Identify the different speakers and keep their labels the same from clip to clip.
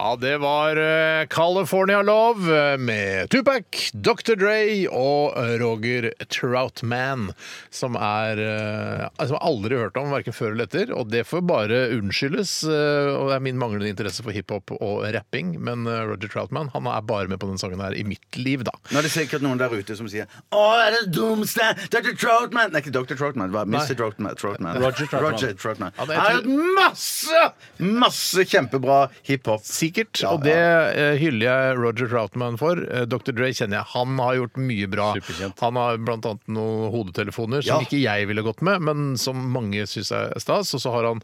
Speaker 1: Ja, det var eh, California Love eh, med Tupac, Dr. Dre og eh, Roger Troutman, som er eh, Som jeg aldri har hørt om, verken før eller etter. Og det får bare unnskyldes. eh, Og det er min manglende interesse for hiphop og rapping, men eh, Roger Troutman han er bare med på den sangen her i mitt liv, da.
Speaker 2: Nå er det sikkert noen der ute som sier Å, er det dumste Dr. Troutman Nei, ikke Dr. Troutman, det var Mr. Troutman, Troutman.
Speaker 1: Roger Troutman.
Speaker 2: Roger Troutman.
Speaker 1: Ja, det er-
Speaker 2: Jeg har hørt masse, masse kjempebra hiphop.
Speaker 1: Sikkert, og det eh, hyller jeg Roger Troutman for. Eh, Dr. Dre kjenner jeg. Han har gjort mye bra. Han har blant annet noen hodetelefoner som
Speaker 2: Ja.
Speaker 1: ikke jeg ville gått med, men som mange syns er stas. Og så har han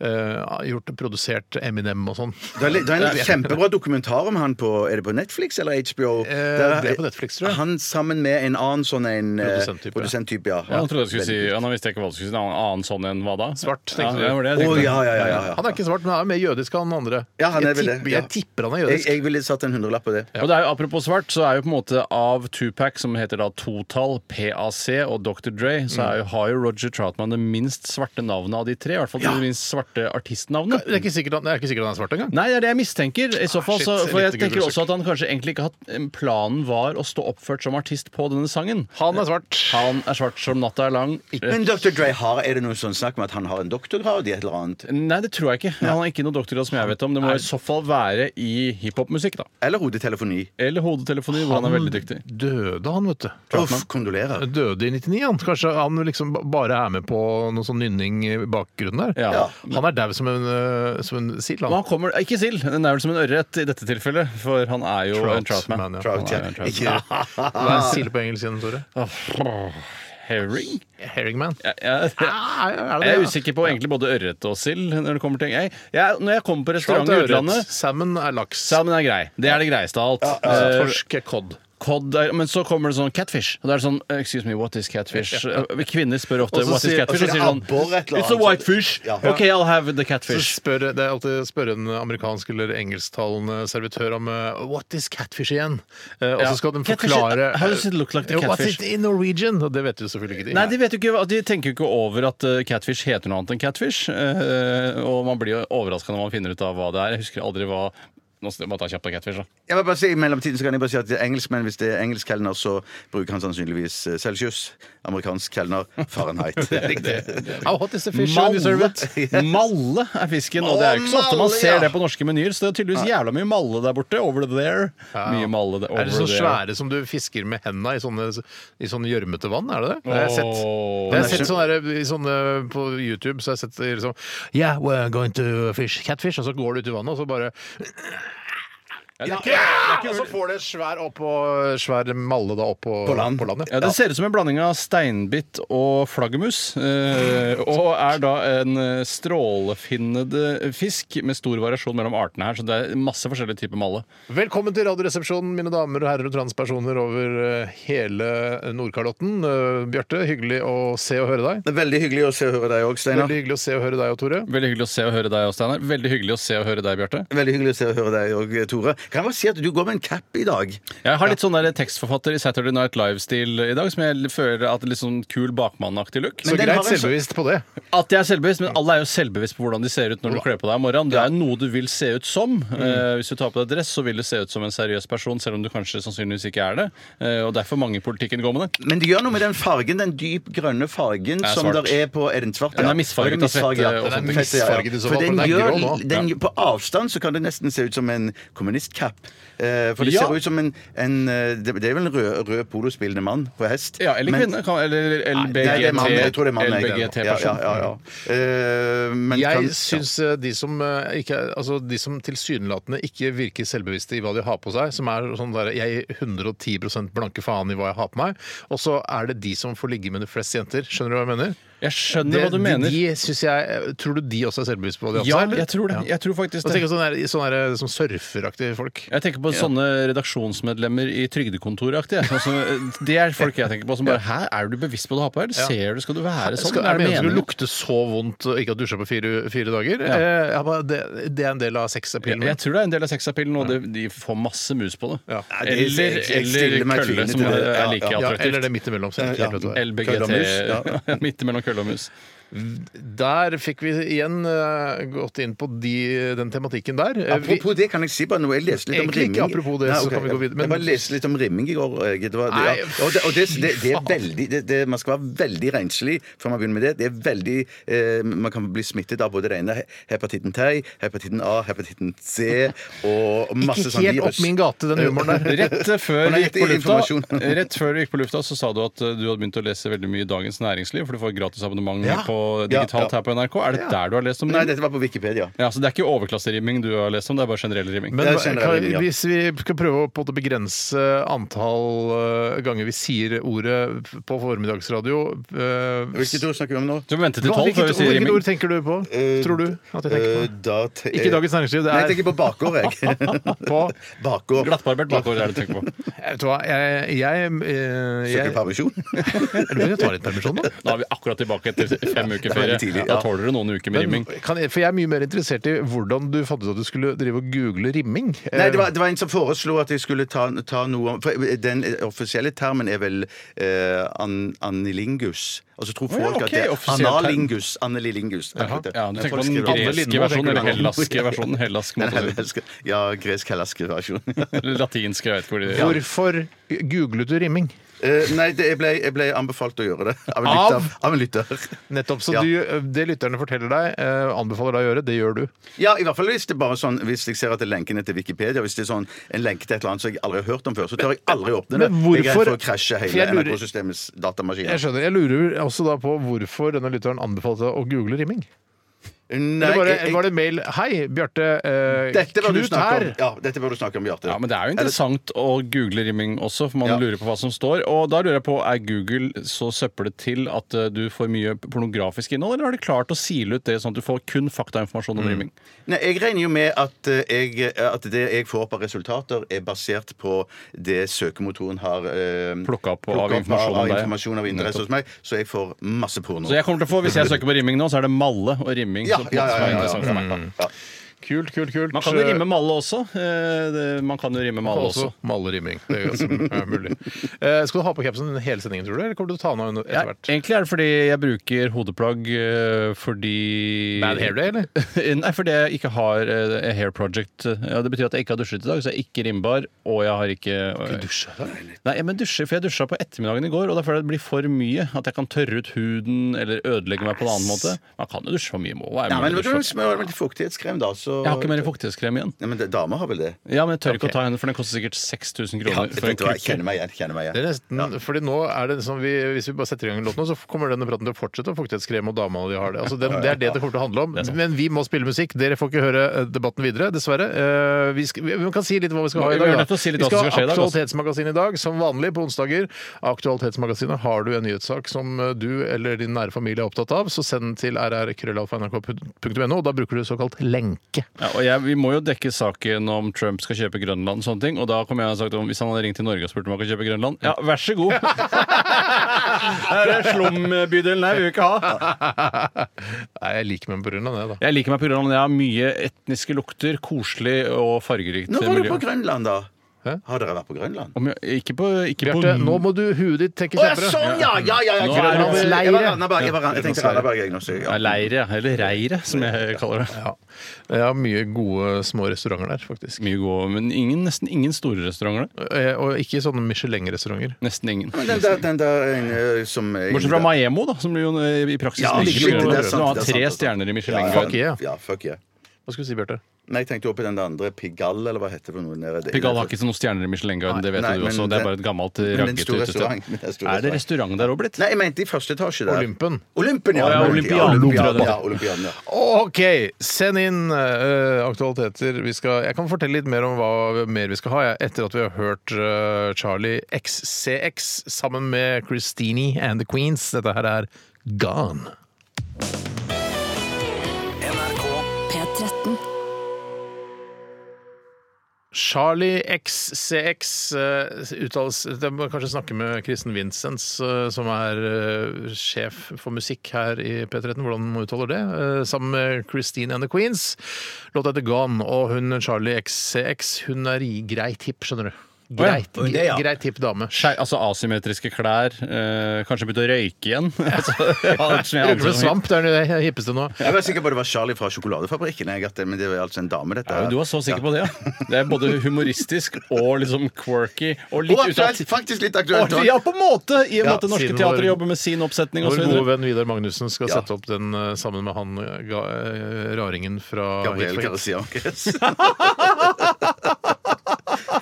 Speaker 1: eh, gjort produsert Eminem og sånn.
Speaker 2: Det er, litt- det er en kjempebra dokumentar om han på Er det på Netflix eller HBO? Der-
Speaker 1: Eh, det er på Netflix, tror jeg.
Speaker 2: Han sammen med en annen sånn en eh,
Speaker 1: Produsenttype.
Speaker 2: produsenttype, ja.
Speaker 3: Ja, nå trodde jeg skulle si, ja, nå visste jeg ikke hva du skulle si. En annen sånn enn hva da?
Speaker 1: Svart,
Speaker 3: ja,
Speaker 1: tenkte du.
Speaker 3: det var det jeg
Speaker 2: Å,
Speaker 3: tenkte.
Speaker 2: ja, ja, ja, ja,
Speaker 1: Han
Speaker 2: ja.
Speaker 1: er ikke svart, men han er mer jødisk, han andre.
Speaker 2: Ja, han er
Speaker 1: jeg,
Speaker 2: vel det,
Speaker 1: tipper,
Speaker 2: ja.
Speaker 1: jeg tipper han er
Speaker 2: Jeg,
Speaker 1: jødisk.
Speaker 2: jeg ville satt en hundrelapp på det.
Speaker 3: Og det er jo Apropos svart, så er jo på en måte av Tupac, som heter da Total, PAC og Dr. Dre, så er jo, har jo Roger Troutman det minst svarte navnet av de tre. I hvert fall det minst svarte artistnavnet.
Speaker 1: Det er ikke sikkert han, det er ikke sikkert han er svart engang.
Speaker 3: Nei, det er det jeg mistenker. I så fall,
Speaker 1: Ah, shit,
Speaker 3: så, for jeg
Speaker 1: lite
Speaker 3: tenker
Speaker 1: Google-søk.
Speaker 3: også at han kanskje egentlig ikke hatt Planen var å stå oppført som artist på denne sangen.
Speaker 1: Han er svart.
Speaker 3: Han er svart som natta er lang. Eh,
Speaker 2: Men Dr. Dre, har, er det noe sånn snakk om at han har en doktorgrad i et eller annet?
Speaker 3: Nei, det tror jeg ikke. Han har ikke noen doktorgrad som jeg vet om. Det må i så fall være i hiphopmusikk, da.
Speaker 2: Eller hodetelefoni?
Speaker 3: Eller hodetelefoni, hvor han er veldig dyktig.
Speaker 1: Døde han, vet du.
Speaker 2: Uff, kondolerer.
Speaker 1: Døde i 99, han. Kanskje han liksom ba- bare er med på noe sånn nynning i bakgrunnen der.
Speaker 3: Ja.
Speaker 1: Han er daud som en, øh, som en sild,
Speaker 3: Men
Speaker 1: han.
Speaker 3: han kommer, ikke sild, den er vel som en ørret i dette tilfellet, for han er jo en Ah. troutman.
Speaker 1: Troutman, ja.
Speaker 2: Trout, ja.
Speaker 3: Han er en troutman.
Speaker 2: Ikke
Speaker 1: Hva er sild på engelsk igjen, Tore?
Speaker 3: Herring?
Speaker 1: Herringman?
Speaker 3: Ah. Ja, ja, ja.
Speaker 1: Ah, er det
Speaker 3: Jeg er
Speaker 1: det?
Speaker 3: usikker på egentlig både ørret og sild når det kommer til jeg, jeg, Når jeg kommer på
Speaker 1: Trout
Speaker 3: restaurant i
Speaker 1: er
Speaker 3: utlandet
Speaker 1: ørret. Salmon er laks.
Speaker 3: Salmon er grei. Det er det greieste av alt. Eh,
Speaker 1: Torsk er kodd.
Speaker 3: Cod er, men så kommer det sånn catfish. Og det er sånn Excuse me, what is catfish? Eh, Kvinner spør ofte
Speaker 1: Og så
Speaker 3: what is
Speaker 1: sier-
Speaker 2: og
Speaker 3: catfish, og
Speaker 2: så
Speaker 3: sier sånn
Speaker 2: abbor et eller
Speaker 3: It's a
Speaker 2: annet.
Speaker 3: white fish.
Speaker 2: Ja.
Speaker 3: OK, I'll have the
Speaker 1: Så
Speaker 3: catfish.
Speaker 1: spør, det er alltid å spørre en amerikansk eller engelsktalende servitør om eh, What is catfish igjen? Eh, og
Speaker 3: Ja.
Speaker 1: så skal de
Speaker 3: Catfish,
Speaker 1: forklare
Speaker 3: how does it look like the
Speaker 1: eh, What
Speaker 3: catfish?
Speaker 1: is it in Norwegian? Og det vet jo selvfølgelig ikke de.
Speaker 3: Nei, de, vet jo ikke, de tenker jo ikke over at eh, catfish heter noe annet enn catfish. eh, Og man blir jo overraska når man finner ut av hva det er. Jeg husker aldri hva Nå skal jeg bare ta kjapt av catfish, da.
Speaker 2: Jeg vil bare si, I mellomtiden så kan jeg bare si at det er engelskmenn, hvis det er engelsk kelner, så bruker han sannsynligvis eh, Celsius. Amerikansk kelner Fahrenheit. Riktig.
Speaker 1: How hot is the fish? when you serve
Speaker 3: Malle.
Speaker 1: it?
Speaker 3: malle er fisken, og det er jo ikke så ofte man
Speaker 2: Malle,
Speaker 3: ser
Speaker 2: ja.
Speaker 3: det på norske menyer. Så det er tydeligvis jævla mye malle der borte. Over there. Mye malle der, over
Speaker 1: Er det sånne
Speaker 3: there.
Speaker 1: svære som du fisker med henda i sånne i sånn gjørmete vann? Er det det? Det har jeg sett.
Speaker 3: Åh.
Speaker 1: Det har jeg sett sånne, der, i sånne På YouTube så har jeg sett de liksom Yeah, we're going to fish catfish. Og så går du ut i vannet, og så bare ja, Og så får det svær, opp og, svær malle da opp på,
Speaker 2: land.
Speaker 1: På landet.
Speaker 3: Ja, Det ser ut som en blanding av steinbitt og flaggermus. eh, og er da en eh, strålefinnede fisk med stor variasjon mellom artene her. Så det er masse forskjellige typer malle.
Speaker 1: Velkommen til Radioresepsjonen, mine damer og herrer og transpersoner over eh, hele Nordkalotten. Eh, Bjarte, hyggelig å se og høre deg.
Speaker 2: Det er Veldig hyggelig å se og høre deg òg, Steinar.
Speaker 1: Veldig hyggelig å se og høre deg og Tore.
Speaker 3: Veldig hyggelig å se og høre deg, Steinar. Veldig hyggelig å se og høre deg, Bjarte.
Speaker 2: Veldig hyggelig å se og høre deg òg, Tore. Kan jeg bare si at du går med en cap i dag?
Speaker 3: Jeg har litt sånn der tekstforfatter i Saturday Night Live-stil i dag, som jeg føler at er litt sånn kul bakmannaktig look.
Speaker 1: Så
Speaker 2: den
Speaker 1: greit
Speaker 2: har en så-
Speaker 1: selvbevisst på det.
Speaker 3: At jeg er selvbevisst, men alle er jo selvbevisst på hvordan de ser ut når du kler på deg om morgenen. Det er jo noe du vil se ut som.
Speaker 2: Mm.
Speaker 3: Eh, hvis du tar på deg dress, så vil du se ut som en seriøs person, selv om du kanskje sannsynligvis ikke er det. Eh, og derfor mange i politikken går med det.
Speaker 2: Men det gjør noe med den fargen, den dyp grønne fargen
Speaker 3: er
Speaker 2: som
Speaker 3: svart.
Speaker 2: der er på Er den svart?
Speaker 3: Den er
Speaker 2: Den er
Speaker 3: misfarget av fett,
Speaker 2: misfarget, ja.
Speaker 3: og sånt.
Speaker 2: Den er
Speaker 1: Fett, ja, ja.
Speaker 2: misfarget i så fall,
Speaker 1: For
Speaker 2: For den
Speaker 1: den er grå nå.
Speaker 2: gjør den, På avstand så kan det nesten se ut som en kommunistcap. Eh, For det
Speaker 3: Ja.
Speaker 2: ser ut som en, en eh, Det det er vel en rød, rød polospillende mann på hest.
Speaker 3: Ja, eller
Speaker 2: Men-
Speaker 3: kvinne. Kan, eller
Speaker 2: Nei, det er mann. Jeg tror det er mann. jeg.
Speaker 3: LBGT-person.
Speaker 2: Ja, ja, ja, ja. Eh, men kan-
Speaker 1: Jeg syns eh, de som, eh, ikke, er- altså de som tilsynelatende ikke virker selvbevisste i hva de har på seg, som er sånn der jeg er 110 blanke faen i hva jeg har på meg, og så er det de som får ligge med de flest jenter. Skjønner du hva jeg mener?
Speaker 3: Jeg skjønner
Speaker 1: Det,
Speaker 3: hva du
Speaker 1: de,
Speaker 3: mener.
Speaker 1: de synes jeg, eh, tror du de også er selvbevisste på det?
Speaker 3: ja,
Speaker 1: eller?
Speaker 3: jeg tror det.
Speaker 1: Ja.
Speaker 3: Jeg tror faktisk
Speaker 1: Og
Speaker 3: det.
Speaker 1: tenk på sånne, der- sånne der, som surferaktige folk.
Speaker 3: Jeg tenker på sånne redaksjonsmedlemmer i Trygdekontoret-aktig. jeg. Altså, det er folk jeg tenker på som bare Hæ, er du bevisst på hva du har på her? Ser du, skal du være sånn?
Speaker 1: Skal, er det meningen at du
Speaker 3: meningen?
Speaker 1: lukter så vondt og ikke har dusja på fire, fire dager?
Speaker 3: Ja.
Speaker 1: Eh, ja, bare det, det er en del av
Speaker 3: Jeg,
Speaker 1: sexappealen.
Speaker 3: jeg tror det er en del av sexappealen, og det, de får masse mus på det.
Speaker 1: Ja.
Speaker 2: Nei, det-
Speaker 3: Eller,
Speaker 2: jeg- jeg
Speaker 3: eller
Speaker 2: stiller meg
Speaker 3: kølle,
Speaker 2: tvilende
Speaker 3: som
Speaker 2: til det.
Speaker 3: er
Speaker 2: Ja, ja.
Speaker 3: like
Speaker 1: ja, eller det
Speaker 3: attraktivt.
Speaker 1: midt imellom. så jeg
Speaker 2: Ja.
Speaker 1: ikke helt vet hva det er.
Speaker 3: LBGT.
Speaker 2: Kølle og mus,
Speaker 3: Midt imellom kølle og mus.
Speaker 1: Der fikk vi igjen eh, gått inn på de, den tematikken der. Eh, vi-
Speaker 2: Apropos det, kan jeg si bare noe? Jeg leste litt om
Speaker 1: Egentlig
Speaker 2: rimming.
Speaker 1: ikke apropos det, så kan vi gå videre, men-
Speaker 2: Jeg bare leste litt om rimming i går. jeg- Det var,
Speaker 1: Nei,
Speaker 2: ja. og det, og det, det, det er
Speaker 1: faen.
Speaker 2: veldig det, det, Man skal være veldig renslig før man begynner med det. Det er veldig eh, Man kan bli smittet av både det ene he- hepatitten T, hepatitten A, hepatitten C og
Speaker 1: ikke
Speaker 2: masse sånn
Speaker 1: helt
Speaker 2: virus.
Speaker 1: opp min gate, den humoren der.
Speaker 3: Rett før,
Speaker 2: Han
Speaker 3: vi
Speaker 2: er
Speaker 3: gikk på
Speaker 2: riktig
Speaker 3: lufta,
Speaker 2: informasjon.
Speaker 3: rett før vi gikk på lufta, så sa du at eh, du hadde begynt å lese veldig mye Dagens Næringsliv, for du får gratis abonnement
Speaker 1: Ja.
Speaker 3: på
Speaker 2: Ja,
Speaker 3: digitalt
Speaker 2: ja.
Speaker 3: her på NRK. Er det der du har lest om
Speaker 2: Nei,
Speaker 3: det?
Speaker 2: dette var på Wikipedia.
Speaker 3: Ja, så det er ikke overklasserimming du har lest om, det er bare generell rimming.
Speaker 1: Men
Speaker 2: Det er
Speaker 1: hva-
Speaker 2: generell
Speaker 1: kan,
Speaker 2: linje, ja.
Speaker 1: hvis vi skal prøve å på en måte begrense antall eh, ganger vi sier ordet på formiddagsradio eh,
Speaker 2: Hvilket ord snakker vi om nå? Eh,
Speaker 3: Du må vente til
Speaker 1: hva-
Speaker 3: tolv før
Speaker 1: hvilket,
Speaker 3: vi sier Eh,
Speaker 1: hvilket
Speaker 3: rimming.
Speaker 1: ord tenker du på? tror du at jeg tenker på? Ikke Dagens Næringsliv, det
Speaker 2: Nei, jeg
Speaker 1: er
Speaker 2: tenker på bakgård, jeg.
Speaker 3: eh,
Speaker 1: på Eh,
Speaker 2: bakgård.
Speaker 3: Glattbarbert bakgård er det du tenker på.
Speaker 1: Vet du hva, jeg, jeg, eh,
Speaker 2: Søker
Speaker 1: jeg, jeg
Speaker 2: permisjon?
Speaker 1: Lurer på om jeg tar litt permisjon, da.
Speaker 3: Nå er vi akkurat tilbake etter fem
Speaker 2: veldig
Speaker 3: uker ferie.
Speaker 2: tidlig,
Speaker 3: Da
Speaker 2: ja.
Speaker 3: tåler du noen uker med rimming.
Speaker 1: Kan jeg, for jeg er mye mer interessert i hvordan du fant ut at du skulle drive og google rimming.
Speaker 2: Nei,
Speaker 1: Eh,
Speaker 2: det var, det var en som foreslo at jeg skulle ta, ta noe om for eh, Den offisielle termen er vel eh, an, anilingus. Og så tror folk
Speaker 3: ok,
Speaker 2: at det
Speaker 3: offisiell
Speaker 2: er
Speaker 3: term.
Speaker 2: analingus. Analingus.
Speaker 3: Ja, du tenker på
Speaker 2: Folk
Speaker 3: den
Speaker 2: skriver-
Speaker 3: greske versjonen eller hellaske versjonen? Hellask,
Speaker 2: Nei,
Speaker 3: måtte jeg si.
Speaker 2: hellaske- Ja, gresk-hellaske versjon.
Speaker 3: Eller latinsk, jeg vet ikke hvor de
Speaker 1: Hvorfor googlet du rimming?
Speaker 2: Eh, nei, det, jeg, ble, jeg ble anbefalt å gjøre det av en
Speaker 1: Av?
Speaker 2: lytter. Av en lytter.
Speaker 1: Nettopp. Så
Speaker 2: Ja.
Speaker 1: du, det lytterne forteller deg, eh, anbefaler deg å gjøre, det gjør du.
Speaker 2: Ja, i hvert fall hvis det bare er sånn Hvis jeg ser at det er lenken er til Wikipedia Hvis det er sånn en lenke til et eller annet som jeg aldri har hørt om før, så tør jeg aldri åpne det.
Speaker 1: Men hvorfor-
Speaker 2: Jeg er redd for å krasje
Speaker 1: For jeg
Speaker 2: hele
Speaker 1: lurer-
Speaker 2: NRK-systemets datamaskin.
Speaker 1: Jeg skjønner. Jeg lurer også da på hvorfor denne lytteren anbefalte deg å google rimming.
Speaker 2: Nei,
Speaker 1: Eller var, det,
Speaker 2: jeg-
Speaker 1: var det mail 'Hei, Bjarte. Eh,
Speaker 2: Dette bør du
Speaker 1: Knut
Speaker 2: snakke om.
Speaker 1: her'.
Speaker 2: Ja, dette bør du snakke om, Bjarte.
Speaker 3: Ja, men Det er jo interessant å google rimming også, for man
Speaker 2: Ja.
Speaker 3: lurer på hva som står. Og da lurer jeg på, Er Google så søpplet til at eh, du får mye pornografisk innhold, eller har de klart å sile ut det sånn at du får kun faktainformasjon om rimming?
Speaker 2: Nei, jeg regner jo med at, eh, jeg, at det jeg får opp av resultater, er basert på det søkemotoren har eh,
Speaker 3: Plukket opp
Speaker 2: plukket
Speaker 3: av informasjon om
Speaker 2: av,
Speaker 3: deg.
Speaker 2: informasjon av interesse hos meg, så jeg får masse porno.
Speaker 3: Så jeg kommer til å få, Hvis jeg søker på rimming nå, så er det malle og rimming.
Speaker 2: Ja,
Speaker 3: som på en
Speaker 2: ja, ja,
Speaker 3: måte som er
Speaker 2: ja, ja,
Speaker 3: interessant for meg.
Speaker 1: Kult, kult, kult.
Speaker 3: Man kan jo rimme malle også. Eh, det- Man kan jo rimme malle også.
Speaker 1: Også malerimming. Det er ganske ja, mulig. Eh, skal du ha på capsen hele sendingen, tror du? Eller kommer du til å ta den av
Speaker 3: Ja,
Speaker 1: etter hvert?
Speaker 3: egentlig er det fordi jeg bruker hodeplagg eh, fordi
Speaker 1: Bad hair day, eller?
Speaker 3: Nei, fordi jeg ikke har eh, hair project. Ja, det betyr at jeg ikke har dusjet i dag, så jeg er ikke rimbar. Og jeg har ikke eh, Nei, men dusje, for jeg dusja på ettermiddagen i går, og da føler jeg det blir for mye. At jeg kan tørre ut huden eller ødelegge meg på en annen måte. Man kan jo dusje for mye. Må være
Speaker 2: Ja,
Speaker 3: mulig
Speaker 2: men
Speaker 3: å
Speaker 2: vet du
Speaker 3: dusje.
Speaker 2: hva, smør med litt fuktighetskrem, da. Så...
Speaker 3: Jeg har ikke mer fuktighetskrem igjen.
Speaker 2: Nei, men det- Damer har vel det?
Speaker 3: Ja, men jeg tør ikke å ta henne, for den koster sikkert 6000
Speaker 2: Ja,
Speaker 3: kroner.
Speaker 2: jeg,
Speaker 3: for en
Speaker 2: tenkte, hva, jeg
Speaker 3: krykke.
Speaker 2: kjenner meg igjen. Kjenner meg
Speaker 1: Det
Speaker 2: igjen.
Speaker 1: er nesten, fordi nå er det som vi, Hvis vi bare setter i gang en låt nå, så kommer denne praten til å fortsette om fuktighetskrem og dama og de har det. Altså, det, det er det det kommer til å handle om. Men vi må spille musikk. Dere får ikke høre eh, debatten videre, dessverre. Eh, Vi, skal, vi vi kan si litt hva vi skal ha i
Speaker 3: Vi er
Speaker 1: dag. da.
Speaker 3: nødt til å si litt
Speaker 1: vi
Speaker 3: hva som
Speaker 1: skal ha
Speaker 3: skal skje i dag, altså.
Speaker 1: Aktualitetsmagasin i dag, som vanlig på onsdager. Aktualitetsmagasinet har du en nyhetssak som eh, du eller din nære familie er opptatt av, så send den til rrkrøllalfa.nrk.no, og da bruker du såkalt lenke.
Speaker 3: Ja, og jeg, Vi må jo dekke saken om Trump skal kjøpe Grønland og sånne ting. Og da kommer jeg og sagt om hvis han hadde ringt til Norge og spurt om han kan kjøpe Grønland Ja, vær så god! det er slumbydelen her, vi vil ikke ha.
Speaker 1: Nei, jeg liker meg på grunn av det, da.
Speaker 3: Jeg liker meg på Grønland. Jeg har mye etniske lukter, koselig og fargerikt
Speaker 2: Nå var du
Speaker 3: miljø.
Speaker 2: på Grønland, da.
Speaker 1: Hæ?
Speaker 2: Har dere vært på Grønland?
Speaker 3: Om jeg, ikke på, ikke på
Speaker 1: Bjarte, nå må du huet ditt tenke
Speaker 2: Å ja,
Speaker 1: kjappere.
Speaker 2: sånn, ja! ja, ja, ja.
Speaker 3: Nå er
Speaker 2: Grønland.
Speaker 3: det
Speaker 2: Jeg var
Speaker 1: leire.
Speaker 2: Randaberg. Jeg, var, Rand- jeg tenkte Randaberg, jeg nå. så jeg-
Speaker 3: Nei,
Speaker 2: Ja.
Speaker 3: leire, eller reire, som jeg kaller det.
Speaker 1: Ja. Jeg har mye gode små restauranter der, faktisk.
Speaker 3: Mye gode, men ingen, nesten ingen store restauranter. da.
Speaker 1: Eh, Og ikke sånne Michelin-restauranter.
Speaker 3: Nesten ingen.
Speaker 2: Men den der, den der eh, som eh,
Speaker 3: Bortsett fra Maemo, da, som jo eh, i praksis
Speaker 2: Ja,
Speaker 3: ligger på
Speaker 2: det er
Speaker 3: Grønland.
Speaker 2: sant,
Speaker 3: Nå har
Speaker 2: det er sant, det
Speaker 3: tre
Speaker 2: er sant.
Speaker 3: stjerner i
Speaker 2: Ja,
Speaker 3: Michelin-guide.
Speaker 1: Fuck yeah.
Speaker 2: Ja, fuck yeah.
Speaker 1: Hva skulle du si, Bjarte?
Speaker 2: Nei, jeg tenkte også på den andre Pigalle, eller hva heter det for noe nede der?
Speaker 3: Pigalle har ikke noen stjerner i Michelin-guiden, det vet
Speaker 2: Nei,
Speaker 3: du
Speaker 2: men
Speaker 3: også. Det er bare et gammelt
Speaker 2: men en
Speaker 3: raggete
Speaker 2: stor
Speaker 3: utested.
Speaker 2: restaurant, men en stor
Speaker 3: Er det restaurant der òg blitt?
Speaker 2: Nei, jeg mente i første etasje der.
Speaker 1: Olympen.
Speaker 2: Olympen, ja.
Speaker 3: Å, ja, Olympiaden, tror jeg det
Speaker 2: ja,
Speaker 3: er.
Speaker 2: Olympiaden, ja.
Speaker 1: OK! Send inn eh, aktualiteter. Vi skal, jeg kan fortelle litt mer om hva mer vi skal ha, jeg, etter at vi har hørt eh, Charlie XCX sammen med Christine and The Queens. Dette her er Gone.
Speaker 4: NRK
Speaker 5: P13.
Speaker 1: Charlie XCX eh, uttales Jeg må kanskje snakke med Kristen Vincents, eh, som er eh, sjef for musikk her i P13, hvordan man uttaler det, eh, sammen med Christine and the Queens. Låta heter Gone, og hun Charlie XCX hun er i greit hipp, skjønner du.
Speaker 3: Å ja,
Speaker 1: Greit,
Speaker 3: det, ja.
Speaker 1: greit hipp dame.
Speaker 3: Skei- altså asymmetriske klær, eh, kanskje begynte å røyke igjen. altså, alt som jeg
Speaker 1: Røker
Speaker 3: anser
Speaker 1: med
Speaker 3: som-
Speaker 1: svamp, det er det hippeste nå.
Speaker 2: Jeg var sikker på det var Charlie fra sjokoladefabrikken. Jeg, at det, men det var altså en dame, dette.
Speaker 3: Ja, men du var så sikker på det, ja. Det er både humoristisk og liksom quirky. Og litt
Speaker 2: Og
Speaker 3: ut av
Speaker 2: aktuelt, faktisk litt aktuelt.
Speaker 3: Og- Ja, på en måte! I og med
Speaker 2: Ja,
Speaker 3: at det norske
Speaker 1: siden
Speaker 3: teatret
Speaker 1: vår-
Speaker 3: jobber med sin oppsetning
Speaker 1: Vår
Speaker 3: osv.
Speaker 1: gode venn Vidar Magnussen skal
Speaker 2: Ja.
Speaker 1: sette opp den eh, sammen med han eh, ga, eh, raringen fra
Speaker 2: Gabriel
Speaker 1: Hit for Hit.
Speaker 2: Cariciancres.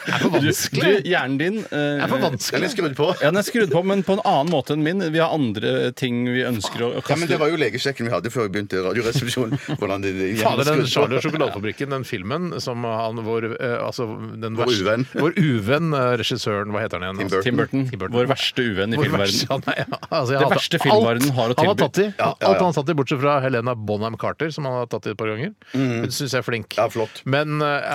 Speaker 1: Det er for vanskelig!
Speaker 3: Hjernen din eh,
Speaker 1: Det er for
Speaker 2: Den er
Speaker 1: vanskelig.
Speaker 2: skrudd på.
Speaker 3: ja, den er skrudd på, men på en annen måte enn min. Vi har andre ting vi ønsker å å
Speaker 2: Ja, men
Speaker 3: kaste
Speaker 2: Det var jo legesjekken vi hadde før vi begynte Radioresepsjonen. Hvordan det, det,
Speaker 1: Fader, den Charlie og sjokoladefabrikken, den filmen som han vår eh, Altså den
Speaker 2: Vår
Speaker 1: verste-
Speaker 2: uvenn.
Speaker 1: Vår uvenn, eh, regissøren, hva heter han igjen?
Speaker 2: Tim Burton.
Speaker 3: Tim Burton, vår verste uvenn i
Speaker 1: Vår verste-
Speaker 3: filmverdenen.
Speaker 1: ja, nei, ja, altså, jeg
Speaker 3: Det
Speaker 1: hater
Speaker 3: verste filmverdenen har å
Speaker 1: alt Han har
Speaker 3: tilby.
Speaker 1: tatt i.
Speaker 2: Ja, ja,
Speaker 1: Alt
Speaker 2: ja.
Speaker 1: han har tatt i, bortsett fra Helena Bonham Carter, som han har tatt i et par ganger. Hun syns jeg er flink.
Speaker 2: Mhm. Ja, flott.
Speaker 1: Men eh,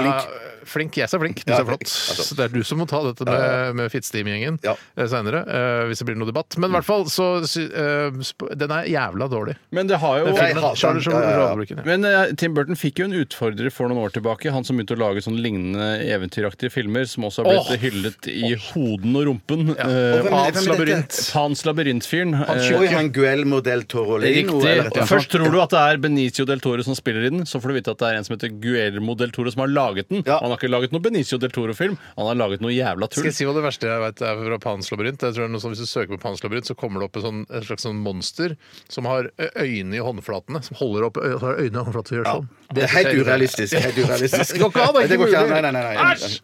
Speaker 2: Flink.
Speaker 1: ja, flink. Jeg sa flink, du
Speaker 2: Ja,
Speaker 1: sa flott.
Speaker 2: flink. Altså.
Speaker 1: Så det er du som må ta dette med, med Fitsteam-gjengen
Speaker 2: Ja. Mm.
Speaker 1: eh, seinere, eh, hvis det blir noe debatt. Men i hvert fall, så sy- eh, sp- Den er jævla dårlig.
Speaker 3: Men det har jo
Speaker 2: Den filmen-
Speaker 1: Filmen, Charlie og
Speaker 2: Ja, ja, ja.
Speaker 1: sjokoladefabrikken. ja.
Speaker 3: Men eh, Tim Burton fikk jo en utfordrer for noen år tilbake. Han som begynte å lage sånn lignende eventyraktige filmer, som også har blitt
Speaker 1: Åh!
Speaker 3: hyllet i hoden og rumpen. Eh,
Speaker 2: Og hvem
Speaker 1: Pans
Speaker 2: er- hvem er dette?
Speaker 1: labyrint.
Speaker 3: Pans labyrintfyren. eh,
Speaker 2: Oi, han Guelmo del Torolino. eller et eller
Speaker 3: Riktig.
Speaker 2: annet
Speaker 3: Først
Speaker 2: sånt.
Speaker 3: tror du at det er Benicio del Toro som spiller i den, så får du vite at det er en som heter Guermo del Toro som har laget den.
Speaker 2: Ja.
Speaker 3: Han har ikke laget noen Benicio del Toro-film, han har laget noe jævla
Speaker 1: Skal
Speaker 3: tull.
Speaker 1: jeg si hva det verste jeg vet er fra Pans labyrint? Jeg tror det er noe sånn, Hvis du søker på Pans labyrint, så kommer det opp et, sånn, et slags sånn monster som har ø- øyne i håndflatene. Som holder opp ø- har øyne i håndflatene og gjør sånn.
Speaker 2: Det er helt urealistisk. Helt urealistisk.
Speaker 1: Det går ikke an, det er
Speaker 2: Det
Speaker 1: ikke
Speaker 2: går ikke an.
Speaker 1: mulig.
Speaker 2: Nei, nei, nei, nei.
Speaker 1: Æsj!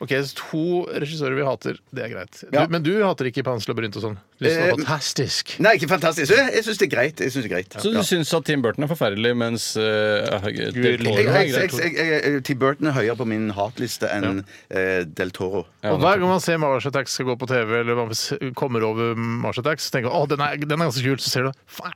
Speaker 1: OK, så to regissører vi hater. Det er greit. Du,
Speaker 2: Ja.
Speaker 1: Men du hater ikke Pans labyrint og sånn? Du synes det
Speaker 2: Eh,
Speaker 1: var fantastisk.
Speaker 2: Nei, ikke fantastisk. Jeg, jeg syns det er greit. Jeg synes det er greit.
Speaker 3: Så du
Speaker 2: Ja.
Speaker 3: syns at Tim Burton er forferdelig, mens eh, del Toro
Speaker 2: Jeg,
Speaker 3: er
Speaker 2: jeg, jeg,
Speaker 3: greit?
Speaker 2: jeg, jeg, jeg, Tim Burton er høyere på min hatliste enn eh, Del Toro.
Speaker 1: Og Hver gang man ser Mars Attacks skal gå på TV, eller man s- kommer over Mars Attacks, så tenker man å, den er, den er ganske kul, så ser du faen,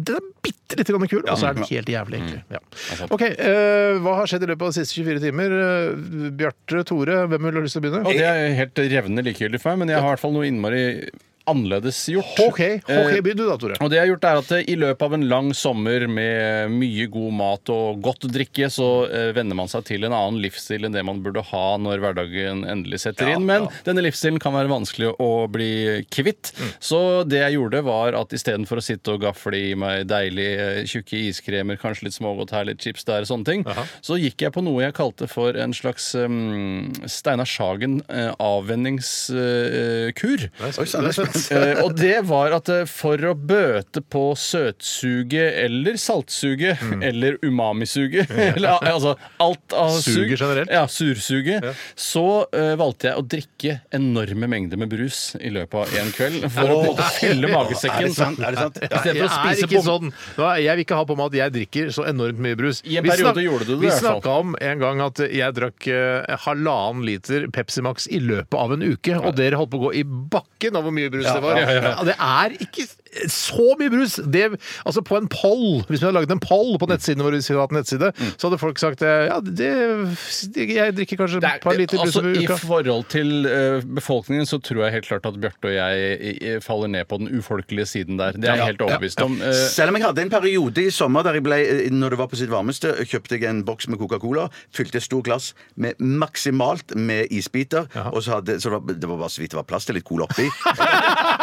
Speaker 1: den er bitte lite grann kul, og så er den helt
Speaker 2: Mm.
Speaker 1: jævlig, egentlig. Ja. OK, eh, hva har skjedd i løpet av de siste 24 timer? Eh, Bjarte, Tore, hvem vil ha lyst til å begynne?
Speaker 3: Og det er helt revnende likegyldig for meg, men jeg har i hvert fall noe innmari annerledes gjort.
Speaker 1: OK, OK,
Speaker 3: Eh,
Speaker 1: begynn du da, Tore.
Speaker 3: Og det jeg har gjort er at eh, I løpet av en lang sommer med eh, mye god mat og godt drikke, så eh, venner man seg til en annen livsstil enn det man burde ha når hverdagen endelig setter inn. Men denne livsstilen kan være vanskelig å bli kvitt. Så det jeg gjorde, var at istedenfor å sitte og gafle i meg deilig eh, tjukke iskremer, kanskje litt smågodt her, litt chips der, og sånne ting, så gikk jeg på noe jeg kalte for en slags eh, Steinar eh, Sagen-avvenningskur.
Speaker 2: Oi, sann, det er spennende.
Speaker 3: Eh, og det var at eh, for å bøte på søtsuget eller saltsuget
Speaker 1: Mm.
Speaker 3: eller umamisuget eller, al- Altså alt av sug.
Speaker 1: Suger generelt.
Speaker 3: Ja, sursuget. Så eh, valgte jeg å drikke enorme mengder med brus i løpet av en kveld for å både
Speaker 2: Er
Speaker 3: fylle
Speaker 2: det sant?
Speaker 3: magesekken.
Speaker 2: Er det sant? Ja.
Speaker 3: Istedenfor å
Speaker 1: Jeg er
Speaker 3: spise
Speaker 1: ikke
Speaker 3: bom-
Speaker 1: sånn. Nå er- Jeg vil ikke ha på meg at jeg drikker så enormt mye brus.
Speaker 3: I en
Speaker 1: Vi
Speaker 3: periode
Speaker 1: snak-
Speaker 3: gjorde du det,
Speaker 1: Vi
Speaker 3: i hvert fall.
Speaker 1: snakka om en gang at jeg drakk eh, halvannen liter Pepsi Max i løpet av en uke, og dere holdt på å gå i bakken av hvor mye brus det var.
Speaker 3: ja, ja, ja.
Speaker 1: Det er ikke så mye brus! Det, altså på en poll, hvis vi hadde laget en poll på nettsidene våre, hvis vi hadde hatt nettside,
Speaker 3: Mm.
Speaker 1: så hadde folk sagt eh, ja, det, jeg drikker kanskje
Speaker 3: Det
Speaker 1: et par
Speaker 3: er,
Speaker 1: liter brus
Speaker 3: altså,
Speaker 1: over
Speaker 3: I
Speaker 1: uka.
Speaker 3: forhold til eh, befolkningen så tror jeg helt klart at Bjarte og jeg i- i- faller ned på den ufolkelige siden der. Det er jeg helt overbevist om. Eh,
Speaker 2: Selv om jeg hadde en periode i sommer der jeg ble, eh, når det var på sitt varmeste, kjøpte jeg en boks med Coca-Cola, fylte et stort glass med maksimalt med isbiter, og så, hadde, så det, var, det var bare så vidt det var plass til litt cola oppi.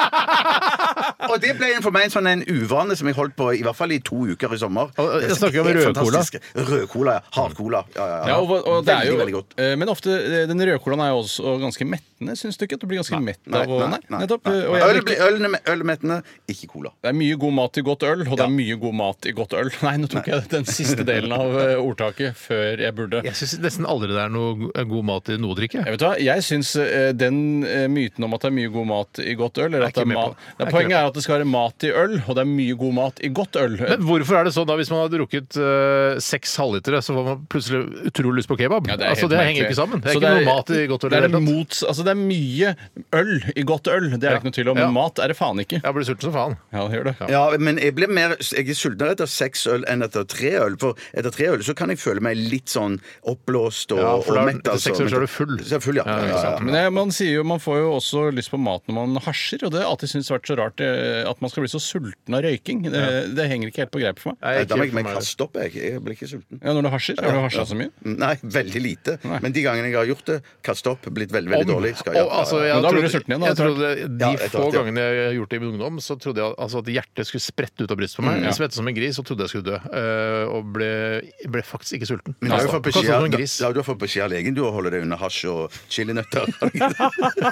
Speaker 2: og det ble en- for meg en sånn en uvane som jeg holdt på i hvert fall i to uker i sommer.
Speaker 1: Og- og jeg snakker om
Speaker 2: Helt
Speaker 1: rød cola.
Speaker 2: fantastisk. Rød cola, ja. Hard cola. Ja, ja, ja.
Speaker 3: Ja, og, og det er
Speaker 2: veldig,
Speaker 3: jo,
Speaker 2: veldig godt.
Speaker 3: eh, Men ofte, eh, den røde colaen er jo også ganske mettende, syns du ikke? At du blir ganske mett av å Nei, nettopp. eh, Og jeg
Speaker 2: Øl,
Speaker 3: drikker-
Speaker 2: blir- øl, ølmettende, ikke cola.
Speaker 3: det er mye god mat i godt øl, og det er mye god mat i godt øl. Nei, nå tok jeg den siste delen av eh, ordtaket før jeg burde.
Speaker 1: Jeg syns nesten aldri det er noe god mat i noe å drikke.
Speaker 3: Jeg vet hva, jeg syns eh, den eh, myten om at det er mye god mat i godt øl, eller at
Speaker 1: ikke
Speaker 3: det er
Speaker 1: med på
Speaker 3: mat
Speaker 1: det. Jeg er
Speaker 3: Nei,
Speaker 1: ikke
Speaker 3: Poenget
Speaker 1: med
Speaker 3: er
Speaker 1: på
Speaker 3: at at det skal være mat i øl, og det er mye god mat i godt øl.
Speaker 1: Men hvorfor er det sånn da hvis man har drukket eh, seks halvlitere, så får man plutselig utrolig lyst på kebab?
Speaker 3: Ja,
Speaker 1: altså, det
Speaker 3: helt merkelig.
Speaker 1: henger ikke sammen. Det er
Speaker 3: Så
Speaker 1: ikke noe mat i godt
Speaker 3: det
Speaker 1: øl. i
Speaker 3: er
Speaker 1: det hele
Speaker 3: det
Speaker 1: tatt.
Speaker 3: mot, altså det er mye øl i godt øl, det er det
Speaker 1: Ja.
Speaker 3: ikke noe tvil om.
Speaker 1: Ja.
Speaker 3: Men mat er det faen ikke.
Speaker 1: Jeg blir sulten som faen.
Speaker 3: Ja, gjør det.
Speaker 2: Ja, men jeg blir mer Jeg er sultnere etter seks øl enn etter tre øl. For etter tre øl så kan jeg føle meg litt sånn oppblåst og,
Speaker 1: Ja, for da-
Speaker 2: og mett.
Speaker 1: etter seks øl så er du full.
Speaker 2: Så er jeg full, ja.
Speaker 1: Ja, ikke
Speaker 2: ja, ja,
Speaker 1: sant.
Speaker 2: ja.
Speaker 3: Men jeg, man, sier jo, man får jo også lyst på mat når man hasjer, og det har jeg alltid syntes vært så rart eh, at man skal bli så sulten av røyking. Det, det henger ikke helt på greip for meg.
Speaker 1: Nei,
Speaker 2: Nei, Da må
Speaker 1: ikke
Speaker 2: jeg, må
Speaker 1: for
Speaker 2: jeg
Speaker 1: meg.
Speaker 2: kaste opp, jeg. Jeg blir ikke sulten.
Speaker 3: Ja, når du hasjer, har du hasja så mye?
Speaker 2: Nei, veldig lite. Men de gangene jeg har gjort det, kastet opp, blitt veldig, veldig dårlig. Skal jeg,
Speaker 1: Og, altså, jeg
Speaker 3: Men da blir du
Speaker 1: trodde-
Speaker 3: sulten igjen, da,
Speaker 1: Jeg
Speaker 3: etter
Speaker 1: trodde De
Speaker 2: Ja, etter
Speaker 1: få
Speaker 2: hvert, ja.
Speaker 1: gangene jeg har gjort det i min ungdom, så trodde jeg altså, at hjertet skulle sprette ut av brystet
Speaker 3: Mm,
Speaker 1: på meg. Jeg svette som en gris og trodde jeg skulle dø. eh, og ble, ble faktisk ikke sulten.
Speaker 2: Men du har
Speaker 1: Altså,
Speaker 2: jo fått
Speaker 1: akkurat
Speaker 2: beskjed,
Speaker 1: som
Speaker 2: av-
Speaker 1: en gris.
Speaker 2: da, da, du har fått beskjed av legen du å holde deg unna hasj og chilinøtter.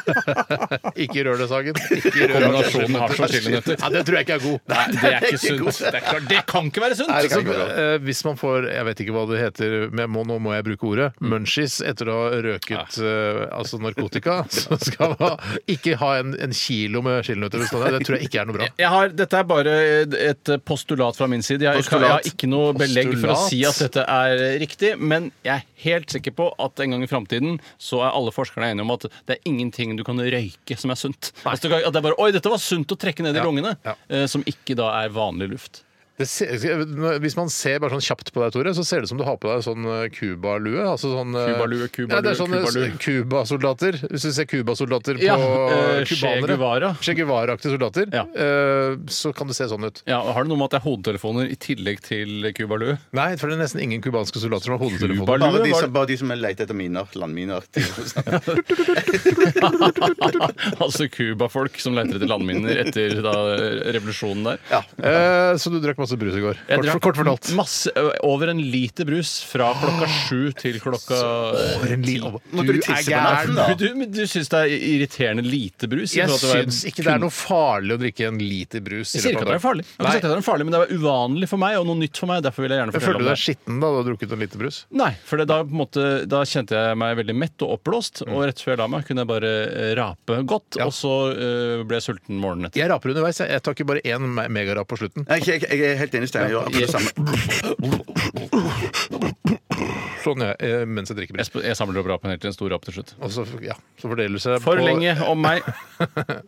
Speaker 1: Ikke rør det, Sagen. Ikke rør det.
Speaker 3: Kombinasjonen hasj og chilinøtter.
Speaker 1: Ja, det tror jeg ikke er god.
Speaker 3: Nei, det er ikke sunt. Det, er klart, det kan ikke
Speaker 2: Nei,
Speaker 3: være
Speaker 2: det
Speaker 3: sunt!
Speaker 2: kan
Speaker 1: Så,
Speaker 2: ikke være lov.
Speaker 1: eh, hvis man får Jeg vet ikke hva det heter, men jeg må, nå må jeg bruke ordet. Munchies etter å ha røket eh, altså narkotika, så skal man ikke ha en, en kilo med chilinøtter ved siden av. Det tror jeg ikke er noe bra.
Speaker 3: Jeg har, dette er bare et postulat fra min side. Jeg, jeg
Speaker 2: Postulat.
Speaker 3: har ikke noe belegg for å
Speaker 1: Postulat.
Speaker 3: si at dette er riktig, men jeg er helt sikker på at en gang i framtiden så er alle forskerne enige om at det er ingenting du kan røyke som er sunt. Altså, du kan- at det er bare, Oi, dette var sunt å trekke ned i
Speaker 1: Ja.
Speaker 3: lungene!
Speaker 1: Ja.
Speaker 3: eh, Som ikke da er vanlig luft.
Speaker 1: Det ser, hvis man ser bare sånn kjapt på deg, Tore, så ser det ut som du har på deg sånn eh, Cuba-lue. Altså sånn eh,
Speaker 3: Cuba-lue,
Speaker 1: ja,
Speaker 3: Cuba-lue,
Speaker 1: det er sånne
Speaker 3: Cuba-lue.
Speaker 1: s- Cuba-soldater. Hvis du ser Cuba-soldater på
Speaker 3: Ja,
Speaker 1: eh,
Speaker 3: eh, Che
Speaker 1: cubanere
Speaker 3: Guevara.
Speaker 1: Che Guevara-aktige soldater.
Speaker 3: Ja.
Speaker 1: eh, så kan det se sånn ut.
Speaker 3: Ja, Har det noe med at det er hodetelefoner i tillegg til cubalue?
Speaker 1: Nei, for det er nesten ingen cubanske soldater som har hodetelefoner.
Speaker 3: Cuba-lue.
Speaker 2: Bare de
Speaker 3: var-
Speaker 2: som, bare de som leter etter miner. Landminer.
Speaker 3: altså Cuba-folk som leter etter landminer etter da, revolusjonen der.
Speaker 2: Ja.
Speaker 1: Eh, så du drakk masse brus i går.
Speaker 3: Jeg
Speaker 1: Kort,
Speaker 3: drakk
Speaker 1: kort fortalt. Ah,
Speaker 3: Masse, ø, over en liter brus fra klokka sju til klokka ti.
Speaker 2: Måtte du tisse på natten, da?
Speaker 3: Men Du, men du syns det er irriterende lite brus?
Speaker 1: Jeg
Speaker 3: i forhold til hva
Speaker 1: syns ikke det er noe farlig å drikke en liter brus. i
Speaker 3: Jeg sier ikke
Speaker 1: løpet
Speaker 3: at det
Speaker 1: av
Speaker 3: er farlig, Jeg har ikke sagt
Speaker 1: dagen.
Speaker 3: at det er farlig men det er uvanlig for meg og noe nytt for meg. Derfor vil jeg gjerne
Speaker 1: Nei, jeg
Speaker 3: fortelle
Speaker 1: føler
Speaker 3: om
Speaker 1: du
Speaker 3: det.
Speaker 1: deg skitten da du har drukket en liter brus.
Speaker 3: Nei, for det, da, på en måte, da kjente jeg meg veldig mett og oppblåst.
Speaker 2: Mm.
Speaker 3: Og rett før jeg la meg, kunne jeg bare eh, rape godt.
Speaker 1: Ja.
Speaker 3: Og så ø, ble jeg sulten morgenen etter.
Speaker 1: Jeg raper underveis. Jeg, jeg tar ikke bare én me- megarap på slutten.
Speaker 2: Nei, ikke- jeg, jeg er helt enig, Steinar. Jeg gjør akkurat det samme.
Speaker 1: Sånn jeg, eh, mens jeg drikker
Speaker 3: Jeg,
Speaker 1: brus.
Speaker 3: sp- jeg samler opp rapen helt til en stor rap til slutt.
Speaker 1: Og så, ja, så fordeler det seg
Speaker 3: For
Speaker 1: på
Speaker 3: lenge om meg.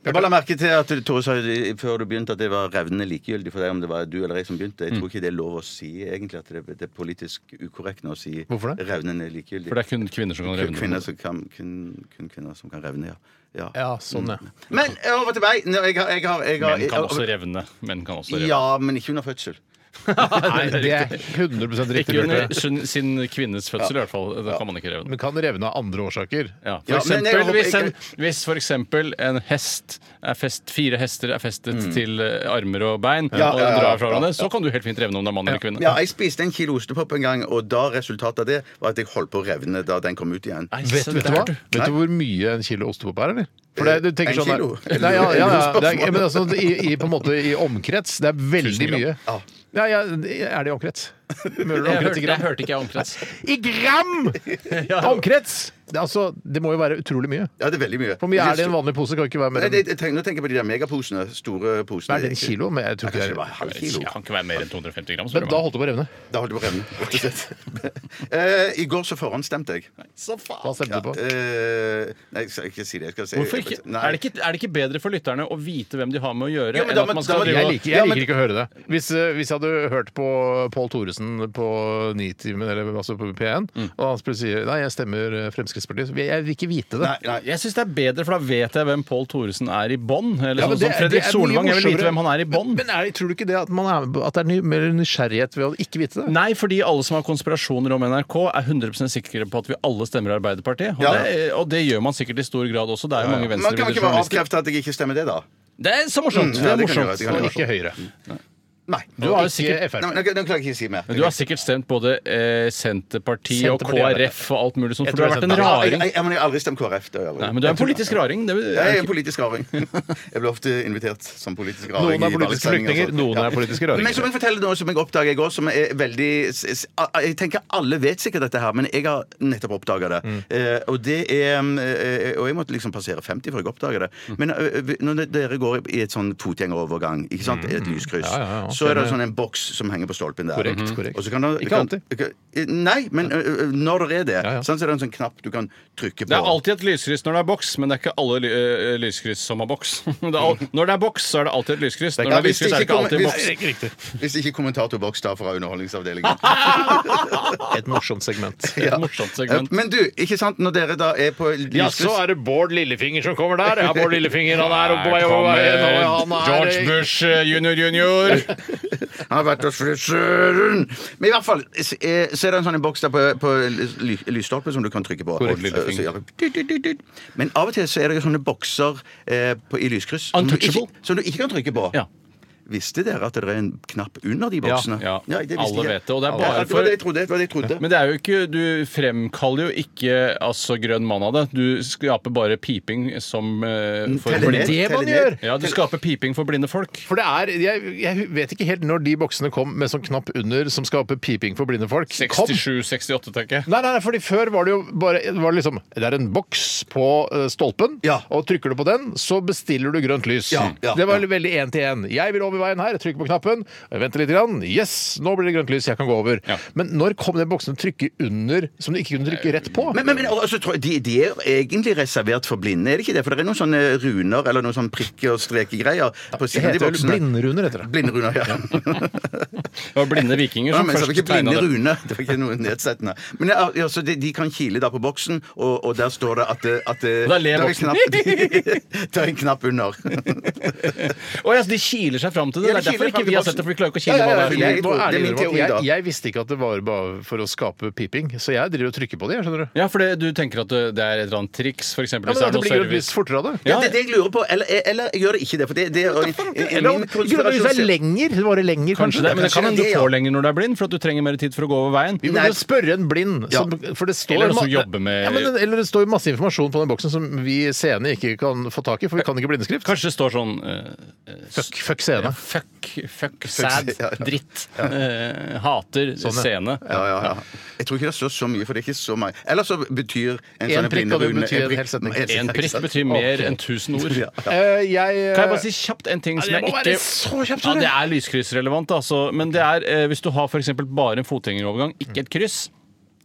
Speaker 2: Jeg bare la merke til at Tore sa i- før du begynte at det var revnende likegyldig for deg om det var du eller jeg som begynte.
Speaker 1: Mm.
Speaker 2: Jeg tror ikke det er lov å si egentlig at det, det er politisk ukorrekt nå å si
Speaker 1: Hvorfor det?
Speaker 2: revnende likegyldig.
Speaker 3: For det er kun kvinner som kan
Speaker 2: kun
Speaker 3: revne.
Speaker 2: kvinner som kan, kun, kun kvinner som kan revne, ja. ja. Mm.
Speaker 1: Ja, sånn, ja.
Speaker 2: Men eh, over til meg! Nå, jeg har, jeg har, jeg har
Speaker 3: Menn kan også revne. Menn kan også revne.
Speaker 2: Ja, men ikke under fødsel.
Speaker 1: Nei, det er 100 riktig.
Speaker 3: Ikke under
Speaker 1: Bjarte.
Speaker 3: sin, sin kvinnes fødsel, i hvert fall. Da kan man ikke revne.
Speaker 1: Men kan revne av andre årsaker.
Speaker 3: Ja,
Speaker 2: Ja, men
Speaker 3: for
Speaker 2: jeg
Speaker 3: eksempel,
Speaker 2: håper
Speaker 3: hvis,
Speaker 2: ikke-
Speaker 3: en, hvis for eksempel en hest er fest, Fire hester er festet til eh, armer og bein,
Speaker 2: Mm. Ja,
Speaker 3: og
Speaker 2: ja, ja,
Speaker 3: drar fra
Speaker 2: ja,
Speaker 3: hverandre, så kan du helt fint revne om det er mann eller kvinne.
Speaker 2: Ja, jeg spiste en kilo ostepop en gang, og da resultatet av det var at jeg holdt på å revne da den kom ut igjen.
Speaker 3: Nei,
Speaker 1: Vet,
Speaker 3: så
Speaker 1: vet, du
Speaker 3: der,
Speaker 1: hva? vet du hvor mye en kilo ostepop er, eller? For det, du tenker
Speaker 2: En
Speaker 1: sånn der-
Speaker 2: kilo?
Speaker 1: Nei, ja, ja, ja, det er, men altså, i, i, på en måte, i omkrets, det er veldig
Speaker 3: Tusen
Speaker 1: mye.
Speaker 3: gram.
Speaker 2: Ja.
Speaker 1: Ja, ja, er det i omkrets? Møller
Speaker 3: Jeg
Speaker 1: omkrets
Speaker 3: hørte,
Speaker 1: i
Speaker 3: jeg
Speaker 1: gram?
Speaker 3: hørte ikke omkrets.
Speaker 1: I gram! Omkrets! Det, er altså, det må jo være utrolig mye.
Speaker 2: Ja, det er veldig mye.
Speaker 1: Hvor mye er det i en vanlig pose? Kan ikke være mer
Speaker 2: Nei,
Speaker 1: enn
Speaker 2: det- jeg tenker, nå tenker jeg på de der megaposene. Store posene.
Speaker 1: Er det en kilo? Men jeg tror
Speaker 2: Kanskje
Speaker 1: ikke
Speaker 2: det
Speaker 1: det
Speaker 2: var
Speaker 1: er
Speaker 2: en halv kilo.
Speaker 3: Det kan ikke være mer enn 250 gram.
Speaker 1: Men da holdt det på å revne.
Speaker 2: Da holdt jeg på å revne. rett og slett. Eh, I går så forhåndsstemte jeg.
Speaker 1: Hva stemte du på?
Speaker 2: Eh, nei, jeg skal ikke si det. Jeg skal si,
Speaker 3: Hvorfor ikke?
Speaker 2: Nei.
Speaker 3: Er, det ikke, er det ikke bedre for lytterne å vite hvem de har med å gjøre,
Speaker 2: Ja, men
Speaker 3: enn
Speaker 2: da må-
Speaker 3: at man
Speaker 2: da må-
Speaker 3: skal
Speaker 1: Jeg
Speaker 3: drive og-
Speaker 1: liker,
Speaker 2: Ja,
Speaker 1: jeg
Speaker 2: men-
Speaker 1: liker ikke å høre det. Hvis, eh, hvis jeg hadde hørt på Pål Thoresen på Nitimen, eller altså på P1,
Speaker 3: Mm.
Speaker 1: og han skulle si nei, jeg stemmer eh, Fremskrittspartiet, så vil- jeg vil ikke vite det.
Speaker 2: Nei, nei.
Speaker 3: Jeg syns det er bedre, for da vet jeg hvem Pål Thoresen er i bånn. Eller
Speaker 1: Ja, men det-
Speaker 3: sånn som
Speaker 1: det
Speaker 3: Fredrik
Speaker 1: er mye
Speaker 3: Solvang. Jeg vil
Speaker 1: morsommere.
Speaker 3: vite hvem han er i bånn.
Speaker 1: Men er, tror du ikke det at, man er, at det er ny, mer nysgjerrighet ved å ikke vite det?
Speaker 3: Nei, fordi alle som har konspirasjoner om NRK, er 100 sikre på at vi alle stemmer Arbeiderpartiet. Og,
Speaker 2: Ja.
Speaker 3: det, og det gjør man sikkert i stor grad også. Det er jo mange
Speaker 2: Men kan man
Speaker 3: venstrevidde
Speaker 2: ikke bare
Speaker 3: journalister.
Speaker 2: avkrefte at jeg ikke stemmer det, da?
Speaker 3: Det er så
Speaker 2: Mm,
Speaker 3: morsomt! det
Speaker 2: ja,
Speaker 3: er
Speaker 2: det kan
Speaker 3: morsomt.
Speaker 2: jeg gjøre, det kan jeg
Speaker 1: Og ikke Høyre.
Speaker 2: Nei.
Speaker 3: Du har jo
Speaker 1: Ikke
Speaker 3: sikkert
Speaker 2: Nei,
Speaker 1: Frp.
Speaker 2: men jeg- Nå klarer jeg ikke å si mer.
Speaker 3: men du har sikkert stemt både eh, Senterpartiet og
Speaker 1: Senterpartiet, ja.
Speaker 3: KrF og alt mulig sånt,
Speaker 1: Jeg
Speaker 3: for du har
Speaker 1: tror
Speaker 3: vært en
Speaker 1: jeg
Speaker 2: Ja, jeg,
Speaker 3: raring.
Speaker 2: jeg, jeg, men jeg har aldri stemt KrF. det har jeg aldri.
Speaker 3: Nei, men du er en politisk raring. Det,
Speaker 2: Jeg er en politisk raring. Jeg blir ofte invitert som politisk
Speaker 1: Noen
Speaker 2: raring.
Speaker 1: er
Speaker 2: i
Speaker 1: politiske
Speaker 2: valgsendinger og
Speaker 1: flyktninger,
Speaker 2: sånt.
Speaker 1: noen
Speaker 2: Ja.
Speaker 1: er politiske raringer.
Speaker 2: Men som jeg forteller nå, som jeg oppdager i går, som er veldig s- s- Jeg tenker alle vet sikkert dette her, men jeg har nettopp oppdaga det. Eh, og det er eh, Og jeg måtte liksom passere 50 før jeg oppdaga det. Men eh, vi- når dere går i et sånn fotgjengerovergang, ikke sant, et lyskryss,
Speaker 1: Ja, ja, ja.
Speaker 2: så er det sånn en boks som henger på stolpen der. Mm.
Speaker 1: Korrekt, korrekt.
Speaker 2: Og så kan du,
Speaker 1: Ikke
Speaker 2: kan-
Speaker 1: alltid.
Speaker 2: kan- Nei, men ø, ø, når det er det,
Speaker 1: Ja, ja.
Speaker 2: sant, så er det en sånn knapp du kan trykke på.
Speaker 3: Det er alltid et lyskryss når det er boks, men det er ikke alle ly eh, lyskryss som har boks. Det er al når det er boks, så er det alltid et lyskryss. Når det er
Speaker 2: hvis det
Speaker 3: lyskryss, er det
Speaker 2: ikke
Speaker 3: ikke alltid
Speaker 2: kommer-
Speaker 3: boks.
Speaker 2: hvis-
Speaker 1: Riktig.
Speaker 2: Hvis ikke kommentatorboks da fra Underholdningsavdelingen.
Speaker 1: Et morsomt segment.
Speaker 3: Et morsomt segment.
Speaker 2: Men du, ikke sant, når dere da er på
Speaker 1: Ja, så
Speaker 2: lyskryss
Speaker 1: er det Bård Lillefinger som kommer der. Ja, Bård Lillefinger, han er oppe på vei
Speaker 3: Her
Speaker 1: over
Speaker 3: kommer
Speaker 1: veien. og han er-
Speaker 3: George Bush eh, junior junior.
Speaker 2: Han har vært hos frisøren! Men i hvert fall, s- eh, så er det en sånn en boks der på, på ly- lysstolpen som du kan trykke på.
Speaker 3: Korrekt,
Speaker 2: Og-
Speaker 3: lille
Speaker 2: og så
Speaker 3: finger.
Speaker 2: gjør det dyt, dyt, dyt, dyt. Men av og til så er det sånne bokser eh, på, i lyskryss som du, ikke,
Speaker 3: Untouchable.
Speaker 2: som du ikke kan trykke på.
Speaker 3: Ja.
Speaker 2: Visste dere at det er en knapp under de boksene?
Speaker 3: ja.
Speaker 2: det visste
Speaker 3: Alle
Speaker 2: jeg.
Speaker 3: vet det, og det er
Speaker 2: Ja,
Speaker 3: bare
Speaker 2: det var
Speaker 3: for-
Speaker 2: det jeg trodde. Det var det jeg trodde.
Speaker 3: Men det er jo ikke, du fremkaller jo ikke altså, grønn mann av det. Du skaper bare piping som eh, for,
Speaker 2: Teller
Speaker 3: for
Speaker 2: ned,
Speaker 3: de,
Speaker 1: det man
Speaker 2: teller ned.
Speaker 3: Ja, du skaper piping for blinde folk.
Speaker 1: For det er, jeg, jeg vet ikke helt når de boksene kom med sånn knapp under som skaper piping for blinde folk. Kom.
Speaker 3: 67-68, tenker jeg.
Speaker 1: Nei, nei, nei, fordi Før var det jo bare det var liksom, Det er en boks på eh, stolpen,
Speaker 2: Ja.
Speaker 1: og trykker du på den, så bestiller du grønt lys.
Speaker 2: Ja, ja,
Speaker 1: det var
Speaker 2: ja.
Speaker 1: veldig én til én. Jeg vil over veien her, jeg trykker på knappen. Jeg venter litt. Grann. Yes, nå blir det grønt lys, jeg kan gå over.
Speaker 3: Ja.
Speaker 1: Men når kom den boksen du trykker under som du ikke kunne trykke rett på?
Speaker 2: Men, men, men altså, tror jeg, de, de er egentlig reservert for blinde, er det ikke det? For det er noen sånne runer eller noen sånne prikker og strekegreier på
Speaker 1: det
Speaker 2: siden av de
Speaker 1: heter vel
Speaker 2: boksene.
Speaker 1: blindruner, heter det.
Speaker 2: Blinderuner, ja.
Speaker 3: Det var blinde vikinger
Speaker 2: ja
Speaker 3: som
Speaker 2: men så var det
Speaker 3: først
Speaker 2: ikke
Speaker 3: tegna
Speaker 2: blinde
Speaker 3: det.
Speaker 2: rune. Det var ikke noe nedsettende. Men ja, altså, de, de kan kile da på boksen, og, og der står det at, det- at det-
Speaker 3: Da
Speaker 2: det er en
Speaker 3: ler boksen.
Speaker 2: knapp- Det er en knapp under.
Speaker 3: Å ja, så de kiler seg fram til det.
Speaker 2: Ja, de
Speaker 3: det er derfor
Speaker 2: kiler fram
Speaker 3: ikke
Speaker 2: til
Speaker 3: vi har
Speaker 2: boksen.
Speaker 3: sett det, for vi klarer ikke å
Speaker 2: Ja,
Speaker 3: kile
Speaker 2: ja,
Speaker 3: hva
Speaker 2: ja,
Speaker 3: det er.
Speaker 2: jeg-
Speaker 1: Jeg, må
Speaker 2: det er
Speaker 1: ærlig
Speaker 2: min
Speaker 1: innrømme
Speaker 2: teori,
Speaker 1: at
Speaker 2: da.
Speaker 1: jeg, jeg visste ikke at det var bare for å skape piping, så jeg driver og trykker på det. jeg, skjønner du.
Speaker 3: Ja, for det, du tenker at det det er et eller annet triks, f.eks.
Speaker 1: Ja,
Speaker 3: hvis
Speaker 1: men
Speaker 3: det er
Speaker 1: at det
Speaker 3: noe
Speaker 1: blir grønt
Speaker 3: service.
Speaker 1: lys fortere av det.
Speaker 2: Ja, det er det jeg lurer på. Eller, eller gjør det ikke det? For det, det er
Speaker 1: Eller om grønt lys er lenger. Det varer lenger,
Speaker 3: Kanskje det, men det
Speaker 2: kanskje
Speaker 3: kan
Speaker 2: det er
Speaker 3: hende du
Speaker 2: det, ja.
Speaker 3: får lenger når du er blind, for at du trenger mer tid for å gå over veien.
Speaker 1: Vi burde spørre en blind.
Speaker 2: Ja.
Speaker 1: Som, for det står
Speaker 3: Eller noen som
Speaker 1: ma-
Speaker 3: jobber med-
Speaker 1: ja, men, det- Eller det står masse informasjon på den boksen som vi seende ikke kan få tak i, for vi kan ikke blindeskrift.
Speaker 3: Kanskje det står sånn eh, eh,
Speaker 1: Fuck, fuck scene.
Speaker 3: Fuck, fuck, sad,
Speaker 2: ja, ja. Sånn,
Speaker 3: dritt, eh, hater, scene.
Speaker 2: Ja, ja, ja. Jeg tror ikke det står så mye, for det er ikke så mange. Eller så betyr en, sånn
Speaker 1: En prikk kan jo
Speaker 2: blinderune-
Speaker 1: bety en hel setning.
Speaker 3: En prikk
Speaker 2: ikke sant?
Speaker 3: betyr mer enn tusen ord.
Speaker 2: Ja, ja.
Speaker 1: Eh, jeg eh,
Speaker 3: Kan jeg bare si kjapt en ting
Speaker 1: ja,
Speaker 3: som
Speaker 1: det
Speaker 3: jeg
Speaker 1: må
Speaker 3: ikke
Speaker 1: være så kjapt,
Speaker 3: Ja,
Speaker 1: Tore.
Speaker 3: det er lyskryssrelevant, altså. Men det er eh, hvis du har f.eks. bare en fotgjengerovergang, ikke et kryss.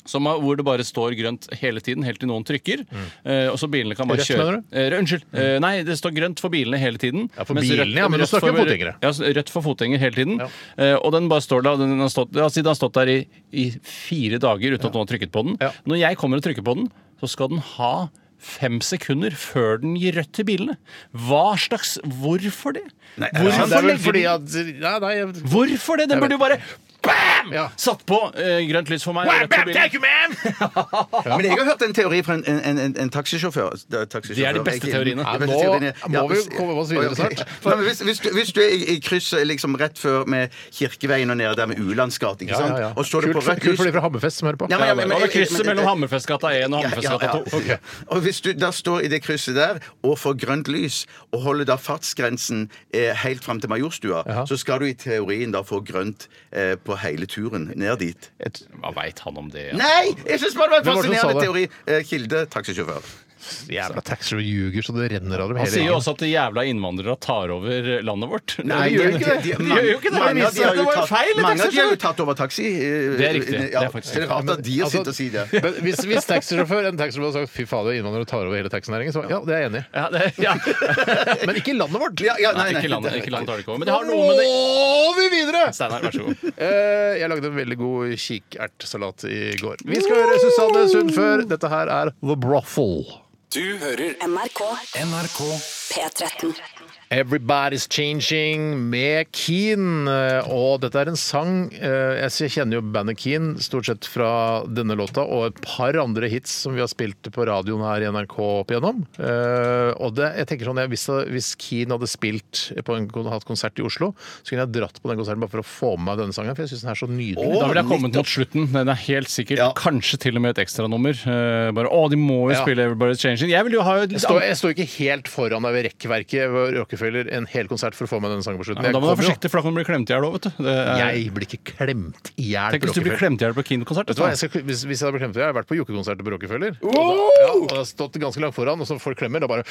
Speaker 3: Som er, hvor det bare står grønt hele tiden, helt til noen trykker. Eh, og så bilene kan bare
Speaker 1: Mm. Rødt,
Speaker 3: kjøre
Speaker 1: mener du? Mm.
Speaker 3: eh, Unnskyld. Eh, nei, det står grønt for bilene hele tiden.
Speaker 1: Ja, for
Speaker 3: mens
Speaker 1: bilene, ja, men nå
Speaker 3: rødt
Speaker 1: snakker vi om
Speaker 3: for-
Speaker 1: fotgjengere.
Speaker 3: Ja, så rødt for fotgjenger hele tiden.
Speaker 1: Ja.
Speaker 3: Eh, og den bare står der, og den har stått, ja, siden den har stått der i, i fire dager uten at noen har trykket på den.
Speaker 1: Ja.
Speaker 3: Når jeg kommer og trykker på den, så skal den ha fem sekunder før den gir rødt til bilene. Hva slags Hvorfor det?
Speaker 2: Nei,
Speaker 1: Ja,
Speaker 3: Hvorfor
Speaker 1: det er vel
Speaker 3: legger
Speaker 1: fordi
Speaker 3: den-
Speaker 1: at ja, nei, jeg,
Speaker 3: Hvorfor det? Den burde jo bare bam!
Speaker 1: Ja.
Speaker 3: Satt på eh, grønt lys for meg.
Speaker 1: Wham,
Speaker 3: rett til
Speaker 1: bam,
Speaker 3: bilen.
Speaker 1: thank you, man!
Speaker 2: Men jeg har hørt en teori fra en, en, en, en, taxisjåfør. Det er, taxisjåfør.
Speaker 3: de beste
Speaker 2: Jeg-
Speaker 3: teoriene.
Speaker 2: de
Speaker 1: Ja,
Speaker 2: beste
Speaker 1: nå
Speaker 2: teoriene.
Speaker 1: må vi
Speaker 2: hvis-
Speaker 1: komme oss videre
Speaker 2: Ok.
Speaker 1: snart.
Speaker 2: Nei, men Hvis, hvis, du, hvis du er i, i krysset liksom rett før med Kirkeveien og nede der med Ulandsgate, ikke
Speaker 1: Ja,
Speaker 2: sant?
Speaker 1: ja, ja.
Speaker 2: og står det
Speaker 1: Kult,
Speaker 2: på
Speaker 1: for,
Speaker 2: rødt
Speaker 1: kult
Speaker 2: lys
Speaker 1: for de fra Hammerfest som hører på.
Speaker 2: Ja, men- ja,
Speaker 3: Ja, det var krysset mellom
Speaker 2: men-
Speaker 3: Hammerfestgata 1 og Hammerfestgata 2.
Speaker 2: Ja, ja, ja. Og hvis du da står i det krysset der og får grønt lys, og holder da fartsgrensen eh, helt fram til Majorstua,
Speaker 1: Ja.
Speaker 2: så skal du i teorien da få grønt eh, på hele turen ned dit.
Speaker 1: Et,
Speaker 3: Hva veit han om det? Ja?
Speaker 2: Nei! Jeg syns bare det var
Speaker 1: Hvem
Speaker 2: en
Speaker 1: var det som sa
Speaker 2: fascinerende
Speaker 1: det?
Speaker 2: teori. Eh, Kilde, taxisjåfør.
Speaker 1: jævla taxer og ljuger så det renner av dem
Speaker 3: Han
Speaker 1: hele
Speaker 3: sier
Speaker 1: tiden.
Speaker 3: jo også at de jævla innvandrere tar over landet vårt.
Speaker 2: Nei,
Speaker 3: de gjør jo
Speaker 2: de-
Speaker 3: ikke det.
Speaker 2: de-
Speaker 3: De
Speaker 2: mange-
Speaker 3: gjør jo ikke det. Det
Speaker 2: mange av de
Speaker 3: viser
Speaker 2: har
Speaker 3: at
Speaker 2: jo
Speaker 3: det var
Speaker 2: tatt-
Speaker 3: feil.
Speaker 2: Mange av de har jo
Speaker 3: taxisjåfør.
Speaker 2: tatt over taxi. eh,
Speaker 3: Det er riktig.
Speaker 2: eh,
Speaker 3: Det
Speaker 2: Ja,
Speaker 3: er faktisk
Speaker 2: så det er rart at de har sittet og sier det.
Speaker 1: Altså, Men hvis, hvis taxisjåfør en taxisjåfør hadde sagt fy fader, innvandrere tar over hele taxinæringen, så ja, det er jeg enig i.
Speaker 3: Ja, det, ja.
Speaker 1: Men ikke i landet vårt!
Speaker 2: Ja, ja, nei,
Speaker 3: Nei,
Speaker 2: nei,
Speaker 3: ikke landet,
Speaker 2: det-
Speaker 3: ikke landet tar det ikke over. Men det har noe med det
Speaker 1: Nå vi videre!
Speaker 3: Steinar, vær så god.
Speaker 1: Eh, Jeg lagde en veldig god kikertsalat i går. Vi skal høre Susanne Sund før. Dette her er The Brothel.
Speaker 6: Du hører
Speaker 5: NRK
Speaker 4: NRK
Speaker 5: P13.
Speaker 1: 'Everybody's Changing' med Keen. Eh, Og dette er en sang eh, Jeg s- kjenner jo bandet Keen stort sett fra denne låta og et par andre hits som vi har spilt på radioen her i NRK opp igjennom. Eh, Og det, jeg tenker sånn, jeg- hvis, hvis Keen hadde spilt på en, kon- hatt konsert i Oslo, så kunne jeg dratt på den konserten bare for å få med meg denne sangen, for jeg syns den er så nydelig.
Speaker 3: Da ville jeg kommet mot slutten. Den er helt sikkert
Speaker 2: Ja.
Speaker 3: Kanskje til og med et ekstranummer. Eh, Bare, å, de må jo
Speaker 1: Ja.
Speaker 3: spille Everybody's Changing. Jeg vil jo ha et
Speaker 1: Jeg
Speaker 3: litt
Speaker 1: står,
Speaker 3: annet-
Speaker 1: jeg står ikke helt foran deg ved rekkverket ved Rockefeller en hel konsert for å få med denne sangen på slutten.
Speaker 3: Men Da må
Speaker 1: Jeg
Speaker 3: du være
Speaker 1: kommer
Speaker 3: forsiktig, for da kan du bli klemt i hjel òg, vet du. Det
Speaker 1: jo-
Speaker 3: er-
Speaker 1: Jeg blir ikke klemt i hjel
Speaker 3: Tenk
Speaker 1: på
Speaker 3: hvis du blir
Speaker 1: Rockefeller.
Speaker 3: klemt i hjel på Keen-konsert.
Speaker 1: Vet du hva, jeg skal, hvis, hvis jeg hadde blitt klemt i hjel, jeg har vært på jokekonserter på Rockefeller. Og da, ja, og da har jeg stått ganske langt foran, og så folk klemmer, da bare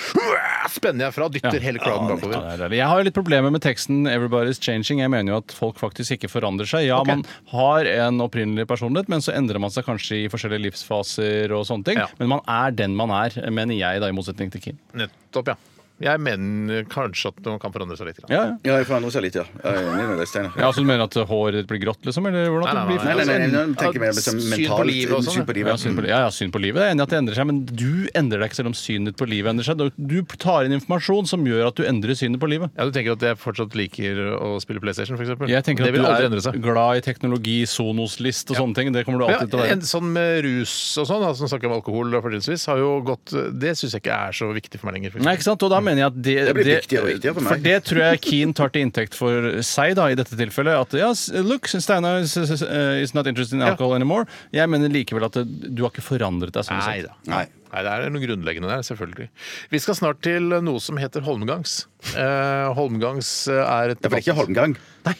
Speaker 1: spenner jeg fra, dytter
Speaker 3: Ja.
Speaker 1: hele crowden
Speaker 3: Ja, det
Speaker 1: bakover.
Speaker 3: er deilig. Jeg har jo litt problemer med teksten 'Everybody's changing'. Jeg mener jo at folk faktisk ikke forandrer seg. Ja, man har en opprinnelig personlighet, men så endrer man seg kanskje i forskjellige livsfaser og sånne ting.
Speaker 1: Ja.
Speaker 3: Men man er den man er, mener jeg, da, i motsetning til Kim.
Speaker 1: Nettopp, ja. Jeg mener kanskje at man kan forandre seg litt. Grann.
Speaker 3: Ja, ja.
Speaker 2: Ja, jeg forandrer seg litt, ja. Ja, Jeg er enig med deg, Steinar.
Speaker 3: Ja, så du mener at håret blir grått, liksom? Eller
Speaker 1: Nei,
Speaker 3: hvordan det
Speaker 1: nei, Altså,
Speaker 3: blir
Speaker 2: Nei, nei, nei, nei, nå tenker jeg mer på sånn
Speaker 1: Syn på
Speaker 2: mentalt
Speaker 1: livet og sånn,
Speaker 2: syn på
Speaker 3: Ja,
Speaker 2: livet.
Speaker 3: syn på, li- ja, ja, syn på livet. Jeg er enig i at det endrer seg, men du endrer deg ikke selv om synet på livet endrer seg. Du- Du tar inn informasjon som gjør at du endrer synet på livet.
Speaker 1: Ja, Du tenker at jeg fortsatt liker å spille PlayStation, f.eks.?
Speaker 3: Jeg
Speaker 1: Det
Speaker 3: tenker at du
Speaker 1: vil aldri
Speaker 3: er
Speaker 1: endre seg.
Speaker 3: glad i teknologi, Sonos-list og sånne ting. Det kommer du alltid til å
Speaker 1: Ja, en,
Speaker 3: være.
Speaker 1: sånn med rus og sånn, altså, som snakker om alkohol, da, fortrinnsvis, har jo gått Det syns jeg ikke er så viktig for meg lenger. for
Speaker 3: Nei, ikke sant? Og da mener jeg at det,
Speaker 2: Det blir viktigere og viktigere for meg.
Speaker 3: det tror jeg Keane tar til inntekt for seg da, i dette tilfellet. At ja, s- look, Steinar is, is- is not interested in alcohol anymore. Jeg mener likevel at det- du har ikke forandret deg. sånn
Speaker 1: Nei
Speaker 3: sett.
Speaker 1: da.
Speaker 2: Nei.
Speaker 1: Nei, det er noe grunnleggende der, selvfølgelig. Vi skal snart til noe som heter holmgangs. Eh, holmgangs er et
Speaker 2: Ja, for det er ikke Holmgang.
Speaker 1: Nei.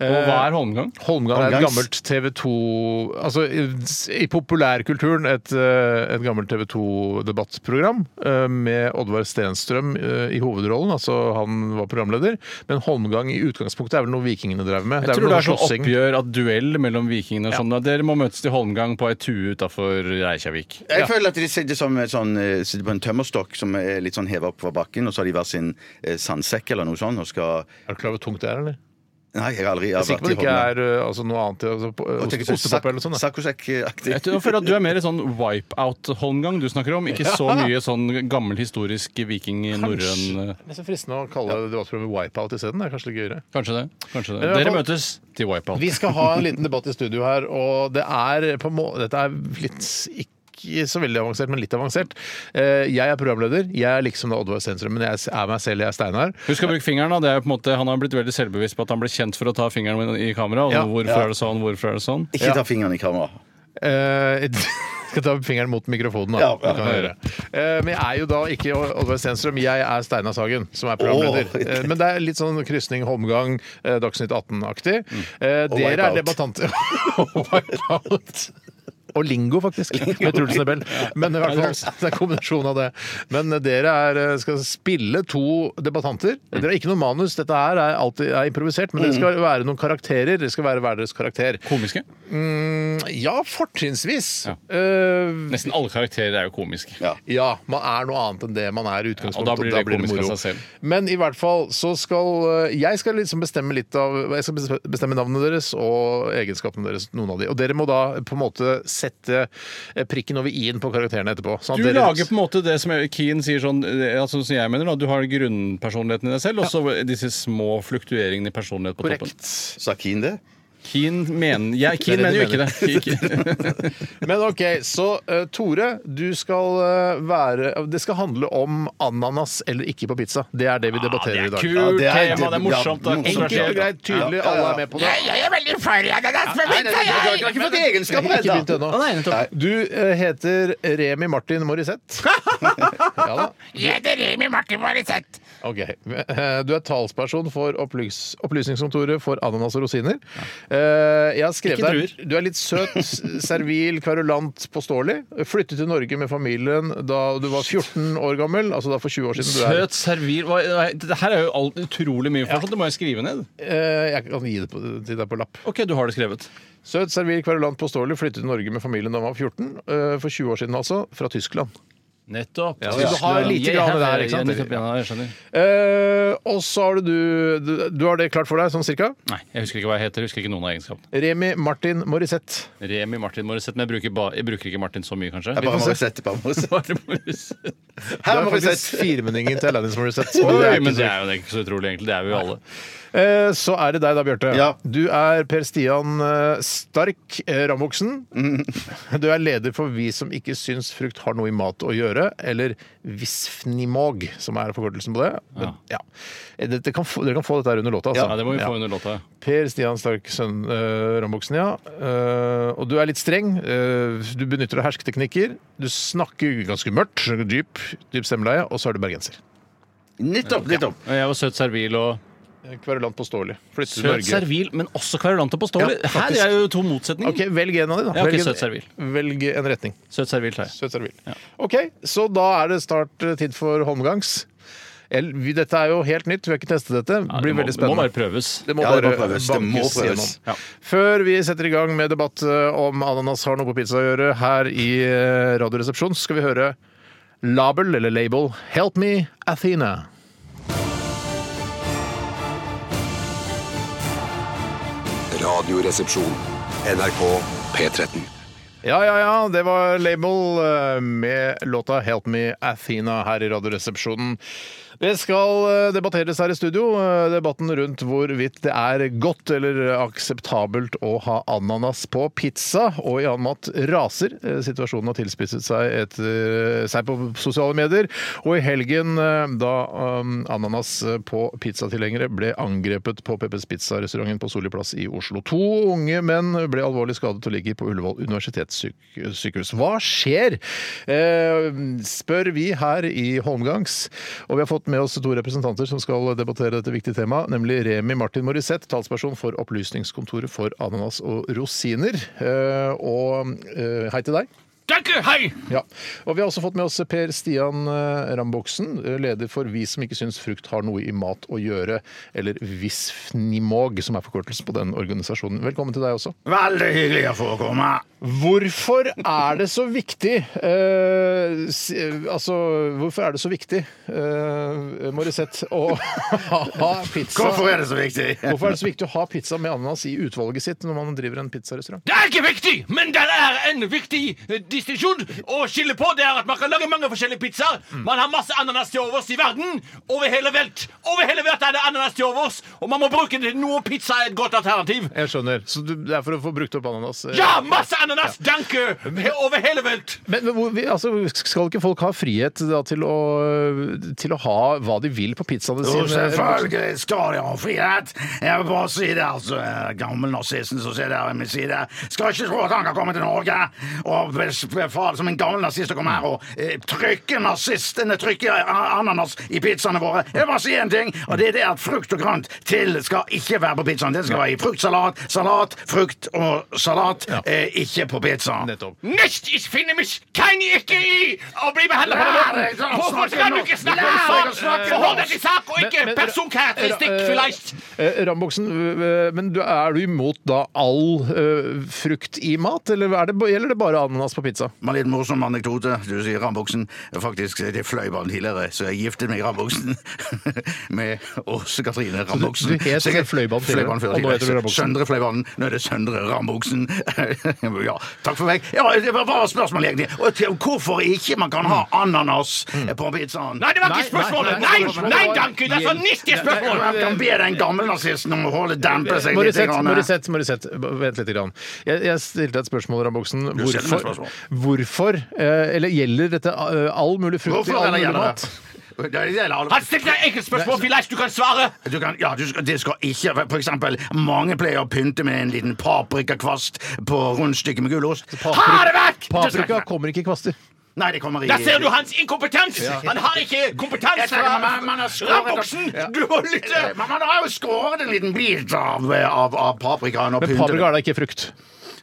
Speaker 3: Og hva er holmgang?
Speaker 1: Holmgang er et
Speaker 2: Holmgangs.
Speaker 1: gammelt TV 2 Altså i, i populærkulturen et, eh, et gammelt TV 2-debattprogram eh, med Oddvar Stenstrøm eh, i hovedrollen, altså han var programleder. Men Holmgang i utgangspunktet er vel noe vikingene drev med. vel
Speaker 3: Jeg tror det
Speaker 1: noe
Speaker 3: er sånn
Speaker 1: slåssing.
Speaker 3: oppgjør at duell mellom vikingene og sånn. at Dere må møtes til holmgang på ei tue utafor Reykjavik.
Speaker 2: Jeg føler at de sitter, som, et sånn, eh, sitter på en tømmerstokk som er litt sånn heva opp fra bakken, og så har de hver sin eh, sandsekk eller noe sånt, og skal
Speaker 1: Er du klar over hvor tungt det er, eller?
Speaker 2: Nei, jeg har aldri jeg
Speaker 1: Jeg
Speaker 2: har
Speaker 1: er sikker på
Speaker 2: vært i
Speaker 1: det ikke
Speaker 2: Holmgang.
Speaker 1: er eh, altså, noe annet altså, på-
Speaker 2: Og tenker
Speaker 1: ost-
Speaker 2: sånn
Speaker 1: Ostepop eller noe sånt. da.
Speaker 2: Saccosekk-aktig.
Speaker 3: Jeg tror- jeg føler at Du er mer i sånn wipe-out-holmgang du snakker om, ikke så mye sånn gammel historisk viking-norrøn
Speaker 1: Det er så fristende å kalle det debattprogrammet Wipeout isteden. Det er kanskje litt gøyere.
Speaker 3: Kanskje det. Kanskje det.
Speaker 1: i hvert
Speaker 3: Dere
Speaker 1: fall-
Speaker 3: møtes til wipe-out.
Speaker 1: Vi skal ha en liten debatt i studio her, og det er på må dette er litt ikke så veldig avansert, men litt avansert. Eh, Jeg er programleder. Jeg er liksom da Oddvar Stenstrøm, men jeg er meg selv, jeg er Steinar.
Speaker 3: Husk å bruke fingeren. da, det er jo på en måte, Han har blitt veldig selvbevisst på at han ble kjent for å ta fingeren i kamera. Og
Speaker 1: Ja.
Speaker 3: hvorfor
Speaker 2: Ja.
Speaker 3: er det sånn, hvorfor er det sånn?
Speaker 2: Ikke ta fingeren i kamera.
Speaker 1: Eh, Skal ta fingeren mot mikrofonen, da.
Speaker 2: Ja, ja.
Speaker 1: Det kan jeg gjøre. Eh, Men jeg er jo da ikke Oddvar Stenstrøm, jeg er Steinar Sagen, som er programleder.
Speaker 2: Åh.
Speaker 1: Eh, Men det er litt sånn krysning, homgang, eh, Dagsnytt 18-aktig. Eh, Dere
Speaker 2: Mm. Wipeout.
Speaker 1: er debattanter. Og Wipeout. Og lingo, faktisk. Med Truls Nebel. Men i hvert fall, det er en kombinasjon av det. Men eh, dere er, eh, skal spille to debattanter.
Speaker 2: Mm.
Speaker 1: Dere har ikke noe manus, dette her er alltid er improvisert, men dere skal være noen karakterer. Dere skal være hver deres karakter.
Speaker 3: Komiske?
Speaker 1: Ja, fortrinnsvis.
Speaker 3: Ja.
Speaker 1: Eh,
Speaker 3: Nesten alle karakterer er jo komiske.
Speaker 2: Ja.
Speaker 1: ja, man er noe annet enn det man er i utgangspunktet.
Speaker 3: Ja, og da blir det komisk av seg selv.
Speaker 1: Men i hvert fall så skal eh, Jeg skal liksom bestemme litt av Jeg skal bes- bestemme navnet deres og egenskapene deres, noen av de. Og dere må da på en måte sette eh, prikken over i-en på karakterene etterpå. sånn at
Speaker 3: Du
Speaker 1: dere-
Speaker 3: lager på en måte det som Keane sier sånn eh, altså som jeg mener da, Du har grunnpersonligheten i deg selv, og så disse små fluktueringene i personlighet på toppen.
Speaker 1: Korrekt.
Speaker 2: Sa Keen det?
Speaker 3: Keane mener, ja,
Speaker 1: Det
Speaker 3: Keane
Speaker 1: er
Speaker 3: mener jo
Speaker 1: det
Speaker 3: ikke det. Ikke-
Speaker 1: Men OK, så eh, Tore, du skal eh, være Det skal handle om ananas eller ikke på pizza. Det er det vi debatterer i dag.
Speaker 3: Ah, Kult
Speaker 2: Ja, det er-
Speaker 3: tema, det er morsomt. Det er
Speaker 2: Ja,
Speaker 1: Enkelt og
Speaker 3: kontroversielt.
Speaker 1: greit, tydelig. Alle er med på det.
Speaker 2: Nei, nei, nei, du har ikke fått egenskaper
Speaker 1: Ikke begynt
Speaker 2: ennå!
Speaker 1: ennå. Du eh, heter Remi Martin Morissette. ja da. Ok. Eh, Du er talsperson for opplys Opplysningskontoret for ananas og rosiner. Eh, Jeg har skrevet
Speaker 3: Ikke
Speaker 1: der Du er litt søt, servil, kverulant, påståelig. Flyttet til Norge med familien da du var 14 år gammel, altså da for 20 år siden. Du er,
Speaker 3: Søt, servil hva- nei, Det her er jo alt, utrolig mye informasjon. Det må jeg skrive ned.
Speaker 1: Eh, jeg kan gi det på, til deg på lapp.
Speaker 3: OK, du har det skrevet.
Speaker 1: Søt, servil, kverulant, påståelig. Flyttet til Norge med familien da han var 14, eh, for 20 år siden altså, fra Tyskland.
Speaker 3: Nettopp.
Speaker 1: så du har lite grann der, ikke sant?
Speaker 3: Nettopp, ja, jeg skjønner.
Speaker 1: Eh, og så har du, du Du har det klart for deg, sånn cirka?
Speaker 3: Nei, jeg husker ikke hva jeg heter. Jeg husker ikke noen av egenskapene.
Speaker 1: Remi Martin Morissette.
Speaker 3: Remi Martin Morissette, men jeg bruker, ba, jeg bruker ikke Martin så mye, kanskje.
Speaker 2: Jeg bare må sette på meg.
Speaker 3: Bare Morissette.
Speaker 1: Det er
Speaker 2: Morissette.
Speaker 1: faktisk firmenningen til Alanis Morissette. og det er
Speaker 3: Oi,
Speaker 1: ikke
Speaker 3: men
Speaker 1: så-
Speaker 3: det er jo ikke så utrolig, egentlig. Det er vi jo alle.
Speaker 1: Eh, Så er det deg da, Bjarte.
Speaker 2: Ja.
Speaker 1: Du er Per Stian eh, Stark eh, Rambuksen.
Speaker 3: Mm.
Speaker 1: Du er leder for Vi som ikke syns frukt har noe i mat å gjøre, eller Visfnimog, som er forkortelsen på det. Men, ja. Dette kan få, dere kan få dette her under låta. Altså.
Speaker 3: Ja, det må vi
Speaker 1: Ja.
Speaker 3: få under låta.
Speaker 1: Per Stian Stark sønn, eh, Rambuksen, ja. Eh, og du er litt streng. Eh, du benytter deg av hersketeknikker. Du snakker ganske mørkt, dyp, dyp stemmeleie, og så er du bergenser.
Speaker 2: Nettopp! nettopp.
Speaker 3: Og Jeg var søt servil og
Speaker 1: Eh, Kverulant påståelig. Flytter til
Speaker 3: Søt
Speaker 1: Norge.
Speaker 3: servil, men også kverulant og påståelig.
Speaker 1: Ja,
Speaker 3: Her
Speaker 1: faktisk.
Speaker 3: er jo to motsetninger.
Speaker 1: Ok, Velg en av de, da.
Speaker 3: Ja, ok,
Speaker 1: velg, en,
Speaker 3: søt servil.
Speaker 1: velg en retning.
Speaker 3: Søt servil tar jeg.
Speaker 1: Søt servil. OK, så da er det snart eh, tid for holmgangs. El- vi- Dette er jo helt nytt, vi har ikke testet dette.
Speaker 3: Ja,
Speaker 1: blir
Speaker 3: må,
Speaker 1: veldig
Speaker 3: må
Speaker 1: spennende.
Speaker 3: bare prøves.
Speaker 1: Det må
Speaker 2: Ja, det
Speaker 1: bare
Speaker 2: må prøves. Det må
Speaker 1: bankes
Speaker 2: prøves.
Speaker 1: gjennom.
Speaker 3: Ja.
Speaker 1: Før vi setter i gang med debatt eh, om ananas har noe på pizza å gjøre her i eh, Radioresepsjonen, skal vi høre label, eller label, Help Me Athena.
Speaker 6: Radioresepsjon. NRK P13.
Speaker 1: Ja, ja, ja. Det var Label eh, med låta 'Help Me Athena' her i Radioresepsjonen. Det skal eh, debatteres her i studio. eh, Debatten rundt hvorvidt det er godt eller akseptabelt å ha ananas på pizza. Og i annen mat raser. Eh, Situasjonen har tilspisset seg, etter, seg på sosiale medier. Og i helgen, eh, da um, ananas på pizzatilhengere ble angrepet på Peppes Pizza-restauranten på Solli plass i Oslo. To unge menn ble alvorlig skadet og ligger på Ullevål universitetssykehus. Hva skjer? Eh, spør vi her i Holmgangs. Og vi har fått med oss to representanter som skal debattere dette viktige temaet, nemlig Remi Martin Morissette, talsperson for Opplysningskontoret for ananas og rosiner. Eh, og eh, hei til deg. Ja, og Vi har også fått med oss Per Stian eh, Ramboksen, eh, leder for Vi som ikke syns frukt har noe i mat å gjøre, eller Visfnimog, som er forkortelsen på den organisasjonen. Velkommen til deg også.
Speaker 2: Veldig hyggelig å få komme.
Speaker 1: Hvorfor er det så viktig eh, s- eh, Altså, hvorfor er det så viktig, eh, Morissette, å ha pizza
Speaker 2: Hvorfor er det så viktig?
Speaker 1: Hvorfor er det så viktig å ha pizza med ananas i utvalget sitt når man driver en pizzarestaurant?
Speaker 5: Det er ikke viktig, men det er en viktig eh, distinksjon å skille på. Det er at Man kan lage mange forskjellige pizzaer.
Speaker 3: Mm.
Speaker 5: Man har masse ananas til overs i verden. Over hele velt. Over hele velt er det ananas til overs, og man må bruke det til noe pizza er et godt alternativ.
Speaker 1: Jeg skjønner. Så du- det er for å få brukt opp ananas? eh,
Speaker 5: Ja, masse ananas! Danke! He- Over hele velt.
Speaker 1: Men men hvor- vi- altså, skal ikke folk ha frihet da, til, å, til å ha hva de vil på Eh, pizzaene
Speaker 2: Jo,
Speaker 1: sine?
Speaker 2: selvfølgelig skal de ha frihet. Jeg vil bare si det, altså. Gammel nazisten som sitter her ved min side. Skal ikke tro at han kan komme til Norge og befale som en gammel nazist å komme her og eh, trykke nazistene, trykke a- ananas i pizzaene våre. Jeg vil bare si en ting, og det er det at frukt og grønt til skal ikke være på pizzaen. Det skal være i fruktsalat, salat, frukt og salat, eh, ikke på pizzaen.
Speaker 1: Nettopp.
Speaker 5: Nicht, ich finne mich kein ikke i å bli behandlet på den
Speaker 2: Lær deg
Speaker 5: måten!
Speaker 2: å
Speaker 5: Hvorfor
Speaker 2: snakke
Speaker 5: skal du
Speaker 2: norsk.
Speaker 5: ikke snakke
Speaker 2: Lær deg
Speaker 5: om
Speaker 2: å
Speaker 5: sak?
Speaker 2: snakke
Speaker 5: Forhold
Speaker 2: norsk.
Speaker 5: deg til sak og
Speaker 1: Men-
Speaker 5: ikke
Speaker 1: men-
Speaker 5: personkarakteristikk,
Speaker 1: eh,
Speaker 5: vielleicht.
Speaker 1: eh, Ramboksen, eh, men du, er du imot da all eh, frukt i mat, eller er det, ba- gjelder det bare ananas på pizza?
Speaker 2: Med en litt morsom anekdote. Du sier Rambuksen. Faktisk, det fløy bare tidligere, så jeg giftet meg i Rambuksen med Åse Katrine Rambuksen.
Speaker 1: du het
Speaker 2: jeg-
Speaker 1: Fløibanen tidligere,
Speaker 2: Fløibanen før
Speaker 1: og nå
Speaker 2: tidligere.
Speaker 1: heter du Rambuksen.
Speaker 2: Søndre Fløibanen. Nå er det Søndre Rambuksen. ja, takk for meg. Ja, det var bare spørsmålet, egentlig. Og til- Hvorfor ikke man kan ha ananas på pizzaen?
Speaker 5: Nei, det var ikke
Speaker 1: Nei,
Speaker 5: spørsmålet!
Speaker 1: nei,
Speaker 5: Nei,
Speaker 1: nei,
Speaker 5: nei, danke! Det er for nistige spørsmål!
Speaker 2: Jeg kan be den gamle nazisten om å holde dempe seg litt.
Speaker 1: Morissette,
Speaker 2: grann.
Speaker 1: Morissette, Morissette, b- vent litt. Grann. Jeg, jeg stilte deg et spørsmål, Ramboksen.
Speaker 2: stiller meg et
Speaker 1: Hvorfor,
Speaker 2: spørsmål.
Speaker 1: hvorfor eh, eller gjelder dette eh, all mulig frukt i
Speaker 2: Hvorfor
Speaker 1: all
Speaker 2: er det
Speaker 1: mulig
Speaker 2: gjerne
Speaker 1: mat?
Speaker 2: det? Det gjelder alle-
Speaker 5: Han stilte deg enkeltspørsmål, vielleicht du kan svare!
Speaker 2: Du kan, ja, du skal, det skal ikke For eksempel, mange pleier å pynte med en liten paprikakvast på rundstykket med gulost.
Speaker 5: Ha det vekk!
Speaker 1: Paprika kommer ikke i kvaster.
Speaker 2: Nei, det kommer i
Speaker 5: Der ser du hans inkompetens! Han har ikke
Speaker 2: Jeg
Speaker 5: kompetanse
Speaker 2: tenker,
Speaker 5: fra
Speaker 2: man- man har skåret-
Speaker 5: Ramboksen! Du må lytte!
Speaker 2: Men man har jo skåret en liten bit av, eh, av, av paprikaen og
Speaker 1: Men
Speaker 2: pyntet
Speaker 1: paprika er da ikke frukt.
Speaker 2: det.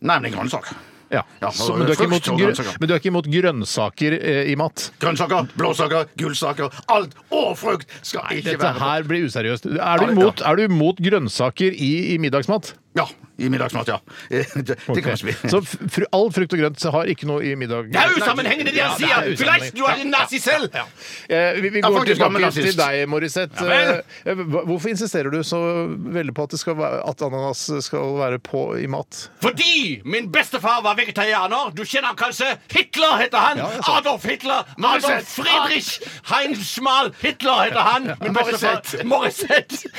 Speaker 2: Nei, men det er grønnsak.
Speaker 1: Ja.
Speaker 2: Ja,
Speaker 1: så,
Speaker 2: og
Speaker 1: men, du er ikke imot
Speaker 2: frukt og
Speaker 1: grø-
Speaker 2: grønnsaker.
Speaker 1: men du er ikke imot grønnsaker eh, i mat?
Speaker 2: Grønnsaker, blåsaker, gulsaker. Alt og frukt skal ikke
Speaker 1: Dette
Speaker 2: være på-
Speaker 1: her blir useriøst. Er du imot, er du imot grønnsaker i, i middagsmat?
Speaker 2: Ja, i middagsmat, ja. Eh, Det, det kan man ikke bli.
Speaker 1: Så f- fru, all frukt og grønt har ikke noe i middag
Speaker 5: Det er usammenhengende, det han
Speaker 1: Ja, det
Speaker 5: sier!
Speaker 1: er
Speaker 5: Fleis, du er en nazi selv!
Speaker 1: Ja. Eh, vi, vi
Speaker 2: Ja,
Speaker 1: går
Speaker 2: faktisk, han er
Speaker 1: tilbake
Speaker 2: nazist.
Speaker 1: til deg, Morissette.
Speaker 5: Ja,
Speaker 1: Eh, hva- hvorfor insisterer du så veldig på at, det skal være, at ananas skal være på i mat?
Speaker 5: Fordi min bestefar var vegetarianer. Du kjenner ham kanskje? Hitler heter han!
Speaker 1: Ja, jeg sa-
Speaker 5: Adolf Hitler! Adolf Friedrich Heinschmal Hitler heter han! Min bestefar Morissette!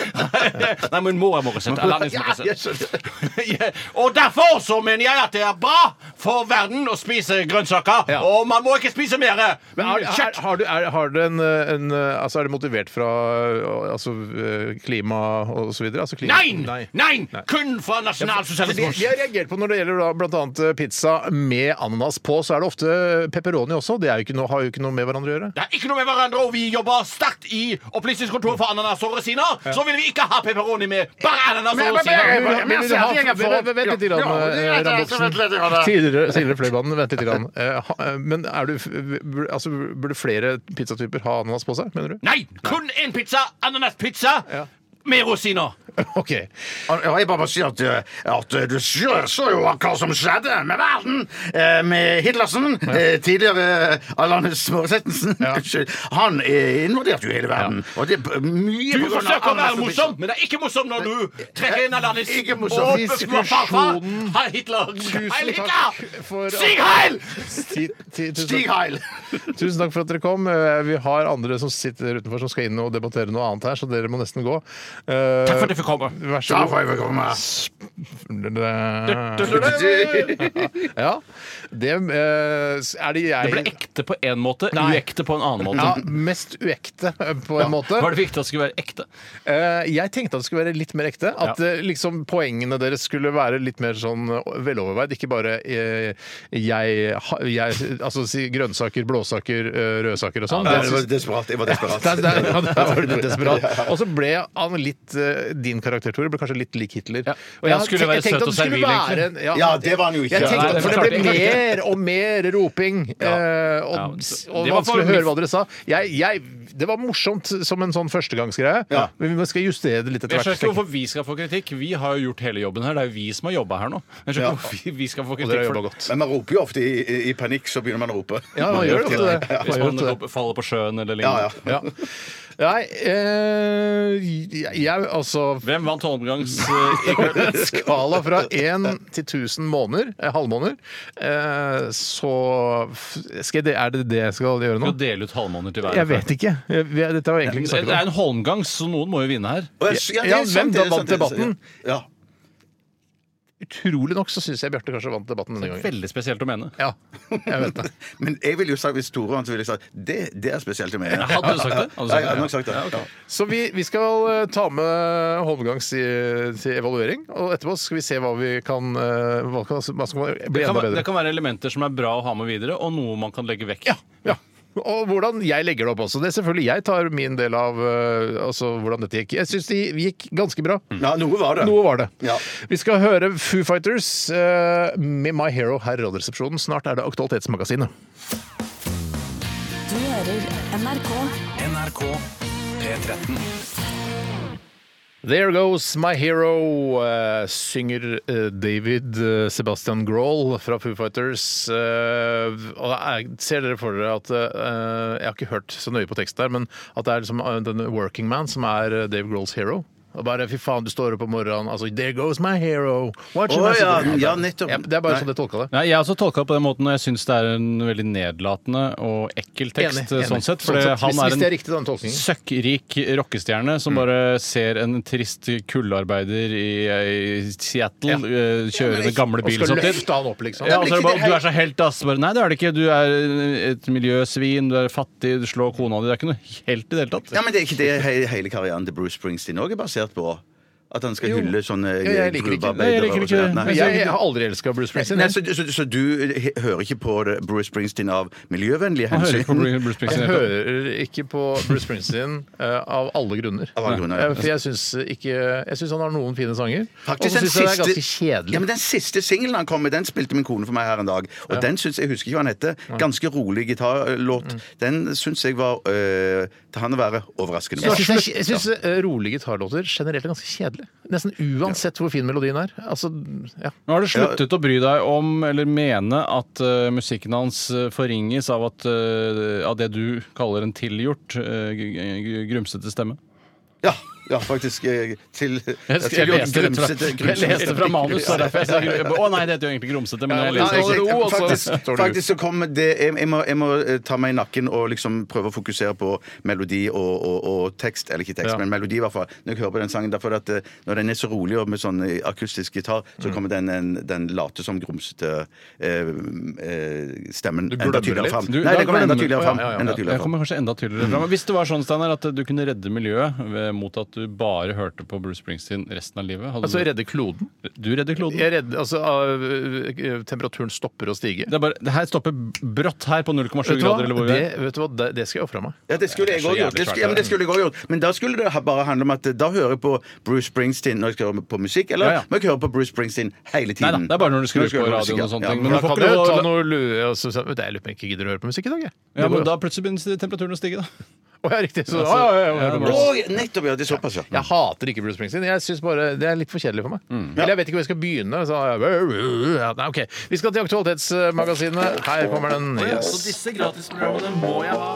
Speaker 5: Nei, min mor er Morissette. Alanis
Speaker 2: Ja,
Speaker 5: Morissette.
Speaker 2: jeg skjønner.
Speaker 5: Ja, og derfor så mener jeg at det er bra for verden å spise grønnsaker.
Speaker 1: Ja.
Speaker 5: Og man må ikke spise mer. eh,
Speaker 1: Men er, er,
Speaker 5: Kjøtt.
Speaker 1: har du, er, har du en, eh, en eh, altså Er det motivert fra eh, altså, eh, klima og så videre? Altså, klima.
Speaker 5: Nei!
Speaker 1: Nei.
Speaker 5: Nei!
Speaker 1: Nei.
Speaker 5: Kun fra
Speaker 1: Fordi
Speaker 5: nasjonalsosialismen.
Speaker 1: Vi har reagert på når det gjelder da bl.a. pizza med ananas på, så er det ofte eh, pepperoni også. Det er jo ikke noe, har jo ikke noe med hverandre å gjøre.
Speaker 5: Det er ikke noe med hverandre, og vi jobber sterkt i Opplysningskontoret for ananas og rosiner. Så vil vi ikke ha pepperoni med. Bare ananas og
Speaker 1: Men
Speaker 5: rosiner.
Speaker 1: vil du- vil du ha- Vent vent litt, grann, eh, Randolfsen. Tidligere tidligere Fløibanen, vent litt. Grann. Eh, ha- eh, Men er du, f- bur- altså, burde flere pizzatyper ha ananas på seg, mener du?
Speaker 5: Nei! Kun én pizza. Ananaspizza.
Speaker 1: Ja.
Speaker 5: Med rosiner.
Speaker 1: OK.
Speaker 2: Ja, jeg bare må si at, eh, at eh, du så så jo hva som skjedde med verden eh, med Hitlersen, eh, tidligere Alanis Moresettensen. Unnskyld. Han eh, invaderte jo hele verden. Og det er mye
Speaker 5: Du
Speaker 2: på grunn av
Speaker 5: forsøker å
Speaker 2: Alanis
Speaker 5: være
Speaker 2: og
Speaker 5: morsom, men det er ikke morsom når du trekker inn Alanis
Speaker 2: Ikke
Speaker 5: og
Speaker 2: morsom.
Speaker 5: farfar.
Speaker 1: Diskusjonen.
Speaker 5: Hei, Hitler! Heil
Speaker 1: Tusen takk
Speaker 5: Hitler!
Speaker 1: for
Speaker 5: Stig Heil!
Speaker 1: Ti- ti- tusen
Speaker 2: Stig
Speaker 1: takk-
Speaker 2: Heil!
Speaker 1: Tusen takk for at dere kom. Eh, Vi har andre som sitter utenfor som skal inn og debattere noe annet her, så dere må nesten gå. Eh,
Speaker 5: Takk for at du fikk komme.
Speaker 1: Vær så
Speaker 2: Da
Speaker 1: god.
Speaker 2: får jeg vel komme.
Speaker 3: Eh,
Speaker 1: Ja, det eh, er det jeg
Speaker 3: Det ble ekte på én måte, uekte på en annen måte.
Speaker 1: ja, mest uekte, eh, på en måte.
Speaker 3: Var det viktig at det skulle være ekte?
Speaker 1: Eh, jeg tenkte at det skulle være litt mer ekte. At eh, liksom poengene deres skulle være litt mer sånn eh, veloverveid. Ikke bare eh, jeg, ha, jeg Altså si grønnsaker, blåsaker, eh, rødsaker og sånn.
Speaker 2: Ja,
Speaker 1: Det
Speaker 2: det var desperat. Jeg var desperat.
Speaker 1: Der, der, ja, der var du litt desperat. Og så ble han litt eh, Din karakter, Tore, ble kanskje litt lik Hitler.
Speaker 3: Ja.
Speaker 1: Og
Speaker 3: Han skulle
Speaker 1: tenk-
Speaker 3: være søt
Speaker 1: tenkte at
Speaker 3: og
Speaker 1: det skulle
Speaker 3: servil,
Speaker 1: være
Speaker 3: egentlig.
Speaker 1: en- Ja,
Speaker 2: Ja, det var han jo ikke.
Speaker 1: Jeg tenkte,
Speaker 3: Nei,
Speaker 1: at-
Speaker 3: det
Speaker 1: for det ble
Speaker 3: klarte jeg
Speaker 1: mer og mer roping, eh, og,
Speaker 3: Ja,
Speaker 1: og,
Speaker 3: så- det var for
Speaker 1: vanskelig å høre
Speaker 3: mye-
Speaker 1: hva dere sa. Jeg, jeg, det var morsomt som en sånn førstegangsgreie,
Speaker 2: Ja.
Speaker 1: men vi skal justere det litt etter
Speaker 3: Jeg skjønner
Speaker 1: hvert.
Speaker 3: ikke hvorfor vi skal få kritikk. Vi har jo gjort hele jobben her. Det er jo vi som har jobba her nå. Jeg skjønner ikke hvorfor vi skal få
Speaker 1: Og dere
Speaker 3: kritikk
Speaker 1: har
Speaker 3: for
Speaker 1: jobba
Speaker 3: det.
Speaker 1: godt.
Speaker 2: Men man roper jo ofte i, i, i panikk, så begynner man å rope.
Speaker 1: Ja, man gjør ofte det. Man
Speaker 3: Hvis
Speaker 1: gjør
Speaker 3: man
Speaker 1: ofte det.
Speaker 3: går- faller på sjøen eller
Speaker 2: Ja,
Speaker 3: lignende.
Speaker 2: ja.
Speaker 1: Ja. Nei, eh, jeg, jeg altså
Speaker 3: Hvem vant eh, håndgangs...
Speaker 1: En skala fra 1 til 1000 måneder, eh, halvmåneder, eh, så f- skal jeg, Er det det jeg skal gjøre
Speaker 3: Å
Speaker 1: nå?
Speaker 3: dele ut halvmåneder til hver.
Speaker 1: Jeg vet ikke. Jeg, vi- dette har jeg egentlig ikke
Speaker 3: Det
Speaker 1: snakket
Speaker 3: er
Speaker 1: om.
Speaker 3: en holmgangs, så noen må jo vinne her.
Speaker 2: Og jeg- det er
Speaker 1: Ja,
Speaker 2: sant,
Speaker 1: hvem
Speaker 2: det er
Speaker 1: da vant
Speaker 2: sant, det er sant,
Speaker 1: debatten?
Speaker 2: Ja.
Speaker 1: Utrolig nok så syns jeg Bjarte kanskje vant debatten denne gangen.
Speaker 3: Veldig spesielt å mene.
Speaker 1: Ja, jeg vet det.
Speaker 2: Men jeg ville jo sagt, hvis Tore vant, så ville jeg sagt det, det er spesielt å mene.
Speaker 3: Hadde du sagt det? Hadde du
Speaker 2: Ja,
Speaker 3: sagt
Speaker 2: jeg hadde nok
Speaker 3: det?
Speaker 2: sagt det. Ja.
Speaker 1: Så vi, vi skal eh, ta med Holmgangs i, til evaluering, og etterpå skal vi se hva vi kan eh, Hva kan, hva skal man bli
Speaker 3: Det
Speaker 1: enda
Speaker 3: kan, det
Speaker 1: bedre?
Speaker 3: kan være elementer som er bra å ha med videre, og noe man kan legge vekk.
Speaker 1: Ja, ja. Og hvordan jeg legger det opp også. Det er selvfølgelig, Jeg tar min del av eh, altså, hvordan dette gikk. Jeg syns det gikk ganske bra.
Speaker 2: Ja, noe var det.
Speaker 1: Noe var det.
Speaker 2: Ja.
Speaker 1: Vi skal høre Foo Fighters eh, med My Hero her i Radioresepsjonen. Snart er det Aktualitetsmagasinet.
Speaker 7: Du hører NRK.
Speaker 4: NRK P13.
Speaker 1: There goes my hero, eh, synger eh, David eh, Sebastian Grohl fra Foo Fighters. Eh, og jeg ser dere for dere at eh, Jeg har ikke hørt så nøye på teksten der, men at det er liksom eh, denne working man som er eh, Dave Grohls hero. Og bare fy faen, du står opp om morgenen altså There goes my hero. What should
Speaker 2: Å,
Speaker 1: I say
Speaker 2: ja,
Speaker 1: to you?
Speaker 2: ja, nettopp.
Speaker 1: Ja, det er bare
Speaker 2: Nei.
Speaker 1: sånn jeg tolka det.
Speaker 3: Nei, Jeg har også tolka det på den måten, og jeg syns det er en veldig nedlatende og ekkel tekst.
Speaker 1: Enig, enig.
Speaker 3: sånn sett,
Speaker 1: Sånn
Speaker 3: For
Speaker 1: sett,
Speaker 3: han
Speaker 1: hvis- hvis
Speaker 3: er
Speaker 1: det er
Speaker 3: en
Speaker 1: riktig, den tolkningen. Mm.
Speaker 3: søkkrik rockestjerne som bare ser en trist kuldearbeider i, i Seattle
Speaker 1: Ja.
Speaker 3: eh, kjøre den gamle
Speaker 1: Og
Speaker 3: bil
Speaker 1: skal
Speaker 3: samtidig.
Speaker 1: løfte han opp, liksom.
Speaker 3: Ja, og så er det bare, du er så helt, ass. Bare, nei, det er det ikke. Du er et miljøsvin, du er fattig, du slår kona di. Det er ikke noe helt i det hele tatt.
Speaker 2: Ja, men det er ikke det he- hele karrieren til Bruce Springsteen òg er basert på? At han skal hylle sånne
Speaker 1: Ja, jeg liker ikke-
Speaker 2: groovearbeidere
Speaker 3: Nei, jeg liker
Speaker 2: og sånn.
Speaker 3: ikke-
Speaker 2: Nei.
Speaker 1: Men Jeg, jeg har aldri elska Bruce Springsteen.
Speaker 2: Nei,
Speaker 1: jeg.
Speaker 2: så, så, så du he- hører ikke på det- Bruce Springsteen av miljøvennlige
Speaker 3: Man hører
Speaker 2: hensyn?
Speaker 3: ikke på Bruce Springsteen.
Speaker 1: Jeg
Speaker 3: i det hele tatt.
Speaker 1: hører ikke på Bruce Springsteen eh, av alle grunner.
Speaker 2: Av alle grunner, ja.
Speaker 1: Eh, For jeg syns ikke Jeg syns han har noen fine sanger. Og så
Speaker 2: Faktisk
Speaker 1: syns
Speaker 2: den
Speaker 1: jeg det er
Speaker 2: siste-
Speaker 1: ganske kjedelig.
Speaker 2: Ja, men Den siste singelen han kom med, den spilte min kone for meg her en dag. Og den syns jeg husker ikke hva den heter. Ganske rolig gitarlåt.
Speaker 1: Mm.
Speaker 2: Den syns jeg var øh, til han å være overraskende
Speaker 1: Jeg
Speaker 2: bra.
Speaker 1: syns- jeg syns eh, rolige gitarlåter generelt er ganske kjedelig. Nesten uansett hvor fin melodien er. Altså, ja.
Speaker 3: Nå har du sluttet å bry deg om eller mene at eh, musikken hans eh, forringes av, at, eh, av det du kaller en tilgjort, eh, gr- gr- grumsete stemme.
Speaker 2: Ja, ja faktisk. eh, Til,
Speaker 1: Jeg,
Speaker 2: til-
Speaker 1: jeg, leste rett fra,
Speaker 2: grumsete-
Speaker 1: jeg leste fra manus. så derfor jeg sa gru-
Speaker 3: Å nei, det heter jo egentlig grumsete, men
Speaker 1: Ja,
Speaker 3: jeg
Speaker 1: men
Speaker 3: leser
Speaker 1: nei,
Speaker 3: det.
Speaker 1: jeg-
Speaker 3: ro, og så-
Speaker 2: faktisk,
Speaker 1: står det
Speaker 2: faktisk så kom det jeg, jeg, må, jeg må eh, ta meg i nakken og liksom prøve å fokusere på melodi og, og, og tekst. Eller ikke tekst,
Speaker 3: Ja.
Speaker 2: men melodi, i hvert fall. Når jeg hører på den sangen. Derfor at eh, Når den er så rolig og med sånn eh, akustisk gitar,
Speaker 1: Mm.
Speaker 2: så kommer den, den, den late som grumsete eh, eh, stemmen
Speaker 1: Du
Speaker 2: enda
Speaker 1: glemmer
Speaker 2: tydeligere
Speaker 1: litt.
Speaker 2: fram.
Speaker 3: Du-
Speaker 2: Nei,
Speaker 3: da
Speaker 2: den kommer enda
Speaker 3: glemmer-
Speaker 2: tydeligere fram.
Speaker 1: Å, ja, ja, ja.
Speaker 2: Enda
Speaker 3: Jeg
Speaker 2: tydeligere fram.
Speaker 3: kommer kanskje enda tydeligere fram. Men Hvis det var sånn Steiner, at du kunne redde miljøet ved- mot at du bare hørte på Bruce Springsteen resten av livet hadde
Speaker 1: Altså redde kloden.
Speaker 3: du, du redder kloden?
Speaker 1: Jeg redder, altså, av- eh, temperaturen stopper å stige.
Speaker 3: Det, er bare, det her stopper brått her på 0,7
Speaker 1: Vet du hva?
Speaker 3: grader. eller hvor vi
Speaker 1: Det,
Speaker 3: er.
Speaker 1: vet du hva? Det, det skal jeg ofre meg.
Speaker 2: Ja, det skulle jeg
Speaker 3: så
Speaker 2: òg gjort.
Speaker 3: jævlig
Speaker 2: Det
Speaker 3: svært,
Speaker 2: skulle, ja, men det
Speaker 3: det.
Speaker 2: skulle jeg også gjort. Men da skulle det ha- bare handle om at eh, da hører jeg på Bruce Springsteen når jeg skal høre på musikk, eller
Speaker 3: Ja, ja.
Speaker 2: må jeg ikke høre på Bruce Springsteen hele
Speaker 3: Nei da,
Speaker 2: tiden?
Speaker 3: det er bare når du skrur på
Speaker 2: høre
Speaker 3: radioen
Speaker 2: musikk,
Speaker 3: og sånne
Speaker 2: ja.
Speaker 3: ting.
Speaker 2: Ja,
Speaker 3: Men
Speaker 1: Da
Speaker 3: du får
Speaker 1: kan
Speaker 3: ikke
Speaker 1: du
Speaker 3: lov
Speaker 1: ta
Speaker 3: å-
Speaker 1: noe lue og så, så, vet du, Jeg lurer på om jeg ikke gidder å høre på musikk i dag, jeg.
Speaker 3: ja,
Speaker 1: Det går
Speaker 3: men
Speaker 1: jo-
Speaker 3: da plutselig begynner temperaturen å stige, da.
Speaker 1: Å, ja, riktig. Så, ja, ja, ja, jeg hører på Bruce.
Speaker 2: Å, nettopp, ja. Det er såpass, ja.
Speaker 1: Jeg hater ikke Bruce Springsteen. Jeg synes bare Det er litt for kjedelig for meg. Eller jeg vet ikke hvor jeg skal begynne. Så, ja, nei, ok. Vi skal til Aktualitetsmagasinet. Her kommer den. Yes.
Speaker 3: disse gratisprogrammene må jeg ha.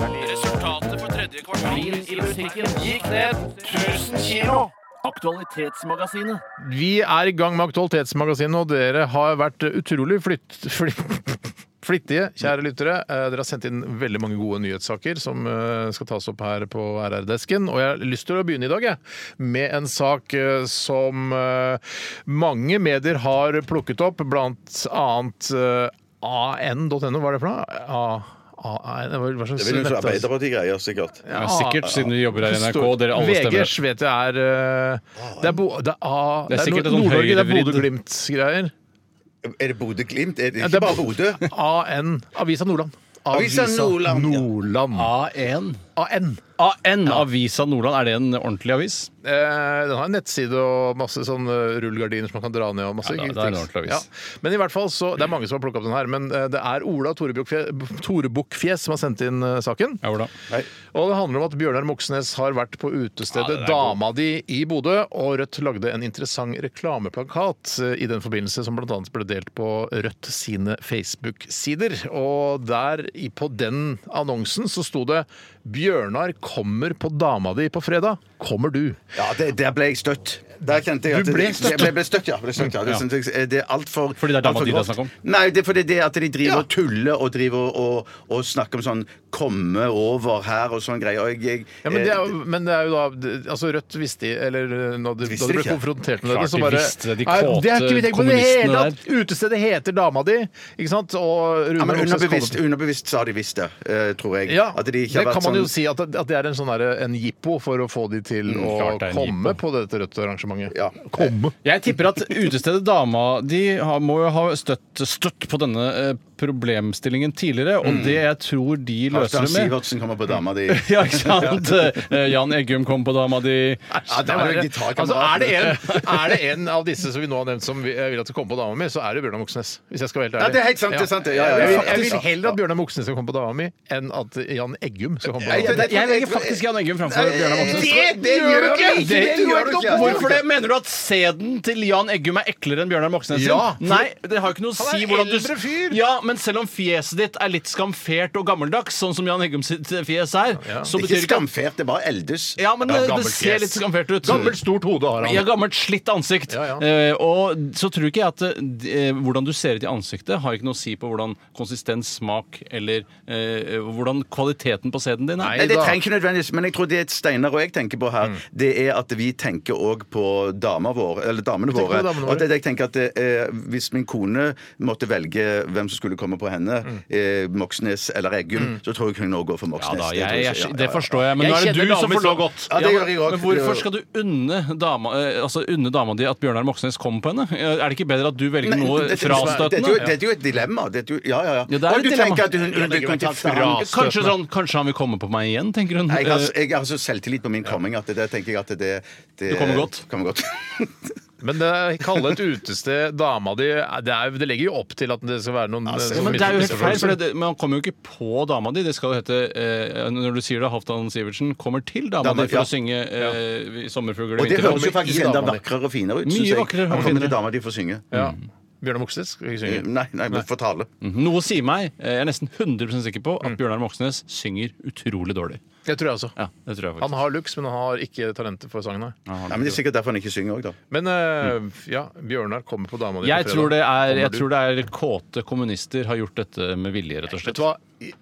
Speaker 3: Resultatet på tredje
Speaker 1: Vi er i gang med Aktualitetsmagasinet, og dere har vært utrolig flytt... flytt Flittige, kjære lyttere. Eh, Dere har sendt inn veldig mange gode nyhetssaker som eh, skal tas opp her på RR-desken. Og jeg har lyst til å begynne i dag jeg, med en sak eh, som eh, mange medier har plukket opp, blant annet eh, an.no. Hva er det for noe? A- A- A- Hva slags
Speaker 2: Det vil jo så
Speaker 1: nettas-
Speaker 2: Arbeiderparti-greier, sikkert.
Speaker 3: Ja,
Speaker 2: Ah,
Speaker 3: sikkert, siden vi jobber her i NRK. Dere alle
Speaker 1: VG
Speaker 3: stemmer.
Speaker 1: vet jeg er eh,
Speaker 2: Ah,
Speaker 1: Det er, bo, det er, A,
Speaker 3: Det er
Speaker 1: det er Nord-
Speaker 3: sikkert en sånn
Speaker 1: Nord-Norge, det er
Speaker 3: høyrevridd-
Speaker 1: Bodø-Glimt-greier.
Speaker 2: Er det Bodø-Glimt? Er det
Speaker 1: Ja, det
Speaker 2: ikke
Speaker 1: er
Speaker 2: bare
Speaker 1: Bo-
Speaker 2: Bodø?
Speaker 1: AN. Avisa Nordland.
Speaker 2: Avisa Nordland, ja.
Speaker 1: Nordland.
Speaker 3: A1.
Speaker 1: AN.
Speaker 3: AN, Avisa Nordland. Er det en ordentlig avis?
Speaker 1: Eh, den har en nettside og masse sånn eh, rullgardiner som man kan dra ned. og masse
Speaker 3: Ja, da-
Speaker 1: ting.
Speaker 3: da er det en ordentlig avis.
Speaker 1: Men i hvert fall så, Det er mange som har plukka opp den her, men eh, det er Ola Tore Bukkfje- Tore Bukkfjes som har sendt inn eh, saken.
Speaker 3: Ja, hvordan?
Speaker 1: Og det handler om at Bjørnar Moxnes har vært på utestedet
Speaker 3: Ja, det er
Speaker 1: Dama di i Bodø, og Rødt lagde en interessant reklameplakat eh, i den forbindelse, som bl.a. ble delt på Rødt sine Facebook-sider. Og der, i- på den annonsen, så sto det 'Bjørnar kommer på dama di på fredag. Kommer du?'
Speaker 2: Ja, det, der ble jeg støtt. Der kjente jeg at
Speaker 1: Du ble
Speaker 2: det-
Speaker 1: støtt?
Speaker 2: Jeg ble, ble støtt, ja. Ble støtt, ja. Det, synes jeg, det er altfor
Speaker 3: Fordi det er dama
Speaker 2: altfor
Speaker 3: di det er
Speaker 2: grovt.
Speaker 3: snakk om?
Speaker 2: Nei, det er fordi det at de driver og tuller og driver og, og snakker om sånn 'komme over her' og sånn greier. Og jeg, eh, jeg,
Speaker 1: Ja, men, det er,
Speaker 3: Eh,
Speaker 1: jo- men det er jo da det- altså Rødt visste Eller eh, når de, da
Speaker 2: Visste
Speaker 1: de ble
Speaker 2: ikke.
Speaker 1: konfrontert med
Speaker 3: Klart
Speaker 1: det, så
Speaker 3: de
Speaker 1: bare
Speaker 3: visste det, de
Speaker 1: Nei, Det er ikke vi tenkt på i det
Speaker 3: kommunistene
Speaker 1: hele
Speaker 3: der.
Speaker 1: tatt! Utestedet heter Dama di, ikke sant? Og Rune
Speaker 2: ja, men
Speaker 1: Moxnes
Speaker 2: underbevisst,
Speaker 1: kaller-
Speaker 2: underbevisst sa de visst det, eh, tror jeg.
Speaker 1: Ja,
Speaker 2: At de
Speaker 1: det
Speaker 2: ikke har
Speaker 1: kan
Speaker 2: vært
Speaker 1: man jo
Speaker 2: sånn-
Speaker 1: si. At, at det er en sånn derre- en jippo for å få de til å
Speaker 3: klart det er en
Speaker 1: komme på dette Rødt-arrangementet.
Speaker 2: Ja.
Speaker 1: Komme.
Speaker 3: Jeg tipper at utestedet Dama de har, må jo ha støtt, støtt på denne eh, problemstillingen tidligere, og
Speaker 2: Mm.
Speaker 3: det jeg tror de
Speaker 2: Halvdan
Speaker 3: løser det med
Speaker 2: Sivertsen kommer på dama di.
Speaker 3: ja, ikke sant? Eh, Jan Eggum kom på dama
Speaker 2: Ja,
Speaker 3: di.
Speaker 2: Eh, det var jo
Speaker 1: er,
Speaker 2: gitarkameraten.
Speaker 1: altså, er, det en, er det en av disse som vi nå har nevnt som vi- jeg vil at skal komme på dama mi, så er det Bjørnar Moxnes. Hvis jeg skal være helt ærlig.
Speaker 2: Ja, det er helt sant, det er sant, det. Ja, ja, ja,
Speaker 1: Jeg, vil, jeg
Speaker 2: faktisk.
Speaker 1: vil heller at Bjørnar Moxnes skal komme på dama mi, enn at Jan Eggum skal komme på dama
Speaker 2: Nei,
Speaker 1: mi.
Speaker 2: det- det-
Speaker 3: Jeg legger faktisk Jan Eggum framfor Bjørnar Moxnes.
Speaker 2: Det- det gjør du ikke!
Speaker 3: Det
Speaker 2: Det gjør du ikke!
Speaker 3: Hvorfor det? Mener du at sæden til Jan Eggum er eklere enn Bjørnar Moxnes sin?
Speaker 1: Ja.
Speaker 3: Nei, det har ikke noe å
Speaker 1: Han er
Speaker 3: si hvordan du
Speaker 1: eldre fyr.
Speaker 3: Ja, men selv om fjeset ditt er litt skamfert og gammeldags, sånn som Jan Eggum sitt fjes er, så
Speaker 2: Ikke
Speaker 3: betyr ikke
Speaker 2: skamfert, det er bare eldes.
Speaker 3: Ja, men eh,
Speaker 1: Ja,
Speaker 3: det,
Speaker 1: gammelt
Speaker 3: det ser
Speaker 1: fjes.
Speaker 3: litt skamfert ut.
Speaker 1: Gammelt, stort hode har han.
Speaker 3: Ja, gammelt, slitt ansikt.
Speaker 1: Ja, ja.
Speaker 3: Eh, og så tror ikke jeg at eh, hvordan du ser ut i ansiktet, har ikke noe å si på hvordan konsistens, smak eller eh, hvordan kvaliteten på sæden din er.
Speaker 2: Nei, det
Speaker 1: da.
Speaker 2: trenger ikke nødvendigvis, men jeg tror det Steinar og jeg tenker på her,
Speaker 3: Mm.
Speaker 2: det er at vi tenker òg på damer våre, eller damene
Speaker 1: tenker på
Speaker 2: våre.
Speaker 1: damene
Speaker 2: Og det,
Speaker 1: våre.
Speaker 2: jeg tenker at eh, Hvis min kone måtte velge hvem som skulle komme på henne, eh, Moxnes eller Eggum, så tror jeg hun nå går for
Speaker 3: Mm. Ja
Speaker 2: Moxnes.
Speaker 3: da,
Speaker 2: tror
Speaker 3: jeg,
Speaker 2: ja,
Speaker 3: jeg,
Speaker 2: ja,
Speaker 3: det
Speaker 2: ja.
Speaker 3: forstår jeg, men
Speaker 1: Jeg
Speaker 3: nå er det
Speaker 1: kjenner
Speaker 3: du som
Speaker 1: damer
Speaker 3: får
Speaker 1: så
Speaker 3: lov-
Speaker 1: godt.
Speaker 2: Ja, det
Speaker 3: men-
Speaker 2: gjør jeg også.
Speaker 3: Men
Speaker 2: Det gjør
Speaker 3: hvorfor
Speaker 2: jeg
Speaker 3: skal du unne dama, eh, altså unne dama di at Bjørnar Moxnes kommer på henne? Eh, Er det ikke bedre at du velger
Speaker 2: Men
Speaker 3: noe
Speaker 2: dette- Dette, er jo-
Speaker 3: frastøtende?
Speaker 2: dette er jo et dilemma. Dette, er jo- ja, ja, ja.
Speaker 3: Ja, det er
Speaker 2: og
Speaker 3: et
Speaker 2: du
Speaker 3: dilemma.
Speaker 2: tenker at hun, hun vil kontakte ham?
Speaker 3: Kanskje sånn, kanskje han vil komme på meg igjen, tenker hun.
Speaker 2: Jeg har,
Speaker 3: Eh,
Speaker 2: jeg har så selvtillit på min coming at det, der tenker jeg at det, det
Speaker 3: Du kommer godt.
Speaker 2: Kommer godt.
Speaker 1: Men det er- kalle et utested dama di det, er, det legger jo opp til at det skal være noen
Speaker 3: Ja,
Speaker 1: noen
Speaker 3: men det er jo helt feil,
Speaker 1: misforståelser.
Speaker 3: for det, man kommer jo ikke på dama di. Det skal jo hete eh, Når du sier det, Halvdan Sivertsen kommer til dama
Speaker 2: Dama,
Speaker 3: di for
Speaker 2: ja.
Speaker 3: å synge eh, 'Sommerfugler'
Speaker 2: Og
Speaker 3: og
Speaker 2: det høres jo
Speaker 3: vinterfugler.
Speaker 2: faktisk
Speaker 1: i
Speaker 2: enda
Speaker 1: damene.
Speaker 2: vakrere og finere ut.
Speaker 3: Mye
Speaker 2: synes jeg.
Speaker 3: vakrere og
Speaker 2: Han kommer til
Speaker 3: finere.
Speaker 2: dama di for å synge.
Speaker 1: ja. Bjørnar Moxnes skal ikke synge.
Speaker 2: Nei, nei, men for tale.
Speaker 3: Noe sier meg, eh, jeg er nesten 100 sikker på, at Bjørnar Moxnes synger utrolig dårlig.
Speaker 1: Det tror jeg også.
Speaker 3: Mm. Ja, det tror jeg
Speaker 1: Han
Speaker 3: faktisk.
Speaker 1: har looks, men han har ikke talentet for sangen. Nei.
Speaker 2: Nei, men Det er sikkert derfor han ikke synger òg, da.
Speaker 1: Men eh, ja, Bjørnar kommer på dama di
Speaker 3: Jeg
Speaker 1: på fredag.
Speaker 3: tror, det er,
Speaker 1: Kommer
Speaker 3: jeg
Speaker 1: du?
Speaker 3: tror det er kåte kommunister har gjort dette med vilje, rett og
Speaker 1: Vet
Speaker 3: slett.
Speaker 1: du hva?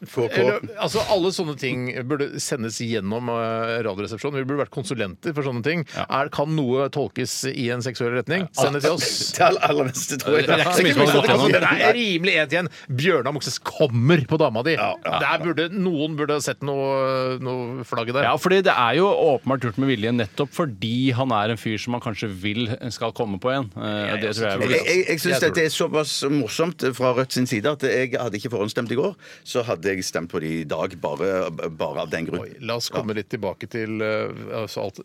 Speaker 2: Få på.
Speaker 1: Eller, altså, alle sånne ting burde sendes gjennom eh, Radioresepsjonen. Vi burde vært konsulenter for sånne ting. Er, kan noe tolkes i en seksuell retning? Send det til oss.
Speaker 2: Til aller, aller neste, tror jeg.
Speaker 3: Det er ikke så mye som har gått gjennom.
Speaker 1: Det er rimelig ett igjen. Bjørnar Moxnes kommer på dama di. Der burde, noen burde ha sett noe, noe flagget der.
Speaker 3: Ja, fordi det er jo åpenbart gjort med vilje nettopp fordi han er en fyr som man kanskje vil skal komme på igjen. Eh, Det tror jeg er
Speaker 2: Jeg, jeg, jeg syns
Speaker 1: Jeg tror
Speaker 2: dette er såpass morsomt fra Rødt sin side at jeg hadde ikke forhåndsstemt i går. Så hadde jeg stemt på det i dag, bare, bare av den grunn.
Speaker 1: La oss komme litt tilbake til eh, altså, alt,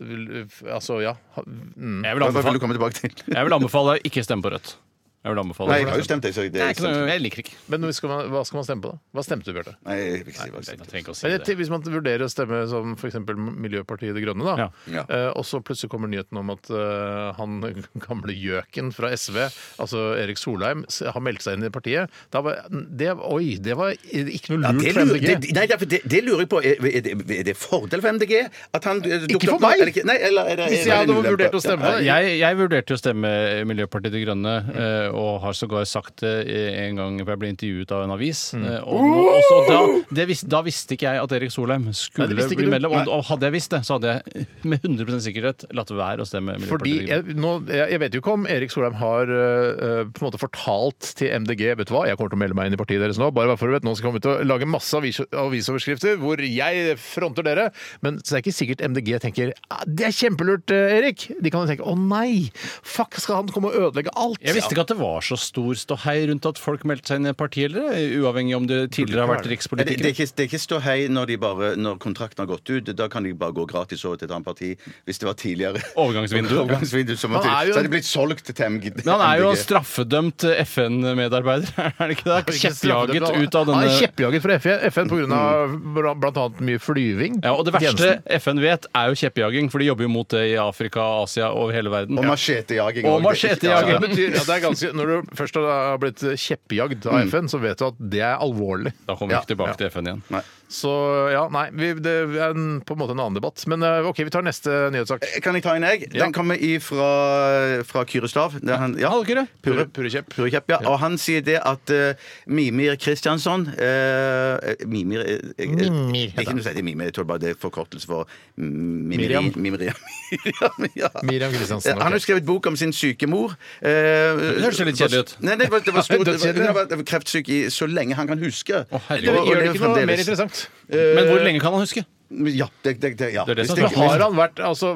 Speaker 1: altså ja. Ha- Mm.
Speaker 3: Jeg vil
Speaker 2: Hva hva vil
Speaker 3: anbefale,
Speaker 2: du komme tilbake til?
Speaker 3: jeg vil anbefale å ikke stemme på Rødt. Jeg vil anbefale
Speaker 2: Nei, jeg har jo stemt, jeg. Så det, sånn-
Speaker 3: Det er ikke noe, jeg liker ikke.
Speaker 1: Men skal man, hva skal man stemme på, da? Hva stemte du, Bjarte?
Speaker 2: Nei, jeg vil ikke si hva jeg
Speaker 3: Jeg
Speaker 2: stemte.
Speaker 3: trenger ikke å si
Speaker 1: Men
Speaker 3: det.
Speaker 1: jeg- Hvis man vurderer å stemme som f.eks. Miljøpartiet De Grønne, da,
Speaker 2: Ja.
Speaker 1: eh, og så plutselig kommer nyheten om at eh, han gamle gjøken fra SV, altså Erik Solheim, s- har meldt seg inn i partiet, da var det Oi, det var ikke noe
Speaker 2: Ja,
Speaker 1: lurt
Speaker 2: det,
Speaker 1: Mm, for
Speaker 2: lurer,
Speaker 1: MDG.
Speaker 2: det, nei, derfor- det, det lurer jeg på. Er, er, det, er det fordel for MDG at han eh, dukker
Speaker 1: for
Speaker 2: opp nå,
Speaker 1: meg!
Speaker 2: eller ikke? Nei, eller er det,
Speaker 1: Hvis
Speaker 2: er det
Speaker 1: jeg hadde
Speaker 2: en ulempe?
Speaker 1: vurdert å stemme, da.
Speaker 3: Jeg, jeg vurderte jo å stemme Miljøpartiet De Grønne, eh, og har sågar sagt det eh, en gang jeg ble intervjuet av en avis.
Speaker 1: Mm.
Speaker 3: eh, Og, nå- og så da, det vis, da visste ikke jeg at Erik Solheim skulle
Speaker 1: Nei, det visste ikke
Speaker 3: bli
Speaker 1: du.
Speaker 3: medlem. Og,
Speaker 1: Nei.
Speaker 3: og hadde jeg visst det, så hadde jeg med 100 sikkerhet latt være å stemme
Speaker 1: Fordi
Speaker 3: Miljøpartiet De Grønne.
Speaker 1: jeg, nå, jeg, jeg vet jo ikke om Erik Solheim har øh, øh, på en måte fortalt til MDG vet du hva, jeg kommer til å melde meg inn i partiet deres nå. bare bare for å vite, Nå skal jeg komme ut og lage masse avis, avisoverskrifter hvor jeg fronter dere. Men så det er ikke sikkert MDG tenker «Ah, det er kjempelurt, øh, Erik. De kan jo tenke å nei, fuck, skal han komme og ødelegge alt?
Speaker 3: Jeg visste ikke at det var så stor ståhei rundt at folk meldte seg inn i partiet, eller eh, uavhengig om det tidligere har
Speaker 2: Nei, Det,
Speaker 3: vært
Speaker 2: det, er
Speaker 3: rikspolitikere.
Speaker 2: ikke, det er ikke stå hei når, de bare, når kontrakten har gått ut. Da kan de bare gå gratis over til et annet parti. Hvis det var tidligere
Speaker 3: Overgangsvindu.
Speaker 2: Overgangsvindu som var
Speaker 1: Han er
Speaker 2: tidlig,
Speaker 1: jo en-
Speaker 2: så hadde de blitt solgt til MDG.
Speaker 3: Men han er jo straffedømt FN-medarbeider, er det ikke det? Kjeppjaget ut av
Speaker 1: Han er
Speaker 3: denne Mm.
Speaker 1: kjeppjaget fra FN, FN pga. bl.a. mye flyving.
Speaker 3: Ja, og det verste
Speaker 1: Jensen.
Speaker 3: FN vet, er jo kjeppjaging, for de jobber jo mot det i Afrika, Asia over hele verden.
Speaker 2: Og machetejaging.
Speaker 3: Og
Speaker 2: også.
Speaker 3: machetejaging.
Speaker 2: Ja,
Speaker 1: det betyr, ja, det er ganske, Når du først har blitt kjeppjagd
Speaker 2: Mm.
Speaker 1: av FN, så vet du at det er alvorlig.
Speaker 3: Da kommer vi
Speaker 2: Ja,
Speaker 3: ikke tilbake til FN igjen.
Speaker 1: Så ja, nei, vi, det er en, på en måte en annen debatt. Men eh, OK, vi tar neste nyhetssak.
Speaker 2: ja. Kan jeg ta en egg? Den kommer ifra, fra Kyrestav. Det er han- Ja.
Speaker 3: Hallo, Kyrre.
Speaker 2: Purre,
Speaker 1: Purre Kjepp.
Speaker 2: Purre Kjepp, ja. Og han sier det at eh, Mimir Kristiansson eh, Mimir eh, eh,
Speaker 1: Mimir,
Speaker 2: Jeg kan jo si det er Mimir, jeg tror bare det er forkortelse for Mimiri,
Speaker 1: Miriam.
Speaker 2: Mimiriam. Miriam, ja.
Speaker 1: Miriam Kristiansen,
Speaker 2: Eh, Han har
Speaker 1: ok.
Speaker 2: jo skrevet bok om sin syke mor. Det
Speaker 3: høres jo litt kjedelig ut.
Speaker 2: Nei, det var, det var, stort, det var,
Speaker 1: dødskjedelig.
Speaker 2: det var, det var kreftsyk i så lenge han kan huske.
Speaker 3: herregud.
Speaker 2: Og- og
Speaker 1: Gjør det
Speaker 2: lever
Speaker 1: ikke noe mer
Speaker 2: fremdeles.
Speaker 1: interessant?
Speaker 3: Men
Speaker 2: Eh,
Speaker 3: hvor lenge kan han huske?
Speaker 2: Ja. Det, det, det, ja.
Speaker 3: Det er det som
Speaker 2: Hvis
Speaker 3: er
Speaker 2: det-
Speaker 3: bra.
Speaker 1: Har, han vært, altså,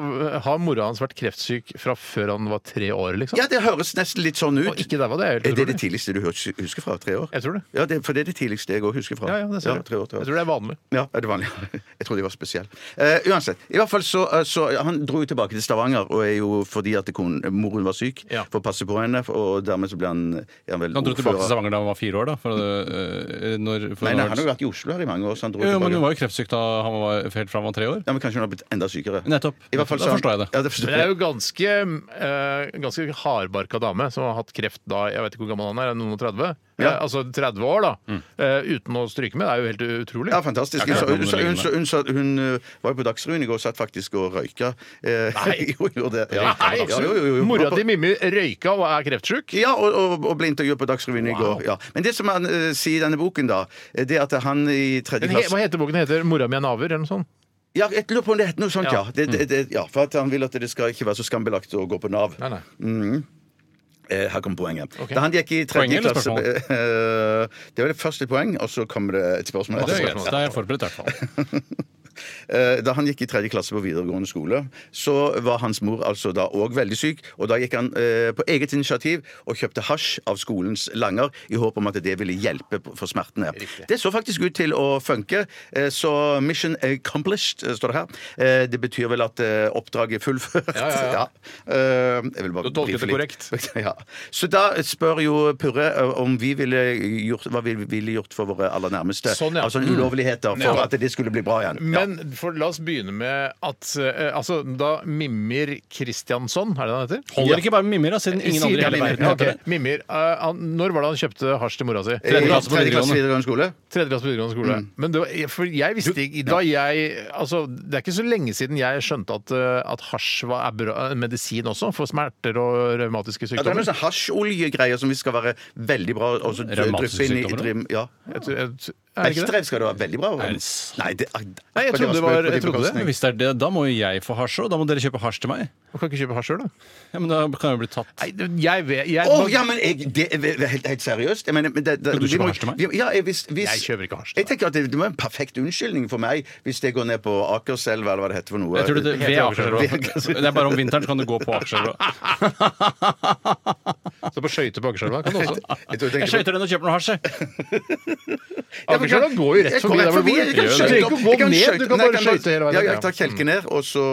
Speaker 1: har mora hans vært kreftsyk fra før han var tre år, liksom?
Speaker 2: ja, det høres nesten litt sånn ut.
Speaker 1: Og ikke der var det, er
Speaker 2: Er
Speaker 1: helt
Speaker 2: det det
Speaker 1: utrolig.
Speaker 2: tidligste du hus- husker fra? Tre år?
Speaker 1: Jeg tror det.
Speaker 2: Ja, det, for det er det tidligste jeg òg husker fra.
Speaker 1: Ja, ja, det ser du.
Speaker 2: tre år, tre år.
Speaker 1: Jeg tror det er vanlig.
Speaker 2: Ja, er det vanlig? Jeg trodde de var spesielle. Eh, uansett. I hvert fall så, eh, så Han dro jo tilbake til Stavanger og er jo fordi at kon, moren var syk,
Speaker 1: Ja.
Speaker 2: for å passe på henne. Og dermed så ble han, er han vel
Speaker 3: Han dro
Speaker 2: ordfører.
Speaker 3: tilbake til Stavanger da han var fire år, da. For, øh, når, for
Speaker 2: Nei, nei,
Speaker 3: når,
Speaker 2: han har jo vært i Oslo her i mange år. Så han dro
Speaker 3: jo, men
Speaker 2: tilbake.
Speaker 3: hun var jo kreftsyk da han var helt fra han var tre år.
Speaker 2: Ja, men Kanskje hun har blitt enda sykere.
Speaker 3: Nettopp.
Speaker 2: I hvert fall
Speaker 3: Da
Speaker 2: så han-
Speaker 3: forstår jeg det.
Speaker 2: Ja, det forstår
Speaker 1: Men det er
Speaker 2: jeg.
Speaker 1: jo ganske, eh, ganske hardbarka dame som har hatt kreft da jeg vet ikke hvor gammel han er, noen og 30?
Speaker 2: Ja. Mm.
Speaker 1: Eh, altså 30 år, da. Eh, uten å stryke med. Det er jo helt utrolig.
Speaker 2: Ja, fantastisk.
Speaker 3: Ja,
Speaker 2: Hun, sa-
Speaker 3: klart,
Speaker 2: hun, sa- hun, sa-
Speaker 3: noen
Speaker 2: hun, sa- hun, eh, var jo på Dagsrevyen i går og satt faktisk og røyka. Eh,
Speaker 1: Nei.
Speaker 2: jo, jo, det. Ja,
Speaker 1: Nei,
Speaker 2: ja, jo, jo, jo.
Speaker 1: Mora
Speaker 2: Var på-
Speaker 1: di Mimmi røyka og er kreftsjuk?
Speaker 2: Ja, og, og, og ble intervjuet på Dagsrevyen i går. Ja. Men det som han eh, sier i denne boken, da, eh, det er at han i tredje
Speaker 1: Den he- Hva
Speaker 2: klasse
Speaker 1: heter boken? Den heter 'Mora mi er naver'? eller noe sånt?
Speaker 2: Ja, jeg lurer på om det heter noe sånt,
Speaker 1: Ja.
Speaker 2: ja. Det, det, det, ja for at han vil at det skal ikke være så skambelagt å gå på Nav.
Speaker 1: Nei, nei.
Speaker 2: Eh, her kommer poenget. Da han gikk i tredje
Speaker 3: Poenget eller
Speaker 2: klasse eh, Det var det første poeng, og så kommer det et spørsmål.
Speaker 3: Det er
Speaker 2: etterpå.
Speaker 3: greit. Da er jeg forberedt, i hvert fall.
Speaker 2: eh, Da han gikk i tredje klasse på videregående skole, så var hans mor altså da òg veldig syk. Og da gikk han eh, på eget initiativ og kjøpte hasj av skolens langer i håp om at det ville hjelpe på- for smertene. Det så faktisk ut til å funke, eh, så mission accomplished, eh, står det her. Eh, Det betyr vel at eh, oppdraget er fullført.
Speaker 1: Ja, ja, ja.
Speaker 2: Eh, Jeg vil bare
Speaker 3: Du tolket
Speaker 2: brife
Speaker 3: det
Speaker 2: litt. ja. Så da spør jo Purre eh, om vi ville gjort, hva vi ville gjort for våre aller nærmeste.
Speaker 1: Sånn, ja.
Speaker 2: Altså ulovligheter for
Speaker 1: Ja.
Speaker 2: at det skulle bli bra igjen. ja.
Speaker 1: Men for la oss begynne med at eh, altså, da Mimir Kristiansson, er det han heter?
Speaker 3: Holder ikke bare med Mimir, da, siden ingen andre i
Speaker 1: Sier
Speaker 3: hele
Speaker 1: Mimir.
Speaker 3: verden
Speaker 1: Ja,
Speaker 3: heter
Speaker 1: ok. Mimir, eh, han, når var det han kjøpte hasj til mora si?
Speaker 2: I
Speaker 3: Tredje klasse på
Speaker 2: Eh, tredje klasse
Speaker 3: videregående.
Speaker 2: videregående skole?
Speaker 1: Tredje klasse på videregående skole. Men det var, jeg- for jeg visste ikke da jeg, altså, Det er ikke så lenge siden jeg skjønte at, eh, at hasj var, er bra, en medisin også, for smerter og revmatiske
Speaker 2: Ja, det er
Speaker 1: sykdommer.
Speaker 2: noen sånne hasjoljegreier som vi skal være veldig bra og så
Speaker 3: Revmatiske
Speaker 2: dryppe inn i
Speaker 3: sykdommer,
Speaker 2: drim, ja.
Speaker 1: Jeg tror- jeg- er det ikke det?
Speaker 2: Belgstrev skal det være veldig bra.
Speaker 3: det
Speaker 2: Om.
Speaker 3: sant?
Speaker 2: Nei, det, ak-
Speaker 1: Nei, jeg trodde
Speaker 2: akkurat
Speaker 1: det var- jeg
Speaker 2: spøk på din
Speaker 1: trodde det.
Speaker 3: Men
Speaker 2: bekostning.
Speaker 3: hvis det er det, da må jo jeg få hasj, og da må dere kjøpe hasj til meg.
Speaker 1: Man kan ikke kjøpe hasj sjøl, da.
Speaker 3: Ja, Men da kan jeg bli tatt.
Speaker 1: Nei, det- jeg vet jeg,
Speaker 2: Å, ja, men jeg, det er ve- helt, helt seriøst. Jeg mener, men det, det,
Speaker 3: Skal du
Speaker 2: vi
Speaker 3: kjøpe
Speaker 2: må-
Speaker 3: hasj til meg?
Speaker 2: vi- Ja, jeg, hvis, hvis,
Speaker 1: Jeg kjøper ikke hasj til
Speaker 2: Jeg tenker at det, det må være en perfekt unnskyldning for meg hvis jeg går ned på Akerselva eller hva det heter for noe.
Speaker 3: Jeg tror
Speaker 1: Helt
Speaker 3: det, ved
Speaker 1: overkjørt.
Speaker 3: Akerselva. Det er bare om vinteren så kan du gå på Akerselva.
Speaker 1: Så på skøyter på Akerselva kan du også.
Speaker 2: Jeg tror jeg tenker
Speaker 3: Jeg
Speaker 2: på-
Speaker 3: skøyter henne og kjøper noe hasj, jeg.
Speaker 1: Akerselva går jo rett
Speaker 2: Jeg
Speaker 1: forbi
Speaker 2: går
Speaker 1: der hvor du bor.
Speaker 2: Jeg kan
Speaker 1: Gjør det. Du
Speaker 2: skøyte
Speaker 1: trenger ikke
Speaker 2: opp.
Speaker 1: å gå
Speaker 2: Jeg kan
Speaker 1: ned,
Speaker 2: skøyte-
Speaker 1: du kan
Speaker 2: Nei, jeg
Speaker 1: bare skøyte hele veien
Speaker 2: Ja,
Speaker 1: opp,
Speaker 2: jeg tar kjelken ned, og så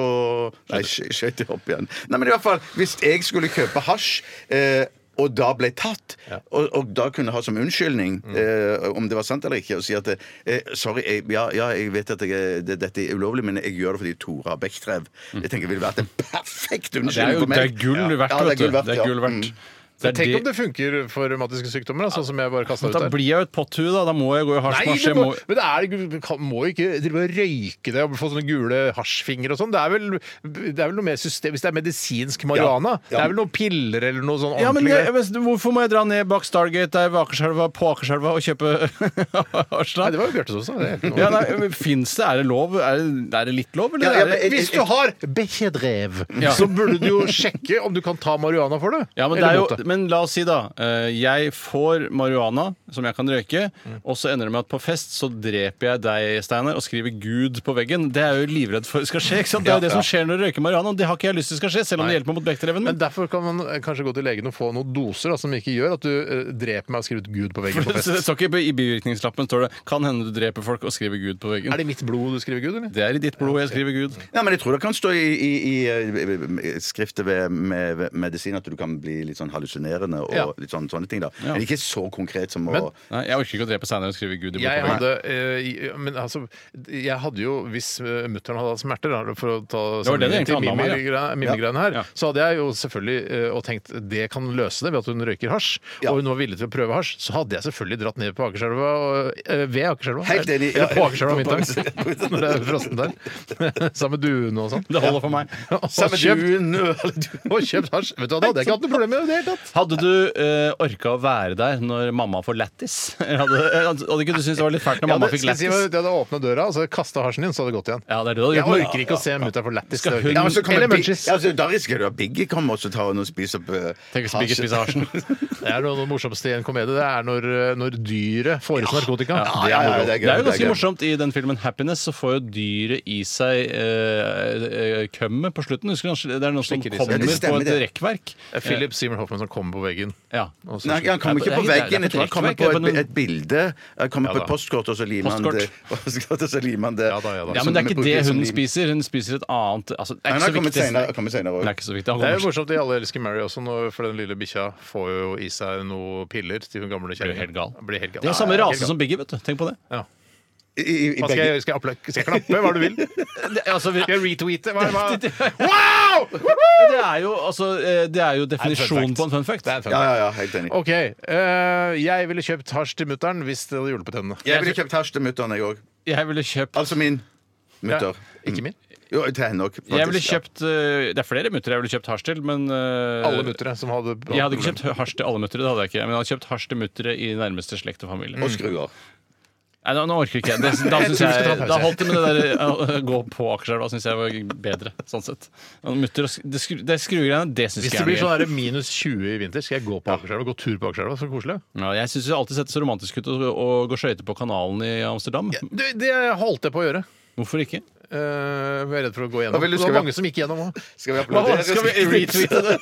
Speaker 2: Nei, skøy- skøyter opp igjen. Nei, men i hvert fall, Hvis jeg skulle kjøpe hasj eh, og da ble tatt, og, og da kunne ha som unnskyldning eh, om det var sant eller ikke, og si at eh, sorry, jeg, ja, ja, jeg vet at jeg, er- det, dette er ulovlig, men jeg gjør det fordi Tora har bekkdrev. Jeg tenker det ville vært en perfekt
Speaker 3: Det er
Speaker 2: unnskyldning
Speaker 3: jo
Speaker 2: for
Speaker 3: det er
Speaker 2: meg.
Speaker 3: gull
Speaker 2: Ja,
Speaker 3: verdt, Mm.
Speaker 2: det er
Speaker 3: vet du.
Speaker 2: gull verdt,
Speaker 3: Det er
Speaker 2: ja. Mm.
Speaker 3: gull verdt. Det er
Speaker 1: Tenk
Speaker 3: det-
Speaker 1: om det funker for revmatiske sykdommer, da, sånn som jeg bare kasta ut
Speaker 3: Da
Speaker 1: der.
Speaker 3: blir jeg jo et potthue, da. Da må jeg gå i hasj.
Speaker 1: Nei,
Speaker 3: marsj,
Speaker 1: du
Speaker 3: jeg
Speaker 1: må,
Speaker 3: må-
Speaker 1: men det er, du kan- må jo ikke drive og røyke det og få sånne gule hasjfingre og sånn. Det, er vel- det er vel noe mer system Hvis det er medisinsk marihuana, det er vel noen piller eller noe sånn
Speaker 3: Ja, men
Speaker 1: ordentlig
Speaker 3: jeg, men hvorfor må jeg dra ned bak Stargate der ved Akerselva, på Akerselva og kjøpe hasj,
Speaker 1: Nei,
Speaker 3: da?
Speaker 1: det var jo Bjarte som sa det. er ikke noe.
Speaker 3: Ja, nei, men Fins det? Er det lov? Er det, er det litt lov, eller?
Speaker 2: Ja, ja, men
Speaker 3: er det,
Speaker 2: jeg-
Speaker 1: Hvis du har behedrev,
Speaker 3: Ja.
Speaker 1: så burde du jo sjekke om du kan ta marihuana for det.
Speaker 3: ja, men, det
Speaker 1: Eller
Speaker 3: er jo,
Speaker 1: mot det.
Speaker 3: men la oss si, da. eh, Jeg får marihuana som jeg kan røyke,
Speaker 1: Mm.
Speaker 3: og så ender det med at på fest så dreper jeg deg, Steinar, og skriver 'Gud' på veggen. Det er jeg jo livredd for skal skje. ikke sant? Det er jo det som skjer når du røyker marihuana, og det har ikke jeg lyst til skal skje, selv om det hjelper meg mot bekkdreven
Speaker 1: Men
Speaker 3: min.
Speaker 1: derfor kan man eh, kanskje gå til legen og få noen doser da, som ikke gjør at du eh, dreper meg og skriver ut Gud på veggen på
Speaker 3: Så det
Speaker 1: fest.
Speaker 3: står ikke på- I bivirkningslappen står det 'Kan hende du dreper folk og skriver Gud på veggen'.
Speaker 1: Er det mitt blod du skriver Gud, eller?
Speaker 3: Det er i ditt blod jeg skriver Gud.
Speaker 2: Ja, men jeg tror det kan stå i, i, i eh, skriftet ved, med, ved medisin at du kan bli litt sånn hallusinerende og
Speaker 1: Ja.
Speaker 2: litt sånn, sånne ting. da Men ikke så konkret som å
Speaker 1: Men-
Speaker 3: Nei, jeg orker ikke å drepe Steinar og skrive Gud i
Speaker 1: Jeg
Speaker 3: blod på veggen.
Speaker 1: hadde, eh, i- men altså, jeg hadde jo, hvis uh, mutter'n hadde hatt smerter, da, for å ta
Speaker 3: Det var det det egentlig
Speaker 1: til
Speaker 3: handla om her,
Speaker 1: mimegreiene her,
Speaker 3: Ja.
Speaker 1: så hadde jeg jo selvfølgelig eh, og tenkt det kan løse det ved at hun røyker hasj,
Speaker 2: Ja.
Speaker 1: og hun var villig til å prøve hasj, så hadde jeg selvfølgelig dratt ned på Akerselva og eh, ved Akerselva.
Speaker 2: Helt enig, ja.
Speaker 1: Eller på Akerselva
Speaker 2: På- på-
Speaker 1: middag. Når det er frossen der. Sammen med duene og sånn.
Speaker 3: Det holder for meg.
Speaker 1: Og
Speaker 2: Samme
Speaker 1: kjøpt-
Speaker 2: duen, eller du-
Speaker 1: og kjøpt hasj. Vet du hva, da hadde jeg ikke hatt noe problem med det i det hele tatt.
Speaker 3: Hadde du eh, orka å være der når mamma får lættis? Hadde, hadde ikke du syntes det var litt fælt når
Speaker 1: Jeg
Speaker 3: mamma
Speaker 1: hadde,
Speaker 3: fikk
Speaker 1: skal jeg si,
Speaker 3: lættis?
Speaker 1: jeg hadde åpnet døra, og så kastet hasjen din, så hadde det gått igjen.
Speaker 3: Ja, det er det du hadde
Speaker 1: Jeg
Speaker 3: gjort.
Speaker 1: orker ikke å se mutter'n for lættis.
Speaker 3: Skal
Speaker 1: det orker jeg
Speaker 2: Ja, men så
Speaker 1: ikke.
Speaker 2: kommer
Speaker 1: Eller
Speaker 2: Big-
Speaker 1: munchies.
Speaker 2: ja, altså, Da risikerer du at Biggie kommer og så tar hun og spiser opp eh,
Speaker 3: Tenk hvis Biggie
Speaker 2: hasj.
Speaker 3: spiser hasjen.
Speaker 1: Det er noe av det morsomste i en komedie. Det er når, eh, når dyret foreslår narkotika.
Speaker 2: Ja, ja, ja, det er gøy.
Speaker 3: Det er jo
Speaker 2: gøy.
Speaker 3: ganske morsomt i den filmen Happiness, så får jo dyret i seg eh, eh, kømmet på slutten. Husker du kanskje? Det er noen som
Speaker 1: Slikker i seg.
Speaker 3: kommer
Speaker 2: Ja, det
Speaker 3: på
Speaker 2: stemmer,
Speaker 3: et
Speaker 2: det.
Speaker 3: rekkverk.
Speaker 1: Det er Philip Seymour Hoffman som kommer på veggen.
Speaker 3: Ja.
Speaker 1: Og så-
Speaker 2: Nei, han kommer ikke på
Speaker 3: Nei, det er- det er
Speaker 2: veggen. Jeg
Speaker 3: på
Speaker 2: tror han kommer
Speaker 3: verk,
Speaker 2: på
Speaker 3: det er
Speaker 2: et,
Speaker 3: på noen-
Speaker 2: et bilde. Han kommer
Speaker 1: Ja
Speaker 2: på
Speaker 1: da.
Speaker 2: et postkort, og så limer han det. Postkort, og så limer han det.
Speaker 1: Ja da, ja da.
Speaker 3: Ja,
Speaker 2: Som
Speaker 3: men det er
Speaker 2: vi
Speaker 3: ikke
Speaker 2: bruker
Speaker 3: det
Speaker 2: som
Speaker 3: hun
Speaker 2: lim.
Speaker 3: spiser. Hun spiser et annet altså, Det
Speaker 2: Nei,
Speaker 3: er
Speaker 2: han
Speaker 3: ikke
Speaker 2: har
Speaker 3: så
Speaker 2: kommet
Speaker 3: viktig.
Speaker 2: senere- kommer senere
Speaker 3: Det
Speaker 2: òg.
Speaker 3: er ikke så viktig. Han
Speaker 1: Det er jo
Speaker 3: kommer-
Speaker 1: morsomt i Alle elsker Mary også, når- for den lille bikkja får jo i seg noe piller til hun gamle
Speaker 3: Blir helt gal.
Speaker 1: kjerringa. Blir helt gal.
Speaker 3: Det er samme
Speaker 1: Ja, ja, helt
Speaker 3: rase som Biggie, vet du. Tenk på det.
Speaker 1: gal. Ja. Hva skal
Speaker 2: Begge...
Speaker 1: jeg, skal, jeg applaud- skal jeg klappe hva du vil?
Speaker 3: altså, vi-
Speaker 1: Skal jeg retweete? Hva, hva?
Speaker 3: Det-
Speaker 1: Wow!
Speaker 3: Det er jo, altså, eh, det er jo definisjonen
Speaker 1: fact.
Speaker 3: på en fun fact.
Speaker 2: Ja, ja, ja, helt enig.
Speaker 1: OK. eh, jeg ville kjøpt hasj til mutter'n hvis det hadde hjulpet henne.
Speaker 2: Jeg ville kjøpt hasj til mutter'n, jeg òg.
Speaker 3: Jeg ville kjøpt
Speaker 2: Altså min mutter.
Speaker 1: Ikke min.
Speaker 3: Mm.
Speaker 2: Jo, til henne òg.
Speaker 3: jeg ville kjøpt, eh, Det er flere muttere jeg ville kjøpt hasj til, men eh,
Speaker 1: Alle muttere som hadde
Speaker 3: Jeg hadde ikke kjøpt hasj til alle muttere, det hadde jeg ikke. Men jeg hadde kjøpt hasj til muttere i nærmeste slekt og familie.
Speaker 2: Og skruer.
Speaker 3: Nei, nå, nå orker ikke jeg. Det, da,
Speaker 1: Jeg
Speaker 3: synes
Speaker 1: tror vi skal ta
Speaker 3: jeg
Speaker 1: pause.
Speaker 3: da holdt det med det der eh, å gå på Akerselva, syns jeg var bedre. Sånn sett. Og Mutter og sk- det skru- det skruegreiene, det syns
Speaker 1: Hvis
Speaker 3: jeg
Speaker 1: det
Speaker 3: er
Speaker 1: blir
Speaker 3: gøy.
Speaker 1: sånn her minus 20 i vinter, skal jeg gå på Akerselva. Gå tur på Akerselva. Så koselig.
Speaker 3: Ja, jeg syns det alltid settes romantisk ut å å gå skøyter på kanalen i Amsterdam.
Speaker 1: Du, det holdt jeg på å gjøre.
Speaker 3: Hvorfor ikke?
Speaker 1: Eh, Eh, jeg er redd for å gå
Speaker 2: Hva
Speaker 1: gjennom.
Speaker 2: vil du-
Speaker 1: Det
Speaker 2: skal
Speaker 1: var
Speaker 2: vi-
Speaker 1: mange som gikk gjennom òg.
Speaker 2: Skal vi
Speaker 1: Hva-
Speaker 2: applaudere?
Speaker 1: skal vi retweete
Speaker 2: det?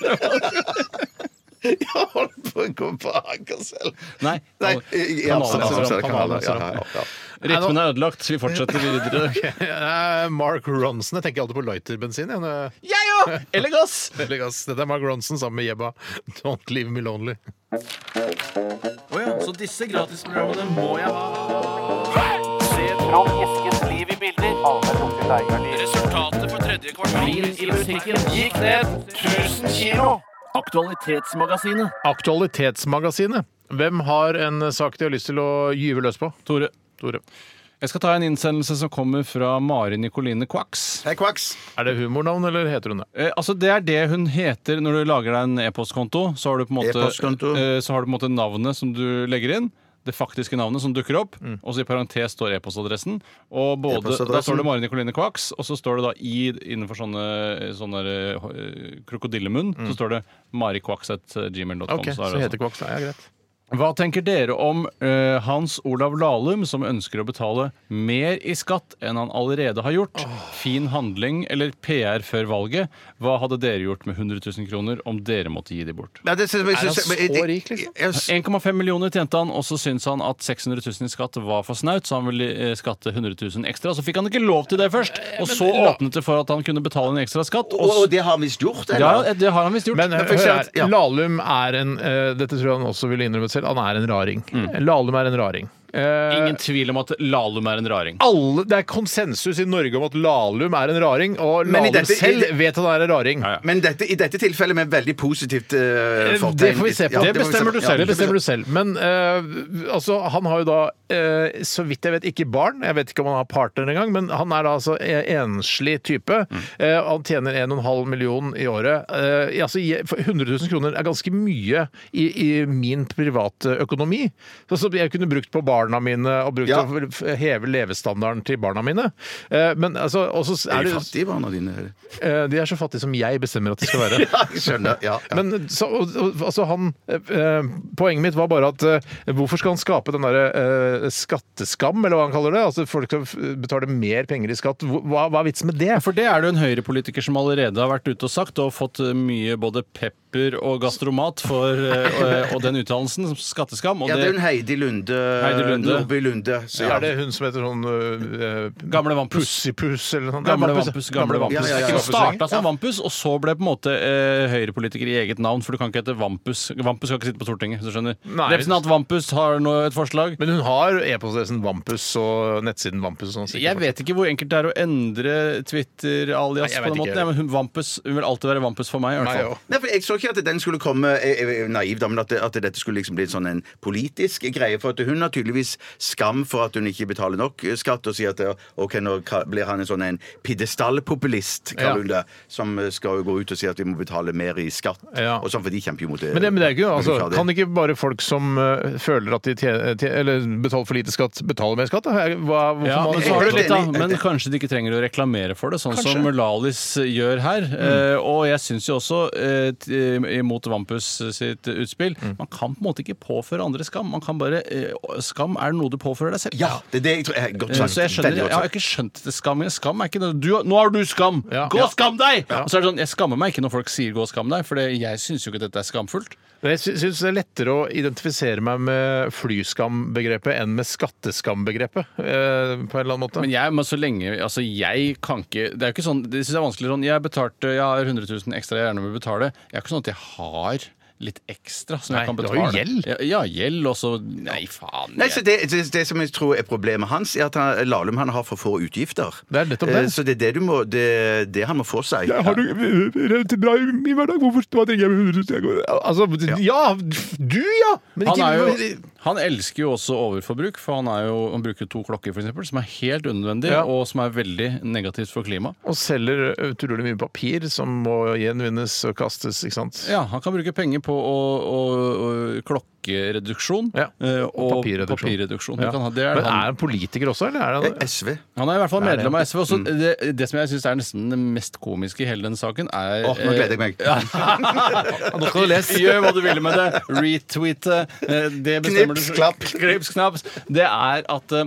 Speaker 2: Jeg holder på å gå bak oss selv.
Speaker 3: Nei.
Speaker 2: Nei,
Speaker 3: Kan-
Speaker 2: jeg, jeg,
Speaker 3: kan
Speaker 2: absolutt,
Speaker 3: alle-
Speaker 2: absolutt,
Speaker 1: kan
Speaker 2: kan alle,
Speaker 1: alle-
Speaker 2: ja, ja, ja.
Speaker 3: Rytmen er ødelagt. Vi fortsetter videre.
Speaker 1: Eh, Mark Ronson. Jeg tenker alltid på lighterbensin. jeg, når jeg-
Speaker 3: Jeg òg! Eller gass!
Speaker 1: Veldig gass. Dette er Mark Ronson sammen med Jebba. Don't leave me lonely.
Speaker 3: Så disse gratisprogrammene må jeg ha. Resultatet på tredje kvartal i musikken gikk ned 1000 kilo. Aktualitetsmagasinet.
Speaker 1: Aktualitetsmagasinet. Hvem har en sak de har lyst til å gyve løs på?
Speaker 3: Tore,
Speaker 1: Tore.
Speaker 3: jeg skal ta en innsendelse som kommer fra Mari Nikoline Quacks.
Speaker 2: Hei, Quacks.
Speaker 1: Er det humornavn, eller heter hun det?
Speaker 3: Eh, altså Det er det hun heter når du lager deg en e-postkonto. Så har du på en måte,
Speaker 2: E-postkonto.
Speaker 3: eh, så har du på en måte navnet som du legger inn. Det faktiske navnet som dukker opp, og så i parentes står e-postadressen. Og både,
Speaker 2: E-postadressen.
Speaker 3: Da står det Mari Nikoline Kvaks, og så står det da i innenfor sånne, sånne der, eh, krokodillemunn så står det marikvaks.gmail.com.
Speaker 1: Ok, så
Speaker 3: er det sånn.
Speaker 1: heter Kvaks. Ja, greit.
Speaker 3: hva tenker dere om eh, Hans Olav Lahlum, som ønsker å betale mer i skatt enn han allerede har gjort? Fin handling eller PR før valget? Hva hadde dere gjort med 100 000 kroner om dere måtte gi de bort?
Speaker 2: Nei, det synes jeg-
Speaker 1: Er han
Speaker 2: synes jeg-
Speaker 1: så rik, liksom?
Speaker 2: Jeg- jeg-
Speaker 3: 1,5 millioner tjente han, og så syntes han at 600 000 i skatt var for snaut, så han ville eh, skatte 100 000 ekstra. Så fikk han ikke lov til det først, og så åpnet det for at han kunne betale en ekstra skatt.
Speaker 2: Eh, Og,
Speaker 3: Og
Speaker 2: og det har han visst gjort, eller?
Speaker 3: ja, det har han visst gjort.
Speaker 1: Men
Speaker 2: Men eh, for
Speaker 1: hør her,
Speaker 2: eksempel- ja.
Speaker 1: Lahlum er en eh, Dette tror jeg han også ville innrømmet selv. Han er en raring. Lahlum er en raring. Eh,
Speaker 3: Ingen tvil om at Lahlum er en raring.
Speaker 1: alle, det er konsensus i Norge om at Lahlum er en raring, og
Speaker 2: Men i
Speaker 1: Lahlum
Speaker 2: dette-
Speaker 1: selv vet han er en raring.
Speaker 3: Ja, ja.
Speaker 2: Men dette, i dette tilfellet med veldig positivt eh, fortegn.
Speaker 1: Det får vi se på.
Speaker 2: Ja,
Speaker 1: det,
Speaker 2: det må vi se
Speaker 1: bestemmer
Speaker 2: på.
Speaker 1: du
Speaker 2: Ja,
Speaker 1: selv.
Speaker 2: det
Speaker 1: det bestemmer du selv. Men eh, altså, han har jo da, eh, så vidt jeg vet, ikke barn. Jeg vet ikke om han har partner engang, men han er da altså en- enslig type.
Speaker 2: Mm.
Speaker 1: Eh, han tjener 1,5 million i året. Eh, altså, jeg- for 100 000 kroner er ganske mye i, i min private økonomi. Så, så jeg kunne brukt på barna mine og brukt
Speaker 2: Ja.
Speaker 1: til å f- heve levestandarden til barna mine. Eh, men altså, også er
Speaker 2: Er de
Speaker 1: det,
Speaker 2: fattige barna dine?
Speaker 1: eh, de er så fattige som jeg bestemmer at de skal være.
Speaker 2: Ja, jeg skjønner. Ja, ja.
Speaker 1: Men så, og- og- altså han eh, eh, Poenget mitt var bare at eh, hvorfor skal han skape den derre eh, skatteskam, eller hva han kaller det? Altså folk skal f- betale mer penger i skatt. Hvor- Hva, hva er vitsen med det?
Speaker 3: For det er det jo en høyrepolitiker som allerede har vært ute og sagt, og fått eh, mye både pepper og gastromat for eh, og, og den uttalelsen, som skatteskam. Og
Speaker 2: ja, det er jo en
Speaker 3: det
Speaker 2: Heidi Lunde,
Speaker 3: Heidi Lunde.
Speaker 2: Nordby Lunde. Så, ja.
Speaker 1: Er det hun som heter sånn eh, eh,
Speaker 3: Gamle Vampus.
Speaker 1: Pussipus eller noe?
Speaker 3: Gamle
Speaker 1: Nei, Vampus-
Speaker 3: Vampus. gamle
Speaker 2: Ja,
Speaker 3: Vampus.
Speaker 2: ja, ja.
Speaker 3: Som
Speaker 2: Vampus lenger.
Speaker 3: starta som Vampus, og så ble på en måte eh, høyrepolitiker i eget navn. For du kan ikke hete Vampus. Vampus skal ikke sitte på Stortinget. hvis du skjønner.
Speaker 1: Nei.
Speaker 3: Representant Vampus har nå et forslag.
Speaker 1: Men hun har e-postadressen Vampus og nettsiden Vampus. og Sånn, sikkert.
Speaker 3: Jeg vet ikke hvor enkelt det er å endre
Speaker 1: Nei,
Speaker 3: Twitter-alias
Speaker 1: jeg
Speaker 3: på
Speaker 1: vet ikke
Speaker 3: den måten. Ja, men hun, Vampus hun vil alltid være Vampus for meg. i hvert
Speaker 1: Nei,
Speaker 3: fall.
Speaker 1: jo.
Speaker 2: Nei, for Jeg så ikke at den skulle komme jeg, jeg, jeg, er naiv, da, men at, det, at dette skulle liksom bli en sånn en politisk greie. For at hun har tydeligvis skam for at hun ikke betaler nok skatt, og sier at eh, ok, nå ka- blir han en sånn en pidestallpopulist,
Speaker 1: Ja.
Speaker 2: kaller hun det, som eh, skal jo gå ut og si at vi må betale mer i skatt.
Speaker 1: Ja.
Speaker 2: Og sånn, for de kjemper jo mot det.
Speaker 1: Men det, men det er ikke, altså,
Speaker 2: Mot det.
Speaker 1: kan ikke bare folk som eh, føler at de tje- tje- eller betaler for lite skatt, betale mer skatt? Da? Er- Hva, hvorfor
Speaker 3: Ja,
Speaker 1: må man-
Speaker 3: men, så har du
Speaker 2: Helt
Speaker 3: litt, da.
Speaker 2: enig, helt
Speaker 3: men
Speaker 2: enig.
Speaker 3: kanskje de ikke trenger å reklamere for det, sånn som Lalis gjør her. Eh, og jeg syns jo også, eh, t- imot Vampus sitt utspill, man kan på en måte ikke påføre andre skam. Man kan bare, eh, Skam er noe du påfører deg selv.
Speaker 2: Ja, det er det jeg tror. eh, Godt
Speaker 3: Eh,
Speaker 2: sagt.
Speaker 3: Så jeg skjønner,
Speaker 2: Veldig
Speaker 3: jeg
Speaker 2: godt
Speaker 3: har
Speaker 2: sagt.
Speaker 3: ikke skjønt det skam. Skam er ikke noe du, Nå har du skam!
Speaker 1: Ja.
Speaker 3: Gå
Speaker 1: Ja.
Speaker 3: og skam deg! Og så er det sånn, Jeg skammer meg ikke når folk sier 'gå og skam deg', for det, jeg syns jo ikke dette er skamfullt.
Speaker 1: Men Jeg sy- syns det er lettere å identifisere meg med flyskambegrepet enn med skatteskambegrepet. Eh, på en eller annen måte.
Speaker 3: Men jeg, men så lenge, altså jeg kan ikke Det er jo ikke sånn, det synes jeg er vanskelig sånn, Jeg betalte, jeg har 100 000 ekstra jeg gjerne vil betale Jeg er ikke sånn at jeg har litt ekstra som
Speaker 1: Nei,
Speaker 3: jeg kan
Speaker 1: du
Speaker 3: betale
Speaker 1: har jo gjeld.
Speaker 3: Ja, ja gjeld også Nei, faen
Speaker 2: Nei,
Speaker 3: jeg-
Speaker 2: så det, det, det som jeg tror er problemet hans, er at han, Lahlum han har for få utgifter.
Speaker 1: Det er nettopp det.
Speaker 2: Eh, Så det er det, du må, det, det han må få seg.
Speaker 1: har du relativt bra i min hverdag? Hvorfor hva trenger jeg 100 000? Altså, ja! Du, ja! Men
Speaker 3: han,
Speaker 1: ikke
Speaker 3: er jo, han elsker jo også overforbruk, for han, er jo, han bruker to klokker for eksempel, som er helt unødvendig,
Speaker 1: Ja.
Speaker 3: og som er veldig negativt for klimaet.
Speaker 1: Og selger utrolig mye papir som må gjenvinnes og kastes, ikke sant?
Speaker 3: Ja, han kan bruke penger på å, å, å, klokkereduksjon
Speaker 1: Ja,
Speaker 3: eh, og
Speaker 1: papirreduksjon.
Speaker 3: papirreduksjon. Du
Speaker 1: Ja.
Speaker 3: kan ha- det er
Speaker 1: Men
Speaker 3: han-
Speaker 1: er han politiker også, eller? Er han,
Speaker 2: SV.
Speaker 3: Han er i hvert fall
Speaker 1: Nei, det er
Speaker 3: medlem av SV. Også, det, det som jeg syns er nesten det mest komiske i hele den saken, er eh,
Speaker 2: Åh, nå gleder jeg meg.
Speaker 3: Nå skal du lese. Gjør hva du vil med det. Retweete. eh, Det bestemmer
Speaker 2: Knips,
Speaker 3: du.
Speaker 2: klapp.
Speaker 3: Knips, knaps. Det er at eh,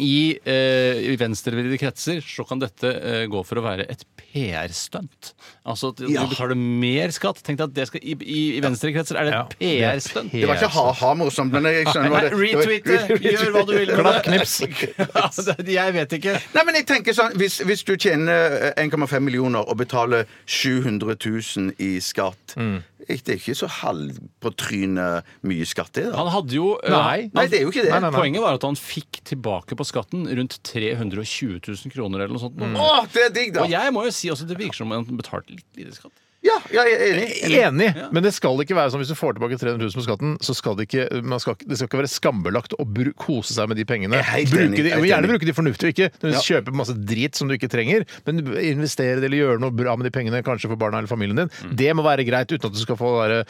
Speaker 3: I, eh, i venstrevridde kretser så kan dette eh, gå for å være et PR-stunt. Altså at
Speaker 2: Ja.
Speaker 3: du betaler mer skatt. Tenk deg at det skal, I, i, i venstre kretser er det et PR-stunt.
Speaker 2: Det var ikke ha-ha morsomt, men jeg skjønner hva det
Speaker 3: Retweete! eh, Gjør hva du vil med det. Altså, det- Jeg vet ikke.
Speaker 2: Nei, men jeg tenker sånn, Hvis, hvis du tjener eh, 1,5 millioner og betaler 700 000 i skatt Det er ikke så halv på trynet mye skatt, det, da.
Speaker 3: Han hadde jo eh,
Speaker 1: Nei.
Speaker 2: Nei, det er jo ikke det.
Speaker 1: Nei, nei, nei.
Speaker 3: Poenget var at han fikk tilbake på skatten rundt 320 000 kroner eller noe sånt.
Speaker 2: Åh, det er digg, da!
Speaker 3: Og jeg må jo si også det virker som om han betalte litt lite skatt.
Speaker 2: Ja, ja, jeg er enig.
Speaker 1: Enig, men det skal ikke være sånn hvis du får tilbake 300 000 på skatten, så skal det ikke, man skal, ikke- det skal ikke være skambelagt å bru- kose seg med de pengene.
Speaker 2: er helt
Speaker 1: Bruke
Speaker 2: enig,
Speaker 1: de,
Speaker 2: jeg er
Speaker 1: og gjerne
Speaker 2: helt enig.
Speaker 1: bruke de fornuftig, og ikke nødvendigvis kjøpe masse drit som du ikke trenger, men investere det eller gjøre noe bra med de pengene, kanskje for barna eller familien din.
Speaker 3: Mm.
Speaker 1: Det må være greit, uten at du skal få være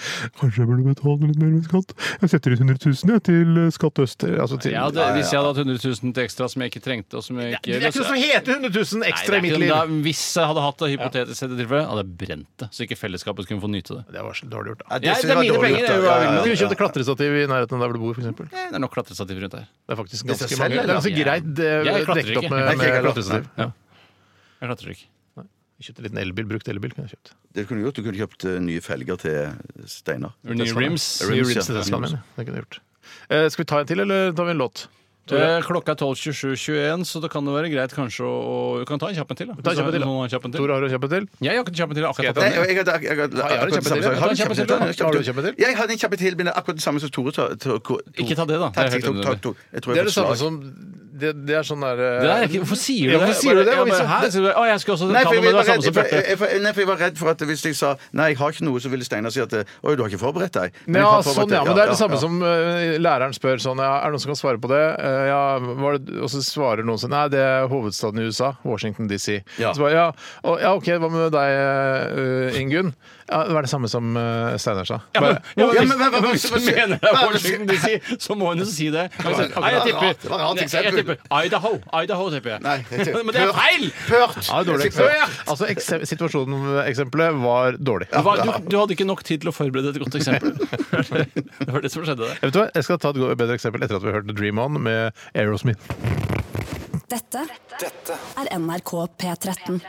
Speaker 1: Kanskje jeg burde betale litt mer med skatt? Jeg setter ut 100 000 jeg, til eh, Skatt Øst. eh, Altså til
Speaker 3: Jeg hadde, hvis jeg hadde hatt 100 000 til ekstra som jeg ikke trengte og som jeg
Speaker 1: Det
Speaker 3: ikke
Speaker 1: er ikke noe som heter 100 000
Speaker 3: Nei,
Speaker 1: ekstra
Speaker 3: det er
Speaker 1: i mitt
Speaker 3: ikke noe-
Speaker 1: liv.
Speaker 3: da- Hvis jeg hadde hatt det hypotetisk sett i tilfelle, hadde jeg brent det. Så ikke fellesskapet kunne få nyte det.
Speaker 1: Det var så dårlig gjort, da.
Speaker 2: Ja,
Speaker 3: Ja,
Speaker 2: synes
Speaker 3: det er
Speaker 2: jeg var
Speaker 3: mine
Speaker 2: dårlig
Speaker 3: penger,
Speaker 2: gjort,
Speaker 3: det er jo
Speaker 2: da.
Speaker 3: hva jeg vil med.
Speaker 1: Du kunne kjøpt et klatrestativ i nærheten av der du bor, f.eks.
Speaker 3: Eh, Det er nok klatrestativ rundt her.
Speaker 1: Det er faktisk
Speaker 2: Det
Speaker 1: ganske
Speaker 2: er
Speaker 1: mange.
Speaker 2: selv,
Speaker 1: Det er ganske
Speaker 3: ja.
Speaker 1: greit eh,
Speaker 3: Jeg klatrer
Speaker 1: dekket opp
Speaker 3: ikke.
Speaker 1: med,
Speaker 2: Nei, ikke jeg
Speaker 1: med
Speaker 2: heller.
Speaker 1: klatrestativ.
Speaker 3: Ja. Jeg klatrer ikke.
Speaker 1: Jeg Kjøpte en liten elbil, brukt elbil. kunne jeg kjøpt.
Speaker 2: Det kunne du gjort. Du kunne kjøpt eh, nye felger til Steinar.
Speaker 3: Nye rims.
Speaker 2: Rims,
Speaker 1: Rims til
Speaker 2: ja.
Speaker 1: Teslaen min, ja. det kunne jeg gjort. Eh, Skal vi ta en til, eller tar vi en låt?
Speaker 3: Eh, Klokka er 12.27.21, så det kan jo være greit kanskje å å- Du kan ta en kjapp en til. da.
Speaker 1: Ta en kjapp en til, da.
Speaker 3: Noen har en kjapp en til.
Speaker 1: Tor, har du en kjapp en til?
Speaker 3: Jeg har ikke en kjapp en til akkurat
Speaker 2: Nei,
Speaker 3: nå.
Speaker 2: jeg, jeg, jeg, jeg, jeg,
Speaker 1: har du
Speaker 2: akkurat det samme
Speaker 1: kjempetid?
Speaker 2: som-
Speaker 1: Har
Speaker 2: Har
Speaker 3: du
Speaker 2: du
Speaker 3: kjempetid?
Speaker 2: kjempetid?
Speaker 1: Har du kjempetid?
Speaker 2: Jeg hadde en kjempetid, men det er akkurat det samme som Tore sa. Tor- Tor-
Speaker 3: Ikke ta det, da.
Speaker 2: Takk,
Speaker 3: Det er helt
Speaker 2: takk, takk, Tor. Jeg tror
Speaker 1: Det
Speaker 2: jeg
Speaker 1: er det
Speaker 2: får
Speaker 1: samme
Speaker 2: slag.
Speaker 1: som Det, det er sånn der eh,
Speaker 3: Det er ikke, hvorfor sier du
Speaker 1: Ja,
Speaker 3: det?
Speaker 1: hvorfor sier du det?
Speaker 3: Jeg bare,
Speaker 1: Hvis-
Speaker 3: hæ? Så bare, Å, jeg skal også
Speaker 2: Nei
Speaker 3: ta
Speaker 2: for,
Speaker 3: noe,
Speaker 2: jeg
Speaker 3: men det
Speaker 2: var
Speaker 3: er samme
Speaker 2: redd,
Speaker 3: som
Speaker 2: for,
Speaker 3: Bjarte.
Speaker 2: jeg, for, nei, for jeg var redd for at hvis jeg sa Nei, jeg har ikke noe, så ville Steinar si at Oi, du har ikke forberedt deg. Men jeg
Speaker 1: Ja,
Speaker 2: har forberedt
Speaker 1: sånn, ja,
Speaker 2: deg.
Speaker 1: men det er det samme
Speaker 2: ja.
Speaker 1: som eh, læreren spør sånn ja, Er det noen som kan svare på det? Eh, ja, var det og så svarer noen sånn Nei, det er hovedstaden i USA. Washington DC.
Speaker 2: Ja.
Speaker 1: Så bare, ja, og, ja, OK, hva med deg, eh, Ingunn? Ja, det var det samme som eh, Steinar sa. Bare,
Speaker 3: Ja, men,
Speaker 2: Ja,
Speaker 3: hvis,
Speaker 2: men hva- hva-
Speaker 3: hvis
Speaker 2: hva-
Speaker 3: du mener det er
Speaker 2: hva-
Speaker 3: Washington DC, så må hun jo si det. Men så- Nei, jeg tipper,
Speaker 2: det var et rart
Speaker 3: Nei, jeg
Speaker 2: eksempel.
Speaker 3: tipper Idaho. Idaho, tipper jeg.
Speaker 2: Nei, jeg tipper-
Speaker 3: Men det er feil!
Speaker 2: Pørt!
Speaker 1: Ja, dårlig
Speaker 2: Jeg sier
Speaker 1: eksempel. Altså, ekse- Situasjonen-eksempelet var dårlig.
Speaker 3: Du, var, du, du hadde ikke nok tid til å forberede et godt eksempel. Det var det som skjedde der.
Speaker 1: Jeg, vet du hva? jeg skal ta et go- bedre eksempel etter at vi har hørt Dream On med Aerosmith.
Speaker 7: Dette er NRK P13.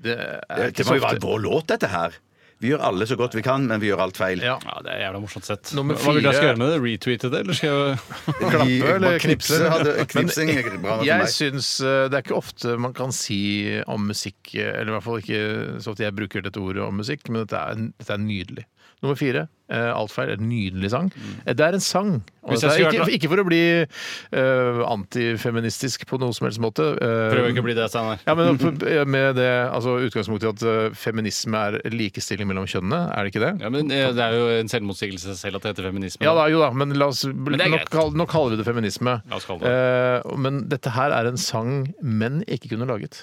Speaker 1: Det er
Speaker 2: pørt.
Speaker 1: ikke
Speaker 2: Det
Speaker 1: så
Speaker 2: må jo være
Speaker 1: ofte.
Speaker 2: vår låt, dette her. Vi gjør alle så godt vi kan, men vi gjør alt feil.
Speaker 1: Ja.
Speaker 3: Ja, Det er jævla morsomt sett.
Speaker 1: Nummer
Speaker 3: Hva vil
Speaker 1: fire-
Speaker 3: jeg skal gjøre med det? Retweete det, eller skal jeg
Speaker 2: I-
Speaker 1: Klappe eller
Speaker 2: bare knipse
Speaker 1: knipse?
Speaker 2: hadde- Knipsing er bra for
Speaker 1: Jeg
Speaker 2: meg.
Speaker 1: syns eh, Det er ikke ofte man kan si om musikk eh, Eller i hvert fall ikke så ofte jeg bruker dette ordet om musikk, men dette er, dette er nydelig. Nummer fire, eh, alt feil, en nydelig sang. Eh, Det er en sang. Og
Speaker 3: Mm.
Speaker 1: det
Speaker 3: Hvis jeg
Speaker 1: er
Speaker 3: skulle
Speaker 1: ikke,
Speaker 3: vært-
Speaker 1: ikke for å bli eh, antifeministisk på noen som helst måte. eh,
Speaker 3: prøve ikke å bli det, Steinar?
Speaker 1: Ja, men med det altså, utgangspunktet i at eh, feminisme er likestilling mellom kjønnene, er det ikke det?
Speaker 3: Ja, men eh, Det er jo en selvmotsigelse selv at det heter feminisme.
Speaker 1: Ja da, jo da, men, la oss,
Speaker 3: det er
Speaker 1: nå,
Speaker 3: greit.
Speaker 1: kall- nå kaller vi det feminisme.
Speaker 3: La oss kalle
Speaker 1: Eh, men dette her er en sang menn ikke kunne laget.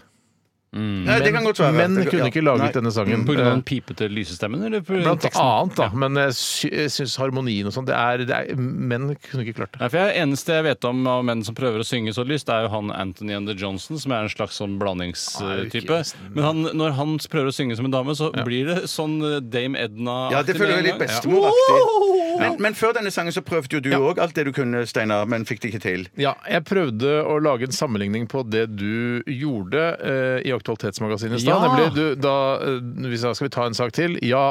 Speaker 2: Nei, det kan godt være.
Speaker 1: Menn
Speaker 2: Det kan-
Speaker 1: kunne
Speaker 2: ja.
Speaker 1: ikke laget
Speaker 2: Nei.
Speaker 1: denne sangen.
Speaker 3: På grunn av
Speaker 1: Eh,
Speaker 3: den pipete lysestemmen? Eller på grunn av
Speaker 1: Blant
Speaker 3: teksten?
Speaker 1: annet, da. Men jeg sy- jeg syns harmonien og sånn det er, det er, Menn kunne ikke klart det.
Speaker 3: Nei, for jeg, Eneste jeg vet om av menn som prøver å synge så lyst, det er jo han Anthony and the Johnson, som er en slags
Speaker 1: Nei,
Speaker 3: sånn
Speaker 1: det er jo
Speaker 3: blandingstype.
Speaker 1: ikke nesten-
Speaker 3: Men han, når han prøver å synge som en dame, så blir det sånn eh, Dame Edna
Speaker 2: Ja, det føler jeg er litt bestemoraktig. Men, men før denne sangen så prøvde jo du òg alt det du kunne, Steinar, men fikk det ikke til.
Speaker 1: Ja, jeg prøvde å lage en sammenligning på det du gjorde eh, i Aktualitetsmagasinet i stad.
Speaker 3: Ja.
Speaker 1: Nemlig du, da eh, vi sa, Skal vi ta en sak til? Ja,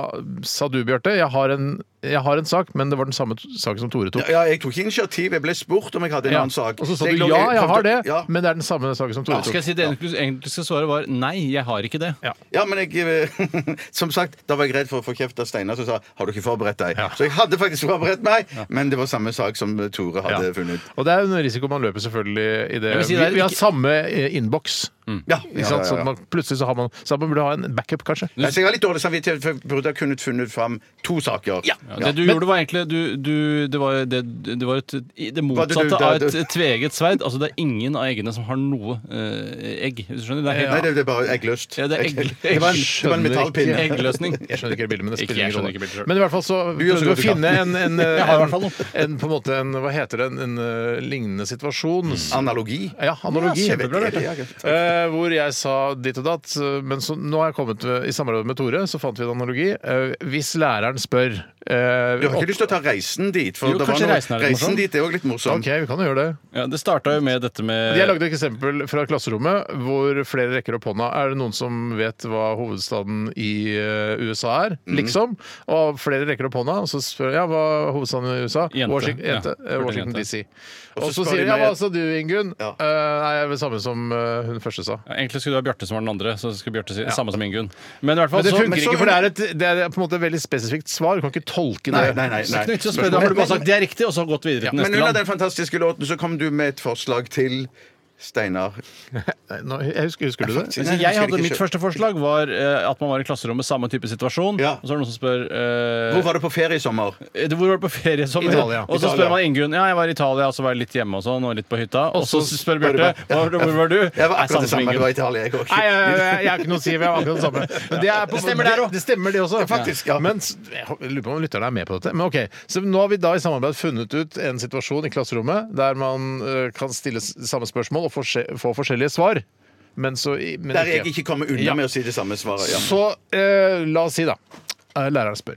Speaker 1: sa du, Bjarte. Jeg, har en- jeg har en sak, men det var den samme t- saken som Tore tok.
Speaker 2: Ja, jeg tok ikke initiativ. Jeg ble spurt om jeg hadde en
Speaker 1: Ja.
Speaker 2: annen sak.
Speaker 1: Og så sa
Speaker 2: Jeg
Speaker 1: du
Speaker 2: lå-
Speaker 1: ja, jeg
Speaker 2: prøvde-
Speaker 1: har det,
Speaker 2: Ja.
Speaker 1: men det er den samme saken som Tore
Speaker 3: Skal
Speaker 1: tok.
Speaker 3: jeg si det egentlig- egentlig skal svare var nei, jeg har ikke det.
Speaker 1: Ja.
Speaker 2: Ja, men jeg, eh, som sagt, da var jeg redd for å få kjeft av Steinar som sa 'har du ikke forberedt deg'? Så jeg hadde faktisk forberedt meg, men det var samme sak som Tore hadde
Speaker 1: Ja.
Speaker 2: funnet.
Speaker 1: Og det er jo en risiko man løper, selvfølgelig. I det.
Speaker 3: Jeg vil si
Speaker 1: vi,
Speaker 3: det er
Speaker 1: vi har
Speaker 3: ikke- Mm.
Speaker 1: samme eh, innboks.
Speaker 2: Ja,
Speaker 1: Ikke sant? Så at man, plutselig så har man Så man burde ha en backup, kanskje.
Speaker 2: Ja, så jeg har litt dårlig samvittighet, for jeg burde ha kunnet funnet fram to saker. Ja,
Speaker 3: Ja, det du gjorde, var egentlig du, du, det, var, det, det var et, det motsatte
Speaker 2: det du-
Speaker 3: av
Speaker 2: det-
Speaker 3: et tveegget sverd. Altså, det er ingen av eggene som har noe eh, egg. Hvis du skjønner? Det
Speaker 2: Nei,
Speaker 3: er helt,
Speaker 2: det, det er bare eggløst.
Speaker 3: Ja, det er egg-
Speaker 2: Egg- det var en, det var en
Speaker 1: Skjønner
Speaker 2: metallpinne.
Speaker 1: ikke.
Speaker 3: eggløsning.
Speaker 1: Jeg skjønner ikke det bildet, men det
Speaker 3: Ikke
Speaker 1: spiller ingen
Speaker 3: jeg skjønner
Speaker 1: rolle.
Speaker 3: ikke bildet selv.
Speaker 1: Men i hvert fall så prøvde
Speaker 2: gjør så
Speaker 1: vi å
Speaker 2: godt du
Speaker 1: finne en, en,
Speaker 3: Jeg har i hvert fall
Speaker 1: en,
Speaker 3: noe.
Speaker 1: en på en måte en, Hva heter det? En, en eh, lignende situasjon.
Speaker 2: Analogi.
Speaker 1: Ja, analogi.
Speaker 2: Mm. Ja, kjempebra, Bjarte.
Speaker 1: Eh, eh, hvor jeg sa ditt og datt. eh, Men så, nå har jeg kommet med, i samarbeid med Tore, så fant vi en analogi. Eh, hvis læreren spør eh,
Speaker 2: Du har
Speaker 1: opp-
Speaker 2: ikke lyst til å ta reisen dit? For
Speaker 3: Jo,
Speaker 2: det var
Speaker 3: kanskje
Speaker 2: noe,
Speaker 3: reisen er litt morsom.
Speaker 2: reisen dit er òg litt morsom.
Speaker 1: OK, vi kan jo gjøre det.
Speaker 3: Ja, det starta jo med dette med
Speaker 1: Jeg lagde et eksempel fra klasserommet hvor flere rekker opp hånda. Er det noen som vet hva hovedstaden i eh, USA er? Liksom. Og flere rekker opp hånda, og så spør jeg ja, hva er hovedstaden i USA
Speaker 3: Jente.
Speaker 1: Washington,
Speaker 3: Ja,
Speaker 1: jente, eh,
Speaker 3: hurtig
Speaker 1: Washington
Speaker 3: jente.
Speaker 1: DC. Og så
Speaker 2: spør
Speaker 1: sier
Speaker 2: de
Speaker 1: jeg ja, hva
Speaker 2: meg-
Speaker 1: sa du, Ingunn?
Speaker 2: Ja.
Speaker 1: Eh, nei, det er det samme som eh, hun første sa.
Speaker 3: Ja, Egentlig skulle det være Bjarte som var den andre. Så skulle Bjarte si samme som Ingunn. Men i hvert fall
Speaker 1: Men det
Speaker 3: så-
Speaker 1: funker
Speaker 3: men så-
Speaker 1: ikke, for det er, et, det er på en måte et veldig spesifikt svar. Du kan ikke tolke
Speaker 2: Nei,
Speaker 1: det.
Speaker 2: nei, nei,
Speaker 3: Så det er
Speaker 2: nei. sånn,
Speaker 3: ikke noe vits i å spørre, da har du bare sagt det er riktig, og så gått videre til
Speaker 2: Men
Speaker 3: neste
Speaker 2: under
Speaker 3: land.
Speaker 2: den fantastiske låten så kom du med et forslag til Steinar.
Speaker 1: Nå, jeg husker, husker du det?
Speaker 2: Nei,
Speaker 3: Altså,
Speaker 2: jeg
Speaker 3: jeg
Speaker 2: husker
Speaker 3: hadde
Speaker 2: ikke
Speaker 3: Mitt
Speaker 2: selv.
Speaker 3: første forslag var eh, at man var i klasserommet, samme type situasjon.
Speaker 2: Ja.
Speaker 3: Og så er det noen som spør eh,
Speaker 2: Hvor var du på ferie i sommer?
Speaker 3: Eh, Hvor var du på ferie i sommer?
Speaker 1: Italia.
Speaker 3: Og så
Speaker 1: Italia.
Speaker 3: spør man Ingunn. Ja, jeg var i Italia, og så var jeg litt hjemme og sånn, og litt på hytta. Og så spør
Speaker 2: var du
Speaker 3: Bjarte.
Speaker 2: på-
Speaker 3: Hvor, hvor var du?
Speaker 2: Jeg var
Speaker 3: Nei,
Speaker 2: akkurat det
Speaker 3: som
Speaker 2: samme.
Speaker 3: Ingunn.
Speaker 2: Det var Italia, jeg òg.
Speaker 1: Nei, jeg, jeg, jeg har ikke noe å si. Vi har akkurat det samme. Men det, er på,
Speaker 3: Det stemmer der også.
Speaker 1: Det, det stemmer det også.
Speaker 2: faktisk, ja.
Speaker 1: Men s- jeg hå- lurer på om lytterne er med på dette. Men ok, så Nå har vi da i samarbeid funnet ut en situasjon i klasserommet der man ø, kan stille s- samme spørsmål og forse- få forskjellige svar. Men så i- men
Speaker 2: Der jeg ikke kommer unna
Speaker 1: Ja.
Speaker 2: med å si det samme svaret. Ja.
Speaker 1: Så ø, la oss si, da. eh, Læreren spør.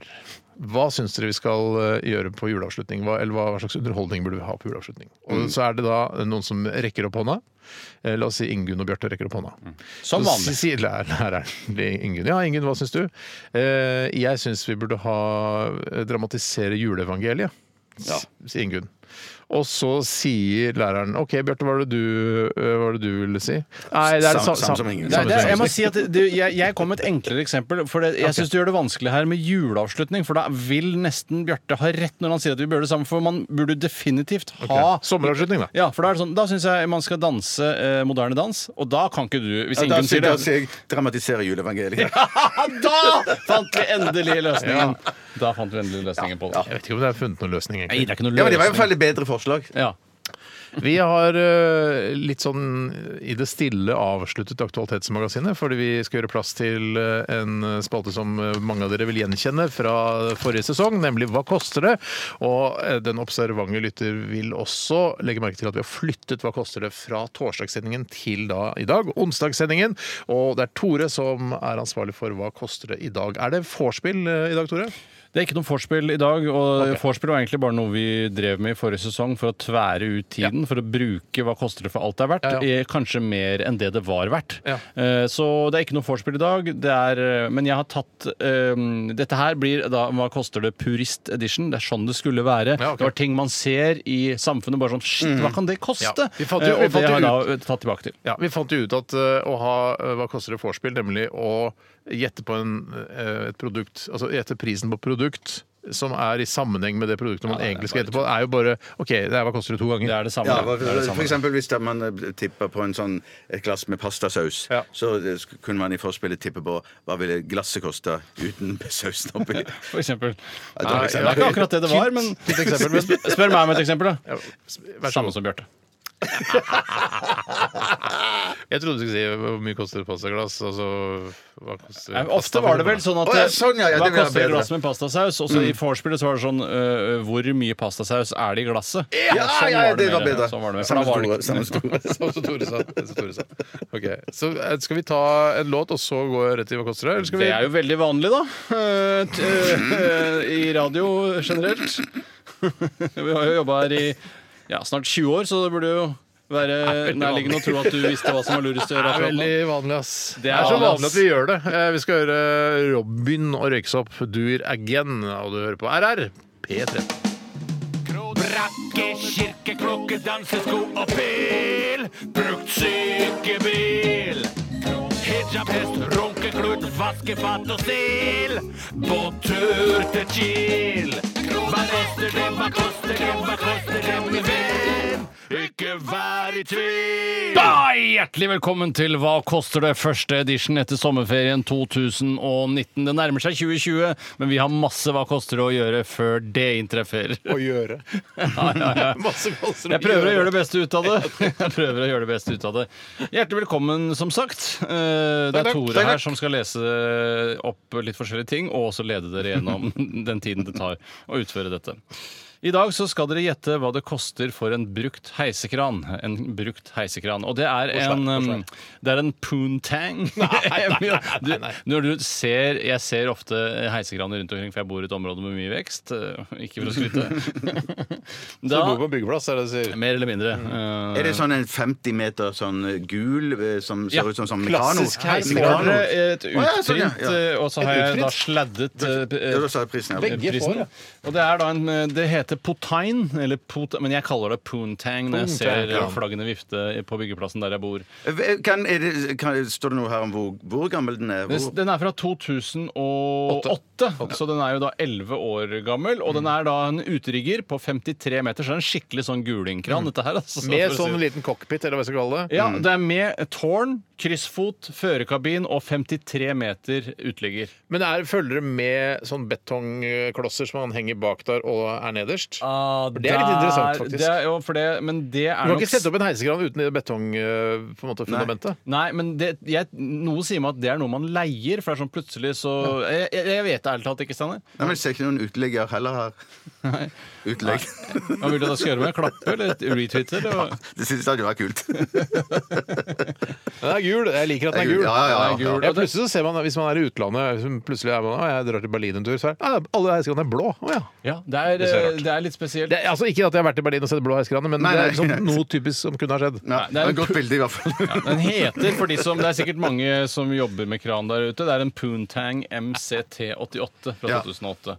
Speaker 1: Hva syns dere vi skal ø, gjøre på juleavslutning? Hva, eller hva, hva slags underholdning burde vi ha på juleavslutning? Og Så er det da noen som rekker opp hånda. Eh, La oss si Ingunn og Bjarte rekker opp hånda.
Speaker 3: Som
Speaker 1: Så
Speaker 3: vanlig.
Speaker 1: sier lærer- læreren til Ingunn Ja, Ingunn, hva syns du? «Eh, jeg syns vi burde ha eh, dramatisere juleevangeliet, s- sier Ingunn. Og så sier læreren OK, Bjarte, hva er det du, eh, hva er det du ville si? Nei, det er det
Speaker 2: Sam-
Speaker 1: sa-
Speaker 2: samme som Ingunn.
Speaker 3: Det er, det er, jeg må
Speaker 1: Samme som-
Speaker 3: si at det, det- jeg, jeg kom med et enklere eksempel. For det, jeg syns du gjør det vanskelig her med juleavslutning. For da vil nesten Bjarte ha rett når han sier at vi bør gjøre det sammen. For man burde definitivt ha
Speaker 1: Ok, Sommeravslutning, da.
Speaker 3: Ja, for da er det sånn, da syns jeg man skal danse eh, moderne dans, og da kan ikke du Hvis
Speaker 2: Ja, da
Speaker 3: Ingunn
Speaker 2: sier
Speaker 3: sier det Ah,
Speaker 2: da sier jeg dramatisere juleevangeliet.
Speaker 3: Da fant vi endelig løsningen! Da fant vi endelig løsningen på det.
Speaker 1: Jeg vet ikke om det er funnet noen løsning, egentlig.
Speaker 3: Nei, det er ikke noe
Speaker 2: Ja, men Det var i
Speaker 3: løsning.
Speaker 2: hvert fall et bedre forslag.
Speaker 3: Ja.
Speaker 1: Vi har eh, litt sånn i det stille avsluttet Aktualitetsmagasinet, fordi vi skal gjøre plass til eh, en spalte som eh, mange av dere vil gjenkjenne fra forrige sesong, nemlig Hva koster det? Og eh, den observante lytter vil også legge merke til at vi har flyttet Hva koster det? fra torsdagssendingen til da i dag, onsdagssendingen. Og det er Tore som er ansvarlig for Hva koster det i dag. Er det vorspiel eh, i dag, Tore?
Speaker 3: Det er ikke noe vorspiel i dag. og
Speaker 1: Ok.
Speaker 3: Vorspiel var egentlig bare noe vi drev med i forrige sesong for å tvære ut tiden. For å bruke hva koster det for alt det er verdt.
Speaker 1: Ja, ja.
Speaker 3: eh, Kanskje mer enn det det var verdt.
Speaker 1: Ja.
Speaker 3: Eh, Så det er ikke noe vorspiel i dag. Det er, eh, men jeg har tatt eh, Dette her blir da Hva koster det? Purist edition. Det er sånn det skulle være.
Speaker 1: Ja, ok. Mm.
Speaker 3: Det var ting man ser i samfunnet. Bare sånn Shit, hva kan det koste?
Speaker 1: Ja, vi fant jo-
Speaker 3: Eh,
Speaker 1: vi
Speaker 3: og
Speaker 1: fant
Speaker 3: det
Speaker 1: jo
Speaker 3: har jeg da eh, tatt tilbake til.
Speaker 1: Ja, Vi fant jo ut at eh, å ha eh, Hva koster det vorspiel, nemlig å gjette på en, eh, et produkt, altså gjette prisen på produkt som er i sammenheng med det produktet man
Speaker 3: det er
Speaker 1: egentlig skal
Speaker 3: bare
Speaker 1: gjette på, er jo bare OK, det er hva koster det to ganger.
Speaker 3: Det er det samme.
Speaker 2: Ja,
Speaker 3: det er det
Speaker 2: for
Speaker 3: samme.
Speaker 2: eksempel hvis da man eh, tipper på en sånn, et glass med pastasaus,
Speaker 1: Ja.
Speaker 2: så eh, sk- kunne man i forspillet tippe på hva ville glasset koste uten sausen oppi.
Speaker 3: For eksempel.
Speaker 2: Ja,
Speaker 3: Nei,
Speaker 2: det
Speaker 3: det
Speaker 2: er
Speaker 3: er ikke akkurat det det var, men
Speaker 1: Fint eksempel, men-
Speaker 3: spør meg om et eksempel, da.
Speaker 1: Ja, Vær så
Speaker 3: Samme
Speaker 1: god.
Speaker 3: som Bjarte.
Speaker 1: Jeg trodde du skulle si hvor mye koster et pastaglass. Altså, hva koster
Speaker 3: Nei, men ofte var det vel sånn at
Speaker 2: Å, ja, sånn, ja, ja,
Speaker 3: Hva
Speaker 2: det vil jeg
Speaker 3: koster et
Speaker 2: bedre. Mm.
Speaker 3: glass med pastasaus? Og så i vorspielet så var det sånn øh, Hvor mye pastasaus er det i glasset?
Speaker 2: Ja,
Speaker 3: sånn
Speaker 2: ja,
Speaker 3: var det
Speaker 2: det var
Speaker 3: mer.
Speaker 2: bedre.
Speaker 3: Sånn var det mer, for
Speaker 2: Samme
Speaker 3: da var det
Speaker 2: store.
Speaker 3: ikke-
Speaker 2: Samme store.
Speaker 1: Som Tore sa. Som Tore sa. Ok, Så eh, skal vi ta en låt, og så gå rett i hva koster det? Eller skal vi
Speaker 3: Det er jo veldig vanlig, da. øh, t- øh, I radio generelt. Vi har jo jobba her i ja, snart 20 år, så det burde jo være nærliggende å tro at du visste hva som var lurest å gjøre.
Speaker 1: Det er
Speaker 3: akkurat nå.
Speaker 1: veldig vanlig, ass. Det
Speaker 3: Det
Speaker 1: er,
Speaker 3: er
Speaker 1: så
Speaker 3: vanlig, ass.
Speaker 1: vanlig at vi gjør det. Eh, Vi skal høre Robin og Røyksopp, 'Duer Again', og du hører på RR. P3.
Speaker 5: Brakke, kirke, klokke, dansesko og pil. Brukt sykebil. Hijab, hest, runkeklut, vaskefat og stil. Båttur til Kiel. Hva koster det, hva koster det, hva koster det, min venn? Ikke vær i tvil.
Speaker 3: Da, hjertelig velkommen til Hva koster det? første edition etter sommerferien 2019. Det nærmer seg 2020, men vi har masse Hva koster det å gjøre før det inntreffer.
Speaker 1: Å gjøre.
Speaker 3: Ja, ja, ja.
Speaker 1: Masse koster
Speaker 3: Jeg prøver å gjøre det beste ut av det. Jeg prøver å gjøre det beste ut av det. Hjertelig velkommen, som sagt. Eh, Det
Speaker 1: Takk,
Speaker 3: er
Speaker 1: takk.
Speaker 3: Tore
Speaker 1: Takk, takk.
Speaker 3: her som skal lese opp litt forskjellige ting, og også lede dere gjennom den tiden det tar å utføre dette. I dag så skal dere gjette hva det koster for en brukt heisekran. En brukt heisekran. Og det er en, um, det er en poontang. Du, når du ser, jeg ser ofte heisekraner rundt omkring, for jeg bor i et område med mye vekst. Eh, Ikke for å skryte.
Speaker 1: Du
Speaker 3: Da,
Speaker 1: bor på byggeplass, er det det du sier?
Speaker 3: mer eller mindre. eh,
Speaker 2: Er det sånn en 50 meter sånn gul eh, som ser
Speaker 3: Ja,
Speaker 2: ut som sånn mekano?
Speaker 1: klassisk heisekran.
Speaker 2: Mekano.
Speaker 3: Svaret er et
Speaker 2: ja, sånn, ja,
Speaker 3: utprint,
Speaker 2: ja.
Speaker 3: eh, og så har
Speaker 1: Et
Speaker 3: jeg da
Speaker 1: utprint?
Speaker 3: sladdet eh,
Speaker 2: Ja, da sa jeg prisen, ja.
Speaker 1: Begge får, ja.
Speaker 3: prisen. Og det er da en eh, Det heter potine, eller pot, men jeg kaller det poontang når jeg
Speaker 1: Poontang,
Speaker 3: ser
Speaker 1: ja.
Speaker 3: eh, flaggene vifte på byggeplassen der jeg bor.
Speaker 2: Eh, Kan, er det, kan, står det noe her om hvor, hvor gammel den er?
Speaker 3: Den,
Speaker 2: Hvor?
Speaker 3: den er fra 2008, så den er jo da 11 år gammel. Og
Speaker 1: Mm.
Speaker 3: den er da en uterigger på 53 meter, så det er en skikkelig sånn gulingkran, dette her. Altså,
Speaker 1: Mm. Med
Speaker 3: for å si
Speaker 1: sånn
Speaker 3: det.
Speaker 1: liten Mm. cockpit, eller hva jeg skal kalle det.
Speaker 3: Ja, det er med tårn, kryssfot, førerkabin og 53 meter uteligger.
Speaker 1: Men er, følger det med sånn betongklosser som man henger bak der og er nederst?
Speaker 3: Ah,
Speaker 1: For Ah, det er litt interessant, faktisk.
Speaker 3: Det er, jo, for det, men det er
Speaker 1: Du kan
Speaker 3: nok
Speaker 1: ikke sette opp en heisekran uten det eh, betongfundamentet.
Speaker 3: Nei, men det, jeg, noe sier meg at det er noe man leier, for det er sånn plutselig så Jeg, jeg, jeg vet det ærlig talt ikke, Steinar.
Speaker 2: Nei, men Jeg ser ikke noen uteligger heller her. Utelegg.
Speaker 3: Hva vil du at jeg skal gjøre med? Klappe eller retweete? Eller? hva?
Speaker 2: Det synes jeg hadde vært kult.
Speaker 1: Den er gul. Jeg liker at den er
Speaker 2: Den er
Speaker 1: gul.
Speaker 2: gul, ja, ja, ja.
Speaker 1: Den er gul. Ja, plutselig så ser man, Hvis man er i utlandet, hvis man plutselig er man, «Å, jeg drar til Berlin en tur, så er «Å, alle heisekranene er blå. Å, ja.
Speaker 3: Ja, det er,
Speaker 1: Det ser rart.
Speaker 3: det er litt spesielt.
Speaker 1: det, er- altså, ikke at jeg har vært i Berlin og sett blå heisekraner, men
Speaker 2: Nei,
Speaker 1: det
Speaker 2: nei,
Speaker 1: er liksom
Speaker 2: nei.
Speaker 1: noe typisk som kunne ha skjedd.
Speaker 2: Ja,
Speaker 3: det er
Speaker 2: det er
Speaker 3: en
Speaker 2: et godt bilde, i hvert fall.
Speaker 3: Den heter, for de som, det er sikkert mange som jobber med kran der ute, det er en Poontang MCT88 fra
Speaker 2: Ja.
Speaker 3: 2008.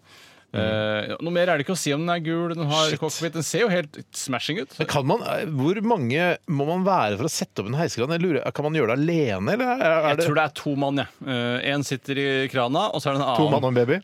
Speaker 3: Eh, noe mer er det ikke å si om den er gul. Den har cockpit. Den ser jo helt smashing ut.
Speaker 1: Kan man, eh, hvor mange må man være for å sette opp en heisekran? Jeg lurer, Kan man gjøre det alene, eller er er
Speaker 3: Jeg
Speaker 1: det
Speaker 3: tror det er to mann, jeg. Eh, en sitter i krana, og så er det en
Speaker 1: to
Speaker 3: annen.
Speaker 1: mann og en baby?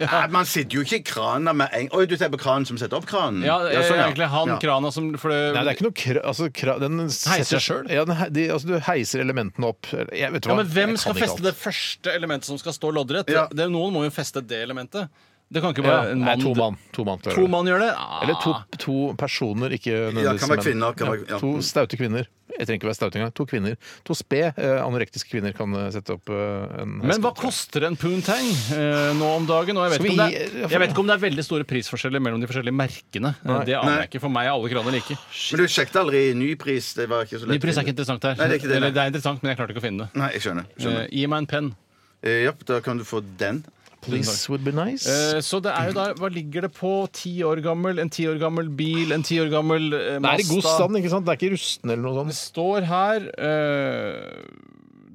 Speaker 2: Nei, man sitter jo ikke i krana med en Oi, du tenker på kranen som setter opp kranen?
Speaker 3: Ja, eh,
Speaker 2: Ja, sånn, ja.
Speaker 3: egentlig han
Speaker 2: Ja.
Speaker 3: krana som for det,
Speaker 1: Nei, det er ikke noe kra... Altså, kra den
Speaker 3: Heiser selv?
Speaker 1: Ja, den, he- de, altså, du heiser elementene opp. Jeg vet du
Speaker 3: ja,
Speaker 1: hva.
Speaker 3: men Hvem
Speaker 1: Jeg
Speaker 3: skal
Speaker 1: kan ikke
Speaker 3: feste
Speaker 1: alt.
Speaker 3: det første elementet som skal stå loddrett?
Speaker 2: Ja.
Speaker 3: Det, er- noen må jo feste det elementet. Det kan ikke
Speaker 1: Ja,
Speaker 3: bare en
Speaker 1: nei,
Speaker 3: mann.
Speaker 1: to mann. To mann, klarer
Speaker 3: To
Speaker 1: det.
Speaker 3: mann gjør det? Ah.
Speaker 1: Eller to, to personer, ikke
Speaker 2: Ja,
Speaker 1: nødvendigvis
Speaker 2: kan være
Speaker 1: menn.
Speaker 2: kvinner. Kan være,
Speaker 1: Ja,
Speaker 2: ja.
Speaker 1: To staute kvinner. Jeg trenger ikke være staut engang. To kvinner. To sped eh, anorektiske kvinner kan eh, sette opp eh, en
Speaker 3: Men hva koster en poontang eh, nå om dagen? Og jeg, vet
Speaker 1: Skal
Speaker 3: ikke
Speaker 1: vi
Speaker 3: om det
Speaker 1: gi-
Speaker 3: er, jeg vet ikke om det er veldig store prisforskjeller mellom de forskjellige merkene. Eh, Det aner
Speaker 2: Nei.
Speaker 3: jeg ikke. For meg er alle kraner like.
Speaker 2: Men du sjekket aldri ny pris? Det var ikke så lett.
Speaker 3: Ny pris er ikke interessant her.
Speaker 2: Nei, det er ikke det,
Speaker 3: Eller
Speaker 2: nei.
Speaker 3: det er interessant, men jeg klarte ikke å finne det.
Speaker 2: Nei, jeg skjønner. skjønner.
Speaker 3: Eh, gi meg en penn.
Speaker 2: Eh, Japp, da kan du få den.
Speaker 1: Police would be nice.
Speaker 3: Eh, så det er jo da Hva ligger det på? Ti år gammel? En ti år gammel bil? En ti år gammel eh,
Speaker 1: det er i god
Speaker 3: Mazda?
Speaker 1: stand, ikke sant? Det er ikke rusten eller noe
Speaker 3: Det
Speaker 1: sånt.
Speaker 3: står her eh,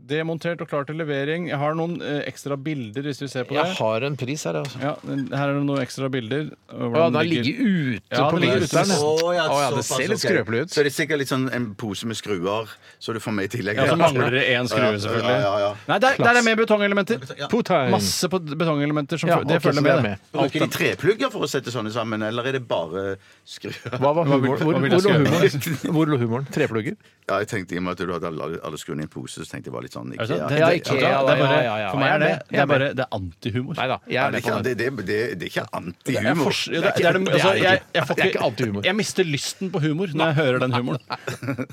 Speaker 3: Demontert og klar til levering. Jeg har noen eh, ekstra bilder, hvis vi ser på det.
Speaker 1: Jeg har en pris her, altså.
Speaker 3: Ja, her er det noen ekstra bilder. eh, hvordan
Speaker 1: Ja, den
Speaker 3: ligger-
Speaker 1: ligger ute
Speaker 3: Ja,
Speaker 1: på
Speaker 3: den ligger ute.
Speaker 1: listeren.
Speaker 2: Å, ja,
Speaker 1: Å, ja, det
Speaker 2: såpass,
Speaker 1: ser litt
Speaker 2: ok.
Speaker 1: skrøpelig ut.
Speaker 2: Så er det sikkert litt sånn en pose med skruer, så du får med i tillegg.
Speaker 3: Ja, så mangler det én
Speaker 2: Ja,
Speaker 3: skrue,
Speaker 2: ja, Ja,
Speaker 3: selvfølgelig.
Speaker 2: ja, ja.
Speaker 3: Nei, der, der er mer betongelementer.
Speaker 1: Putain.
Speaker 3: Masse på- betongelementer som
Speaker 1: Ja,
Speaker 3: føl-
Speaker 1: ok,
Speaker 3: det
Speaker 1: så
Speaker 3: følger
Speaker 1: det er
Speaker 3: med.
Speaker 1: med.
Speaker 3: det.
Speaker 2: Bruker de treplugger for å sette sånne sammen, eller er det bare skruer?
Speaker 1: Hva var humoren? Hvor,
Speaker 3: hva vil
Speaker 1: hvor, lå
Speaker 3: jeg skrive?
Speaker 1: humoren? hvor lå humoren? Treplugger?
Speaker 2: Ja, jeg tenkte I og med at du hadde alle, alle skruene i en pose, så tenkte jeg det var litt sånn
Speaker 3: Er det sånn?
Speaker 2: Ikea.
Speaker 3: Det-
Speaker 1: Ja,
Speaker 3: det-
Speaker 1: Ikea,
Speaker 3: det er
Speaker 1: ja,
Speaker 3: bare-
Speaker 1: ja, ja,
Speaker 3: For meg
Speaker 1: jeg
Speaker 3: er
Speaker 1: er
Speaker 3: det,
Speaker 1: med.
Speaker 3: det, er bare, det er antihumor.
Speaker 1: Nei da. Jeg er
Speaker 2: Nei, det, er
Speaker 1: med
Speaker 2: ikke,
Speaker 1: på den.
Speaker 2: det, det, det, det er ikke
Speaker 3: Jeg er
Speaker 2: antihumor.
Speaker 3: fors- det er- det er
Speaker 1: det
Speaker 3: det- altså,
Speaker 1: er
Speaker 3: jeg-
Speaker 1: ikke-
Speaker 3: jeg får
Speaker 1: det er ikke antihumor.
Speaker 3: Jeg mister lysten på humor når jeg hører den humoren.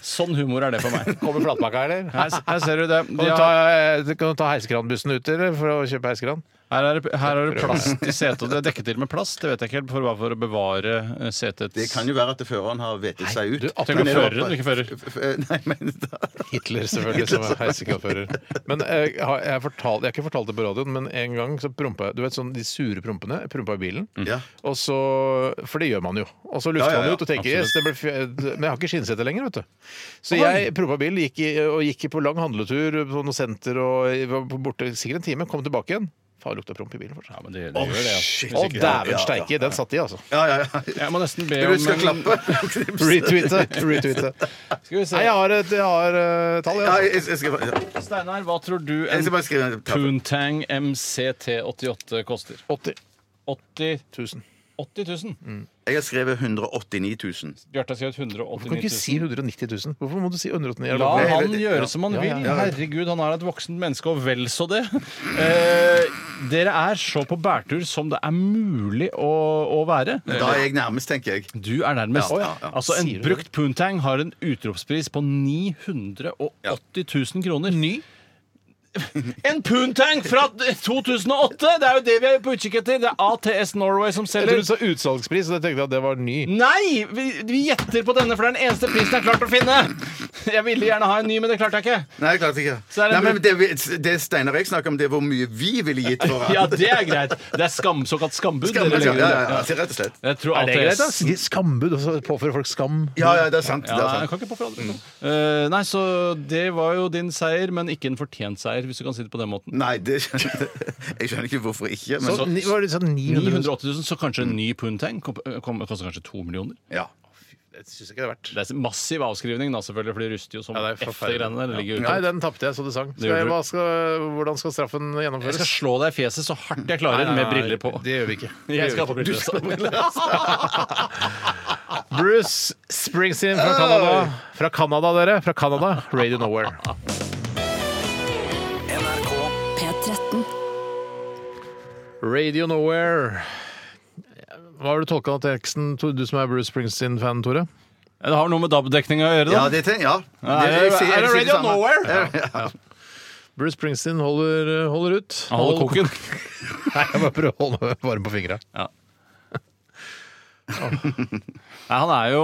Speaker 3: Sånn humor er det for meg.
Speaker 1: Kommer flatpakka, eller?
Speaker 3: Her, her ser du det.
Speaker 1: Kan
Speaker 3: De
Speaker 1: du
Speaker 3: har,
Speaker 1: ta, eh, kan du ta heisekranbussen ut eller, for å kjøpe heisekran?
Speaker 3: her, er det, her er det plast i setet. og Det er dekket til med plast. Det vet jeg ikke helt, for, bare for å bevare eh, setets
Speaker 2: Det kan jo være at føreren har vettet seg ut.
Speaker 1: du, at
Speaker 3: Tenk
Speaker 2: Men
Speaker 3: å
Speaker 2: er det
Speaker 3: føre den, ikke fører.
Speaker 2: F- f- Nei, men da
Speaker 1: Hitler, selvfølgelig, som er heisekranfører. Men eh, jeg, har, jeg, har fortalt, jeg har ikke fortalt det på radioen, men en gang så prompa jeg Du vet sånn de sure prompene? jeg Prompa i bilen.
Speaker 2: Ja.
Speaker 1: Og så, for det gjør man jo. Og så lufter
Speaker 2: Ja, ja,
Speaker 1: man
Speaker 2: ja,
Speaker 1: ut og tenker yes, det ble fj- Men jeg har ikke skinnsete lenger, vet du. Så jeg prompa bilen gikk i, og gikk på lang handletur på noe senter og jeg var borte sikkert en time. Kom tilbake igjen. Faen, lukta promp i bilen fortsatt.
Speaker 3: Ja, men det, det gjør det, altså.
Speaker 1: Å, dæven
Speaker 2: Ja, ja,
Speaker 1: steike! Den satt i, altså.
Speaker 2: Ja, ja, ja.
Speaker 3: Jeg må nesten be om
Speaker 2: Du skal
Speaker 3: en-
Speaker 2: klappe.
Speaker 1: Retweete. retweete.
Speaker 3: Skal vi se.
Speaker 1: Nei, jeg har et jeg har, eh, tall, jeg.
Speaker 2: Ja,
Speaker 1: Altså.
Speaker 2: jeg, jeg, skal, bare-
Speaker 3: Steinar, hva tror du
Speaker 2: jeg
Speaker 3: en
Speaker 2: skal bare skrive en klappe.
Speaker 3: Poontang MCT88 koster?
Speaker 1: 80
Speaker 3: 80
Speaker 1: 000.
Speaker 3: 80 000.
Speaker 1: Mm.
Speaker 2: Jeg har skrevet 189 000.
Speaker 3: Bjarte har skrevet
Speaker 1: Du kan
Speaker 3: 189
Speaker 1: ikke si
Speaker 3: 000.
Speaker 1: 190 000. Hvorfor må du si 189 000? Jeg
Speaker 3: La
Speaker 1: lover.
Speaker 3: han gjøre som han
Speaker 1: Ja, ja,
Speaker 3: vil.
Speaker 1: ja.
Speaker 3: Herregud, han er et voksent menneske, og vel så det. Eh, dere er så på bærtur som det er mulig å, å være.
Speaker 2: Da er jeg nærmest, tenker jeg.
Speaker 3: Du er nærmest.
Speaker 2: Ja, ja, ja.
Speaker 3: Altså, En
Speaker 1: Sier du det?
Speaker 3: brukt poontang har en utropspris på 980 000 kroner. Ny? En poontang fra 2008! Det er jo det vi er på utkikk etter. Det er ATS Norway som
Speaker 1: Eller
Speaker 3: selger
Speaker 1: du sa utsalgspris, og jeg tenkte at det var ny.
Speaker 3: Nei! Vi, vi gjetter på denne, for det er den eneste prisen jeg har klart å finne. Jeg ville gjerne ha en ny, men det klarte jeg ikke.
Speaker 2: Nei, klart ikke.
Speaker 3: Så er det
Speaker 2: Nei,
Speaker 3: en
Speaker 2: men det, vi- det Steinar og jeg snakker om, det er hvor mye vi ville gitt for
Speaker 3: Ja, det er greit. Det er skam, såkalt skambud.
Speaker 2: Skal vi-
Speaker 3: dere
Speaker 2: ja,
Speaker 3: legger
Speaker 2: ja,
Speaker 3: ut.
Speaker 2: ja, altså, rett og slett.
Speaker 3: Jeg tror ATS
Speaker 1: Skambud. Altså påføre folk skam.
Speaker 2: Ja, ja, det er sant. Det
Speaker 3: Ja,
Speaker 2: er
Speaker 3: jeg
Speaker 2: sant.
Speaker 3: kan ikke påføre andre.
Speaker 1: Mm.
Speaker 3: Eh, nei, så det var jo din seier, men ikke en fortjent seier, hvis du kan si det på den måten.
Speaker 2: Nei, det skjønner jeg Jeg skjønner ikke hvorfor ikke. Men
Speaker 1: Så, ni- var det sånn 900
Speaker 3: 980 000, så kanskje en ny poontang kom- kom- koster kanskje to millioner.
Speaker 2: ja.
Speaker 3: Sånn.
Speaker 1: Det syns jeg ikke det er verdt.
Speaker 3: Det er massiv avskrivning, da, selvfølgelig, for de ruster jo som
Speaker 1: Ja, det er
Speaker 3: F, de
Speaker 1: forferdelig.
Speaker 3: greiene der. Det ligger jo
Speaker 1: Nei,
Speaker 3: ute.
Speaker 1: den tapte jeg så det sang. Skal
Speaker 3: gjorde
Speaker 1: jeg,
Speaker 3: du.
Speaker 1: hva skal, hvordan skal straffen
Speaker 3: Jeg
Speaker 1: gjennomføres?
Speaker 3: skal slå deg i fjeset så hardt jeg klarer, med briller på.
Speaker 1: Det gjør vi ikke.
Speaker 3: Jeg skal ha på briller.
Speaker 1: Bruce Springsteen fra Canada. Fra Canada, dere. Fra Canada. Radio Nowhere.
Speaker 4: NRK
Speaker 7: P13.
Speaker 1: Radio Nowhere. Hva har du tolka av teksten, Tor- du som er Bruce Springsteen-fan, Tore?
Speaker 3: Det har noe med DAB-dekninga å gjøre, da.
Speaker 2: Ja, det tenker jeg. Ja.
Speaker 3: er det-
Speaker 2: jeg sier-
Speaker 3: er det
Speaker 2: jeg sier
Speaker 3: Radio
Speaker 2: samme.
Speaker 3: Nowhere?
Speaker 2: Ja, ja.
Speaker 1: Bruce Springsteen holder, holder ut.
Speaker 3: Han holder koken.
Speaker 1: Nei, jeg bare prøver å holde meg varm på fingra.
Speaker 3: Nei, han er jo,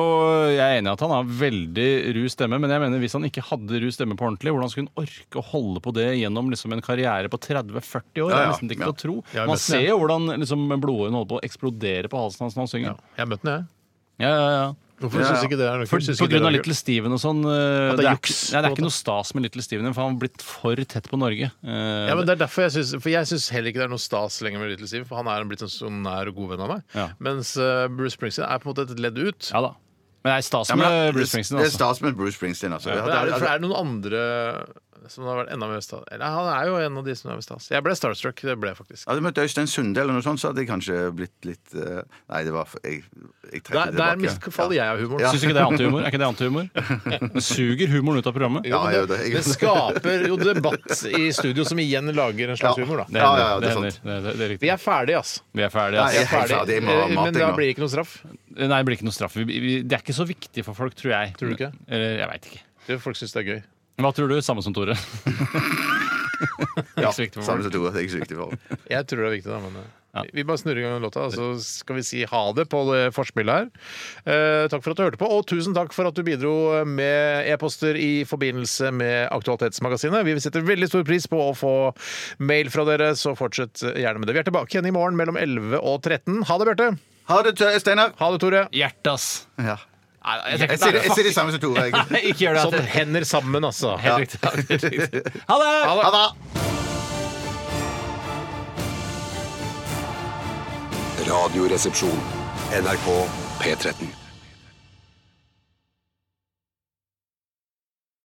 Speaker 3: Jeg er enig i at han har veldig ru stemme, men jeg mener hvis han ikke hadde ru stemme på ordentlig, hvordan skulle han orke å holde på det gjennom liksom, en karriere på 30-40 år?
Speaker 2: Ja,
Speaker 3: Det er
Speaker 2: ja,
Speaker 3: nesten ikke
Speaker 2: ja.
Speaker 3: til å tro.
Speaker 1: Ja, jeg
Speaker 3: Man
Speaker 1: vet det.
Speaker 3: ser jo hvordan liksom, blodåren holder på å eksplodere på halsen hans når han synger.
Speaker 1: Jeg har møtt den, jeg.
Speaker 3: Ja, ja, ja.
Speaker 1: Hvorfor
Speaker 2: Ja, ja.
Speaker 1: syns ikke det er noe
Speaker 3: For,
Speaker 1: kult? Synes
Speaker 3: på
Speaker 1: ikke det
Speaker 3: grunn
Speaker 1: er
Speaker 3: av
Speaker 1: noe
Speaker 3: Little Steven og sånn. eh,
Speaker 1: At det
Speaker 3: Det
Speaker 1: er
Speaker 3: er,
Speaker 1: juks,
Speaker 3: ikke-
Speaker 1: på en
Speaker 3: nei, det er
Speaker 1: måte.
Speaker 3: ikke noe stas med Little Steven, for han har blitt for tett på Norge. Eh,
Speaker 1: Ja, men det er derfor jeg synes, For jeg syns heller ikke det er noe stas lenger med Little Steve, for han er blitt en sånn nær og god venn av meg.
Speaker 3: Ja.
Speaker 1: Mens eh, Bruce Springsteen er på en måte et ledd ut.
Speaker 3: ja da. Men det er stas
Speaker 2: Ja,
Speaker 3: med
Speaker 2: men det-
Speaker 3: Bruce Springsteen.
Speaker 2: Det er
Speaker 3: Altså.
Speaker 2: stas med Bruce Springsteen, altså. Ja,
Speaker 1: Men er,
Speaker 2: det
Speaker 1: det,
Speaker 2: er-
Speaker 1: for er det noen andre som har vært enda mer stas? Eller, han er jo en av de som er mest stas. Jeg ble starstruck, det ble jeg faktisk.
Speaker 2: Hadde jeg møtt Øystein Sunde eller noe sånt, så hadde jeg kanskje blitt litt eh, Nei, det var for- Jeg, jeg trekker
Speaker 1: Der,
Speaker 2: det
Speaker 1: der
Speaker 2: tilbake.
Speaker 1: misfaller jeg av humoren.
Speaker 2: Ja.
Speaker 3: Syns ikke det er antihumor? Er ikke det antihumor? Det Suger humoren ut av programmet?
Speaker 2: Ja, jeg gjør
Speaker 1: det,
Speaker 2: det. Jeg-
Speaker 1: det skaper jo debatt i studio, som igjen lager en slags
Speaker 2: Ja.
Speaker 1: humor, da.
Speaker 3: Det hender.
Speaker 2: Ja, ja, ja,
Speaker 3: det
Speaker 2: det er
Speaker 3: hender.
Speaker 2: sant.
Speaker 3: Det, det, det er riktig.
Speaker 1: Vi er ferdige, ass.
Speaker 3: Vi er ferdige.
Speaker 2: Nei,
Speaker 3: Altså.
Speaker 1: Vi er
Speaker 2: jeg er helt
Speaker 1: ferdige.
Speaker 2: ferdig med
Speaker 1: Eh, Men
Speaker 2: mating
Speaker 1: da
Speaker 2: nå.
Speaker 1: blir det ikke noe straff.
Speaker 3: Nei, det blir ikke noe straff. Vi, vi, det er ikke så viktig for folk, tror jeg.
Speaker 1: Tror du ikke?
Speaker 3: Eller, jeg veit ikke.
Speaker 1: Det, folk syns det er gøy.
Speaker 3: Hva tror du? Samme som Tore.
Speaker 2: Ja,
Speaker 3: så viktig for
Speaker 2: samme
Speaker 3: folk.
Speaker 2: som to, det er ikke så viktig for folk.
Speaker 1: Jeg tror det er viktig, da. Men eh,
Speaker 3: Ja.
Speaker 1: vi bare snurrer i gang låta, så skal vi si ha det på det forspillet her. Eh, takk for at du hørte på, og tusen takk for at du bidro med e-poster i forbindelse med Aktualitetsmagasinet. Vi setter veldig stor pris på å få mail fra dere, så fortsett gjerne med det. Vi er tilbake igjen i morgen mellom 11 og 13. Ha det, Bjarte.
Speaker 2: Ha det, tø- Steinar.
Speaker 1: Ha det, Tore.
Speaker 3: Hjertas.
Speaker 2: Ja.
Speaker 3: Nei, jeg
Speaker 2: Jeg
Speaker 3: tenker-
Speaker 2: sier det,
Speaker 3: Nei,
Speaker 2: jeg sier det samme som Tore. jeg.
Speaker 3: fuck. Nei, Ikke gjør det.
Speaker 1: Sånn
Speaker 3: Helt
Speaker 1: hender sammen, altså.
Speaker 3: riktig. Ja, helt riktig. Ha det!
Speaker 2: Ha det!
Speaker 6: Radioresepsjon. NRK P13.